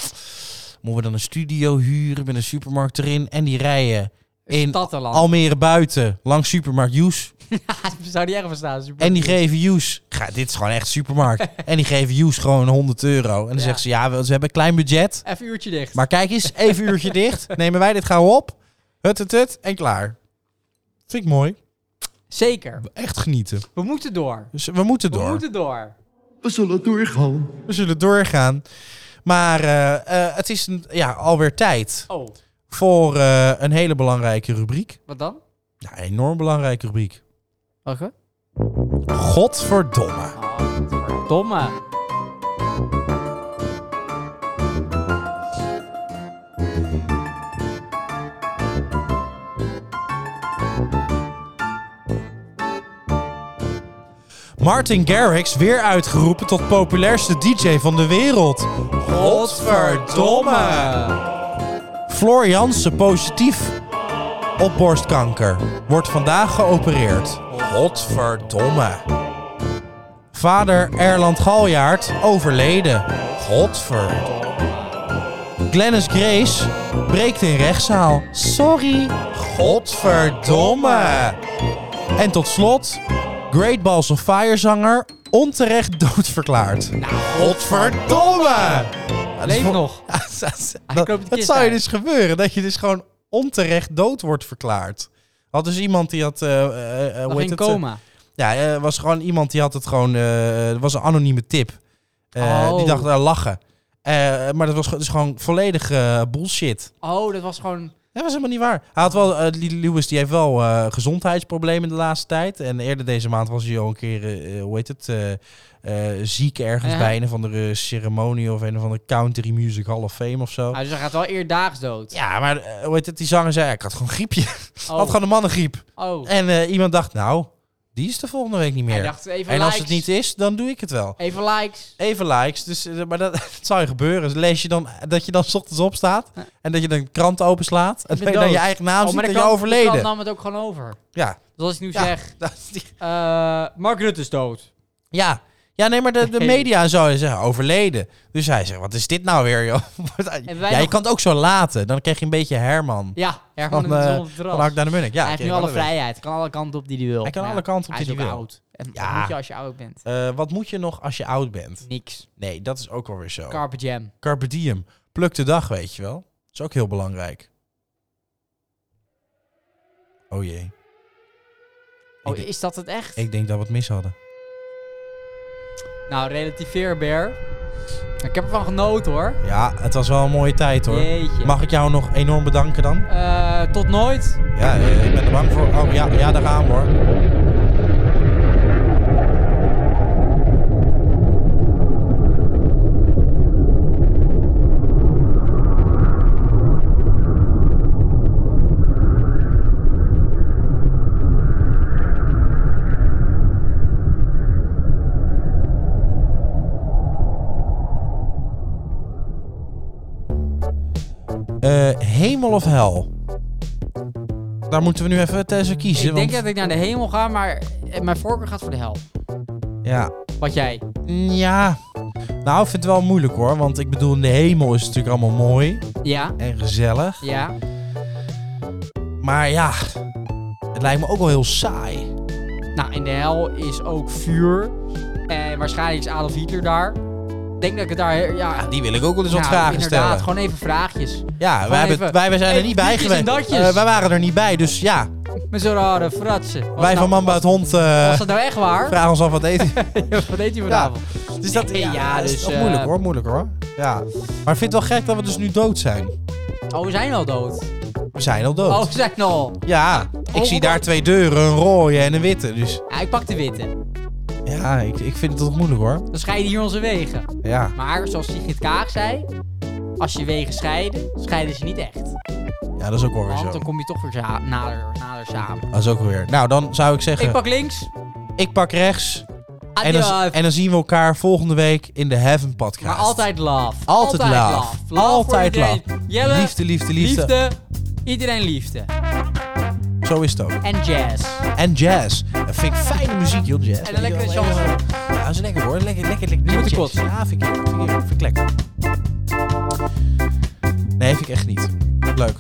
[SPEAKER 1] moeten we dan een studio huren met een supermarkt erin en die rijden in
[SPEAKER 2] stad te land.
[SPEAKER 1] Almere buiten langs supermarkt Joes.
[SPEAKER 2] Zou die ergens staan? Super
[SPEAKER 1] En die
[SPEAKER 2] cool.
[SPEAKER 1] geven Joes, ga, dit is gewoon echt supermarkt. en die geven Joes gewoon 100 euro. En dan zeggen ze, ja, we, we hebben een klein budget.
[SPEAKER 2] Even een uurtje dicht.
[SPEAKER 1] Maar kijk eens, even een uurtje dicht. Nemen wij dit gauw op. Hut, hut, hut. En klaar. Vind ik mooi.
[SPEAKER 2] Zeker.
[SPEAKER 1] Echt genieten.
[SPEAKER 2] We moeten door.
[SPEAKER 1] Dus we moeten door.
[SPEAKER 2] We moeten door.
[SPEAKER 1] We zullen doorgaan. We zullen doorgaan. Maar eh, eh, het is een, ja, alweer tijd
[SPEAKER 2] Oh.
[SPEAKER 1] voor eh, een hele belangrijke rubriek.
[SPEAKER 2] Wat dan?
[SPEAKER 1] Ja, een enorm belangrijke rubriek.
[SPEAKER 2] Welke?
[SPEAKER 1] Godverdomme.
[SPEAKER 2] Domme.
[SPEAKER 1] Martin Garrix weer uitgeroepen tot populairste DJ van de wereld. Floor Jansen positief op borstkanker. Wordt vandaag geopereerd. Godverdomme. Vader Erland Galjaard overleden. Godverdomme. Glennis Grace breekt in rechtszaal. Sorry. Godverdomme. En tot slot, Great Balls of Fire zanger onterecht doodverklaard. Godverdomme!
[SPEAKER 2] Leef nog.
[SPEAKER 1] dat,
[SPEAKER 2] knoopt de
[SPEAKER 1] dat
[SPEAKER 2] kist
[SPEAKER 1] zou je
[SPEAKER 2] uit.
[SPEAKER 1] dus gebeuren, dat je dus gewoon onterecht dood wordt verklaard. Had dus iemand die had... eh, eh, eh, hoe
[SPEAKER 2] in
[SPEAKER 1] heet het, eh,
[SPEAKER 2] coma.
[SPEAKER 1] ja, er was gewoon iemand die had het gewoon... eh, Er was een anonieme tip. Eh,
[SPEAKER 2] Oh.
[SPEAKER 1] Die dacht, eh, lachen. Eh, maar dat was ge- dus gewoon volledig eh, bullshit.
[SPEAKER 2] Oh, dat was gewoon...
[SPEAKER 1] Dat was helemaal niet waar. Hij had wel, eh, Lee Lewis die heeft wel eh, gezondheidsproblemen de laatste tijd. En eerder deze maand was hij al een keer, eh, eh, hoe heet het, eh, eh, ziek ergens
[SPEAKER 2] Ja.
[SPEAKER 1] bij een of andere ceremonie of een of andere country music hall of fame of zo.
[SPEAKER 2] Ah, dus hij gaat wel eerdaags dood.
[SPEAKER 1] Oh. Ja, maar eh, hoe heet het, die zanger zei, ik had gewoon griepje.
[SPEAKER 2] Oh.
[SPEAKER 1] Had gewoon een mannengriep.
[SPEAKER 2] Oh.
[SPEAKER 1] En eh, iemand dacht, nou, die is de volgende week niet meer.
[SPEAKER 2] Hij dacht, even
[SPEAKER 1] en als
[SPEAKER 2] likes.
[SPEAKER 1] het niet is, dan doe ik het wel.
[SPEAKER 2] Even likes.
[SPEAKER 1] Even likes, dus, eh, maar dat, het zou je gebeuren. Dus lees je dan dat je dan 's ochtends opstaat en dat je dan een krant openslaat en dat
[SPEAKER 2] Ik ben
[SPEAKER 1] je dan je
[SPEAKER 2] dood.
[SPEAKER 1] eigen naam
[SPEAKER 2] Oh,
[SPEAKER 1] ziet
[SPEAKER 2] maar
[SPEAKER 1] en
[SPEAKER 2] de
[SPEAKER 1] je
[SPEAKER 2] krant- De
[SPEAKER 1] nou overleden.
[SPEAKER 2] krant nam het ook gewoon over.
[SPEAKER 1] Ja.
[SPEAKER 2] Dus als ik nu
[SPEAKER 1] Ja,
[SPEAKER 2] zeg...
[SPEAKER 1] eh,
[SPEAKER 2] Mark Rutte is dood.
[SPEAKER 1] Ja. Ja, nee, maar de, de
[SPEAKER 2] Nee.
[SPEAKER 1] media en zo zeggen overleden. Dus hij zegt, wat is dit nou weer, joh?
[SPEAKER 2] Hebben
[SPEAKER 1] Ja,
[SPEAKER 2] wij
[SPEAKER 1] je
[SPEAKER 2] nog-
[SPEAKER 1] kan het ook zo laten. Dan krijg je een beetje Herman.
[SPEAKER 2] Ja, Herman
[SPEAKER 1] van,
[SPEAKER 2] in het
[SPEAKER 1] eh,
[SPEAKER 2] zonnetje terras.
[SPEAKER 1] van Hak naar de Munnik. Ja,
[SPEAKER 2] hij heeft
[SPEAKER 1] oké,
[SPEAKER 2] nu alle
[SPEAKER 1] wel weer.
[SPEAKER 2] vrijheid. Kan alle kanten op die hij wil.
[SPEAKER 1] Hij kan
[SPEAKER 2] Maar ja,
[SPEAKER 1] alle kanten op
[SPEAKER 2] hij
[SPEAKER 1] die
[SPEAKER 2] is
[SPEAKER 1] hij
[SPEAKER 2] ook
[SPEAKER 1] wil.
[SPEAKER 2] oud. En
[SPEAKER 1] Ja.
[SPEAKER 2] dat moet je als je oud bent.
[SPEAKER 1] Eh, wat moet je nog als je oud bent?
[SPEAKER 2] Niks.
[SPEAKER 1] Nee, dat is ook alweer zo.
[SPEAKER 2] Carpe jam.
[SPEAKER 1] Carpe diem. Pluk de dag, weet je wel. Dat is ook heel belangrijk. Oh jee.
[SPEAKER 2] Oh,
[SPEAKER 1] denk-
[SPEAKER 2] is dat het echt?
[SPEAKER 1] Ik denk dat we het mis hadden.
[SPEAKER 2] Nou, relativeer, Bear. Ik heb ervan genoten, hoor.
[SPEAKER 1] Ja, het was wel een mooie tijd hoor.
[SPEAKER 2] Jeetje.
[SPEAKER 1] Mag ik jou nog enorm bedanken dan?
[SPEAKER 2] Eh, tot nooit.
[SPEAKER 1] Ja, eh, ik ben er bang voor. Oh ja, ja daar gaan we hoor. Eh, hemel of hel? Daar moeten we nu even tussen kiezen.
[SPEAKER 2] Ik denk
[SPEAKER 1] want-
[SPEAKER 2] dat ik naar de hemel ga, maar eh, mijn voorkeur gaat voor de hel.
[SPEAKER 1] Ja.
[SPEAKER 2] Wat jij?
[SPEAKER 1] Ja. Nou, ik vind het wel moeilijk hoor. Want ik bedoel, in de hemel is het natuurlijk allemaal mooi.
[SPEAKER 2] Ja.
[SPEAKER 1] En gezellig.
[SPEAKER 2] Ja.
[SPEAKER 1] Maar ja, het lijkt me ook wel heel saai.
[SPEAKER 2] Nou, in de hel is ook vuur. En waarschijnlijk is Adolf Hitler daar. Ik denk dat ik het daar... Ja,
[SPEAKER 1] Die wil ik ook wel eens wat
[SPEAKER 2] Nou,
[SPEAKER 1] vragen
[SPEAKER 2] inderdaad,
[SPEAKER 1] stellen.
[SPEAKER 2] gewoon even vraagjes.
[SPEAKER 1] Ja,
[SPEAKER 2] Gewoon
[SPEAKER 1] wij, hebben,
[SPEAKER 2] even-
[SPEAKER 1] wij, wij zijn er
[SPEAKER 2] Even
[SPEAKER 1] niet bij
[SPEAKER 2] frietjes en
[SPEAKER 1] geweest.
[SPEAKER 2] datjes.
[SPEAKER 1] Eh, wij waren er niet bij, dus ja.
[SPEAKER 2] Met zo'n rare fratsen. Was
[SPEAKER 1] wij
[SPEAKER 2] nou-
[SPEAKER 1] van Man bij het Hond eh,
[SPEAKER 2] Was dat nou echt waar?
[SPEAKER 1] vragen ons af wat eten.
[SPEAKER 2] Wat deed hij vanavond?
[SPEAKER 1] Dus dat
[SPEAKER 2] Nee, ja,
[SPEAKER 1] dat is
[SPEAKER 2] dus,
[SPEAKER 1] toch
[SPEAKER 2] eh,
[SPEAKER 1] moeilijk hoor, moeilijk hoor. Ja. Maar ik vind het wel gek dat we dus nu dood zijn.
[SPEAKER 2] Oh, we zijn al dood.
[SPEAKER 1] We zijn al dood.
[SPEAKER 2] Oh, we zijn al.
[SPEAKER 1] Ja, ik
[SPEAKER 2] Oh,
[SPEAKER 1] zie
[SPEAKER 2] wat-
[SPEAKER 1] daar twee deuren, een rode en een witte. Dus
[SPEAKER 2] Ja, ik pak de witte.
[SPEAKER 1] ja, ik, ik vind het toch moeilijk hoor.
[SPEAKER 2] Dan scheiden hier onze wegen.
[SPEAKER 1] Ja.
[SPEAKER 2] Maar zoals Sigrid Kaag zei, als je wegen scheiden, scheiden ze niet echt.
[SPEAKER 1] Ja, dat is ook wel weer
[SPEAKER 2] Want
[SPEAKER 1] zo.
[SPEAKER 2] dan kom je toch weer za- nader, nader samen.
[SPEAKER 1] Dat is ook wel weer. Nou, dan zou ik zeggen,
[SPEAKER 2] Ik pak links.
[SPEAKER 1] ik pak rechts. En dan,
[SPEAKER 2] Adieu.
[SPEAKER 1] en dan zien we elkaar volgende week in de Heaven Podcast.
[SPEAKER 2] Maar altijd love.
[SPEAKER 1] Altijd love. Altijd
[SPEAKER 2] voor iedereen.
[SPEAKER 1] love.
[SPEAKER 2] Jelle,
[SPEAKER 1] Liefde, liefde, liefde.
[SPEAKER 2] Liefde. Iedereen liefde.
[SPEAKER 1] Zo is het ook.
[SPEAKER 2] En jazz.
[SPEAKER 1] En jazz. Dat vind ik fijne muziek, joh, jazz.
[SPEAKER 2] En een lekkere chanson.
[SPEAKER 1] Ja, dat is lekker hoor. Lekker, lekker, lekker.
[SPEAKER 2] Nu moet
[SPEAKER 1] jazz.
[SPEAKER 2] ik kotsen.
[SPEAKER 1] Ja, vind ik, vind ik, vind ik lekker. Nee, vind ik echt niet. Leuk.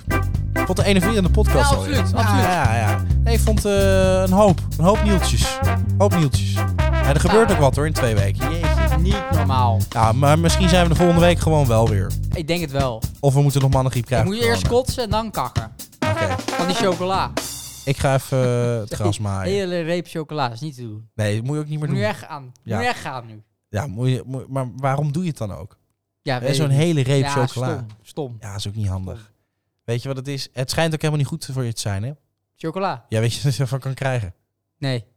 [SPEAKER 1] Ik vond de enerverende podcast
[SPEAKER 2] Ja,
[SPEAKER 1] alweer.
[SPEAKER 2] absoluut, absoluut.
[SPEAKER 1] Ja, ja, ja. Nee, ik vond eh, een hoop. Een hoop nieltjes. Een hoop nieltjes. Ja, er gebeurt ook wat hoor in twee weken.
[SPEAKER 2] Jeetje, niet normaal.
[SPEAKER 1] Ja, maar misschien zijn we de volgende week gewoon wel weer.
[SPEAKER 2] Ik denk het wel.
[SPEAKER 1] Of we moeten nog mannengriep
[SPEAKER 2] Dan
[SPEAKER 1] krijgen.
[SPEAKER 2] moet je eerst kotsen en dan kakken. Van die chocola.
[SPEAKER 1] Ik ga even eh, het gras maaien.
[SPEAKER 2] Hele reep chocola, is niet te doen.
[SPEAKER 1] Nee, dat moet je ook niet meer
[SPEAKER 2] Moet
[SPEAKER 1] doen.
[SPEAKER 2] nu echt aan.
[SPEAKER 1] Ja.
[SPEAKER 2] Moet echt gaan nu.
[SPEAKER 1] Ja, moet je, moet- maar waarom doe je het dan ook?
[SPEAKER 2] Ja,
[SPEAKER 1] Hè,
[SPEAKER 2] weet
[SPEAKER 1] Zo'n
[SPEAKER 2] ik niet.
[SPEAKER 1] hele reep
[SPEAKER 2] Ja,
[SPEAKER 1] chocola.
[SPEAKER 2] Stom, stom.
[SPEAKER 1] Ja, is ook niet handig. Weet je wat het is? Het schijnt ook helemaal niet goed voor je te zijn, hè?
[SPEAKER 2] Chocola?
[SPEAKER 1] Ja, weet je dat je ervan kan krijgen?
[SPEAKER 2] Nee.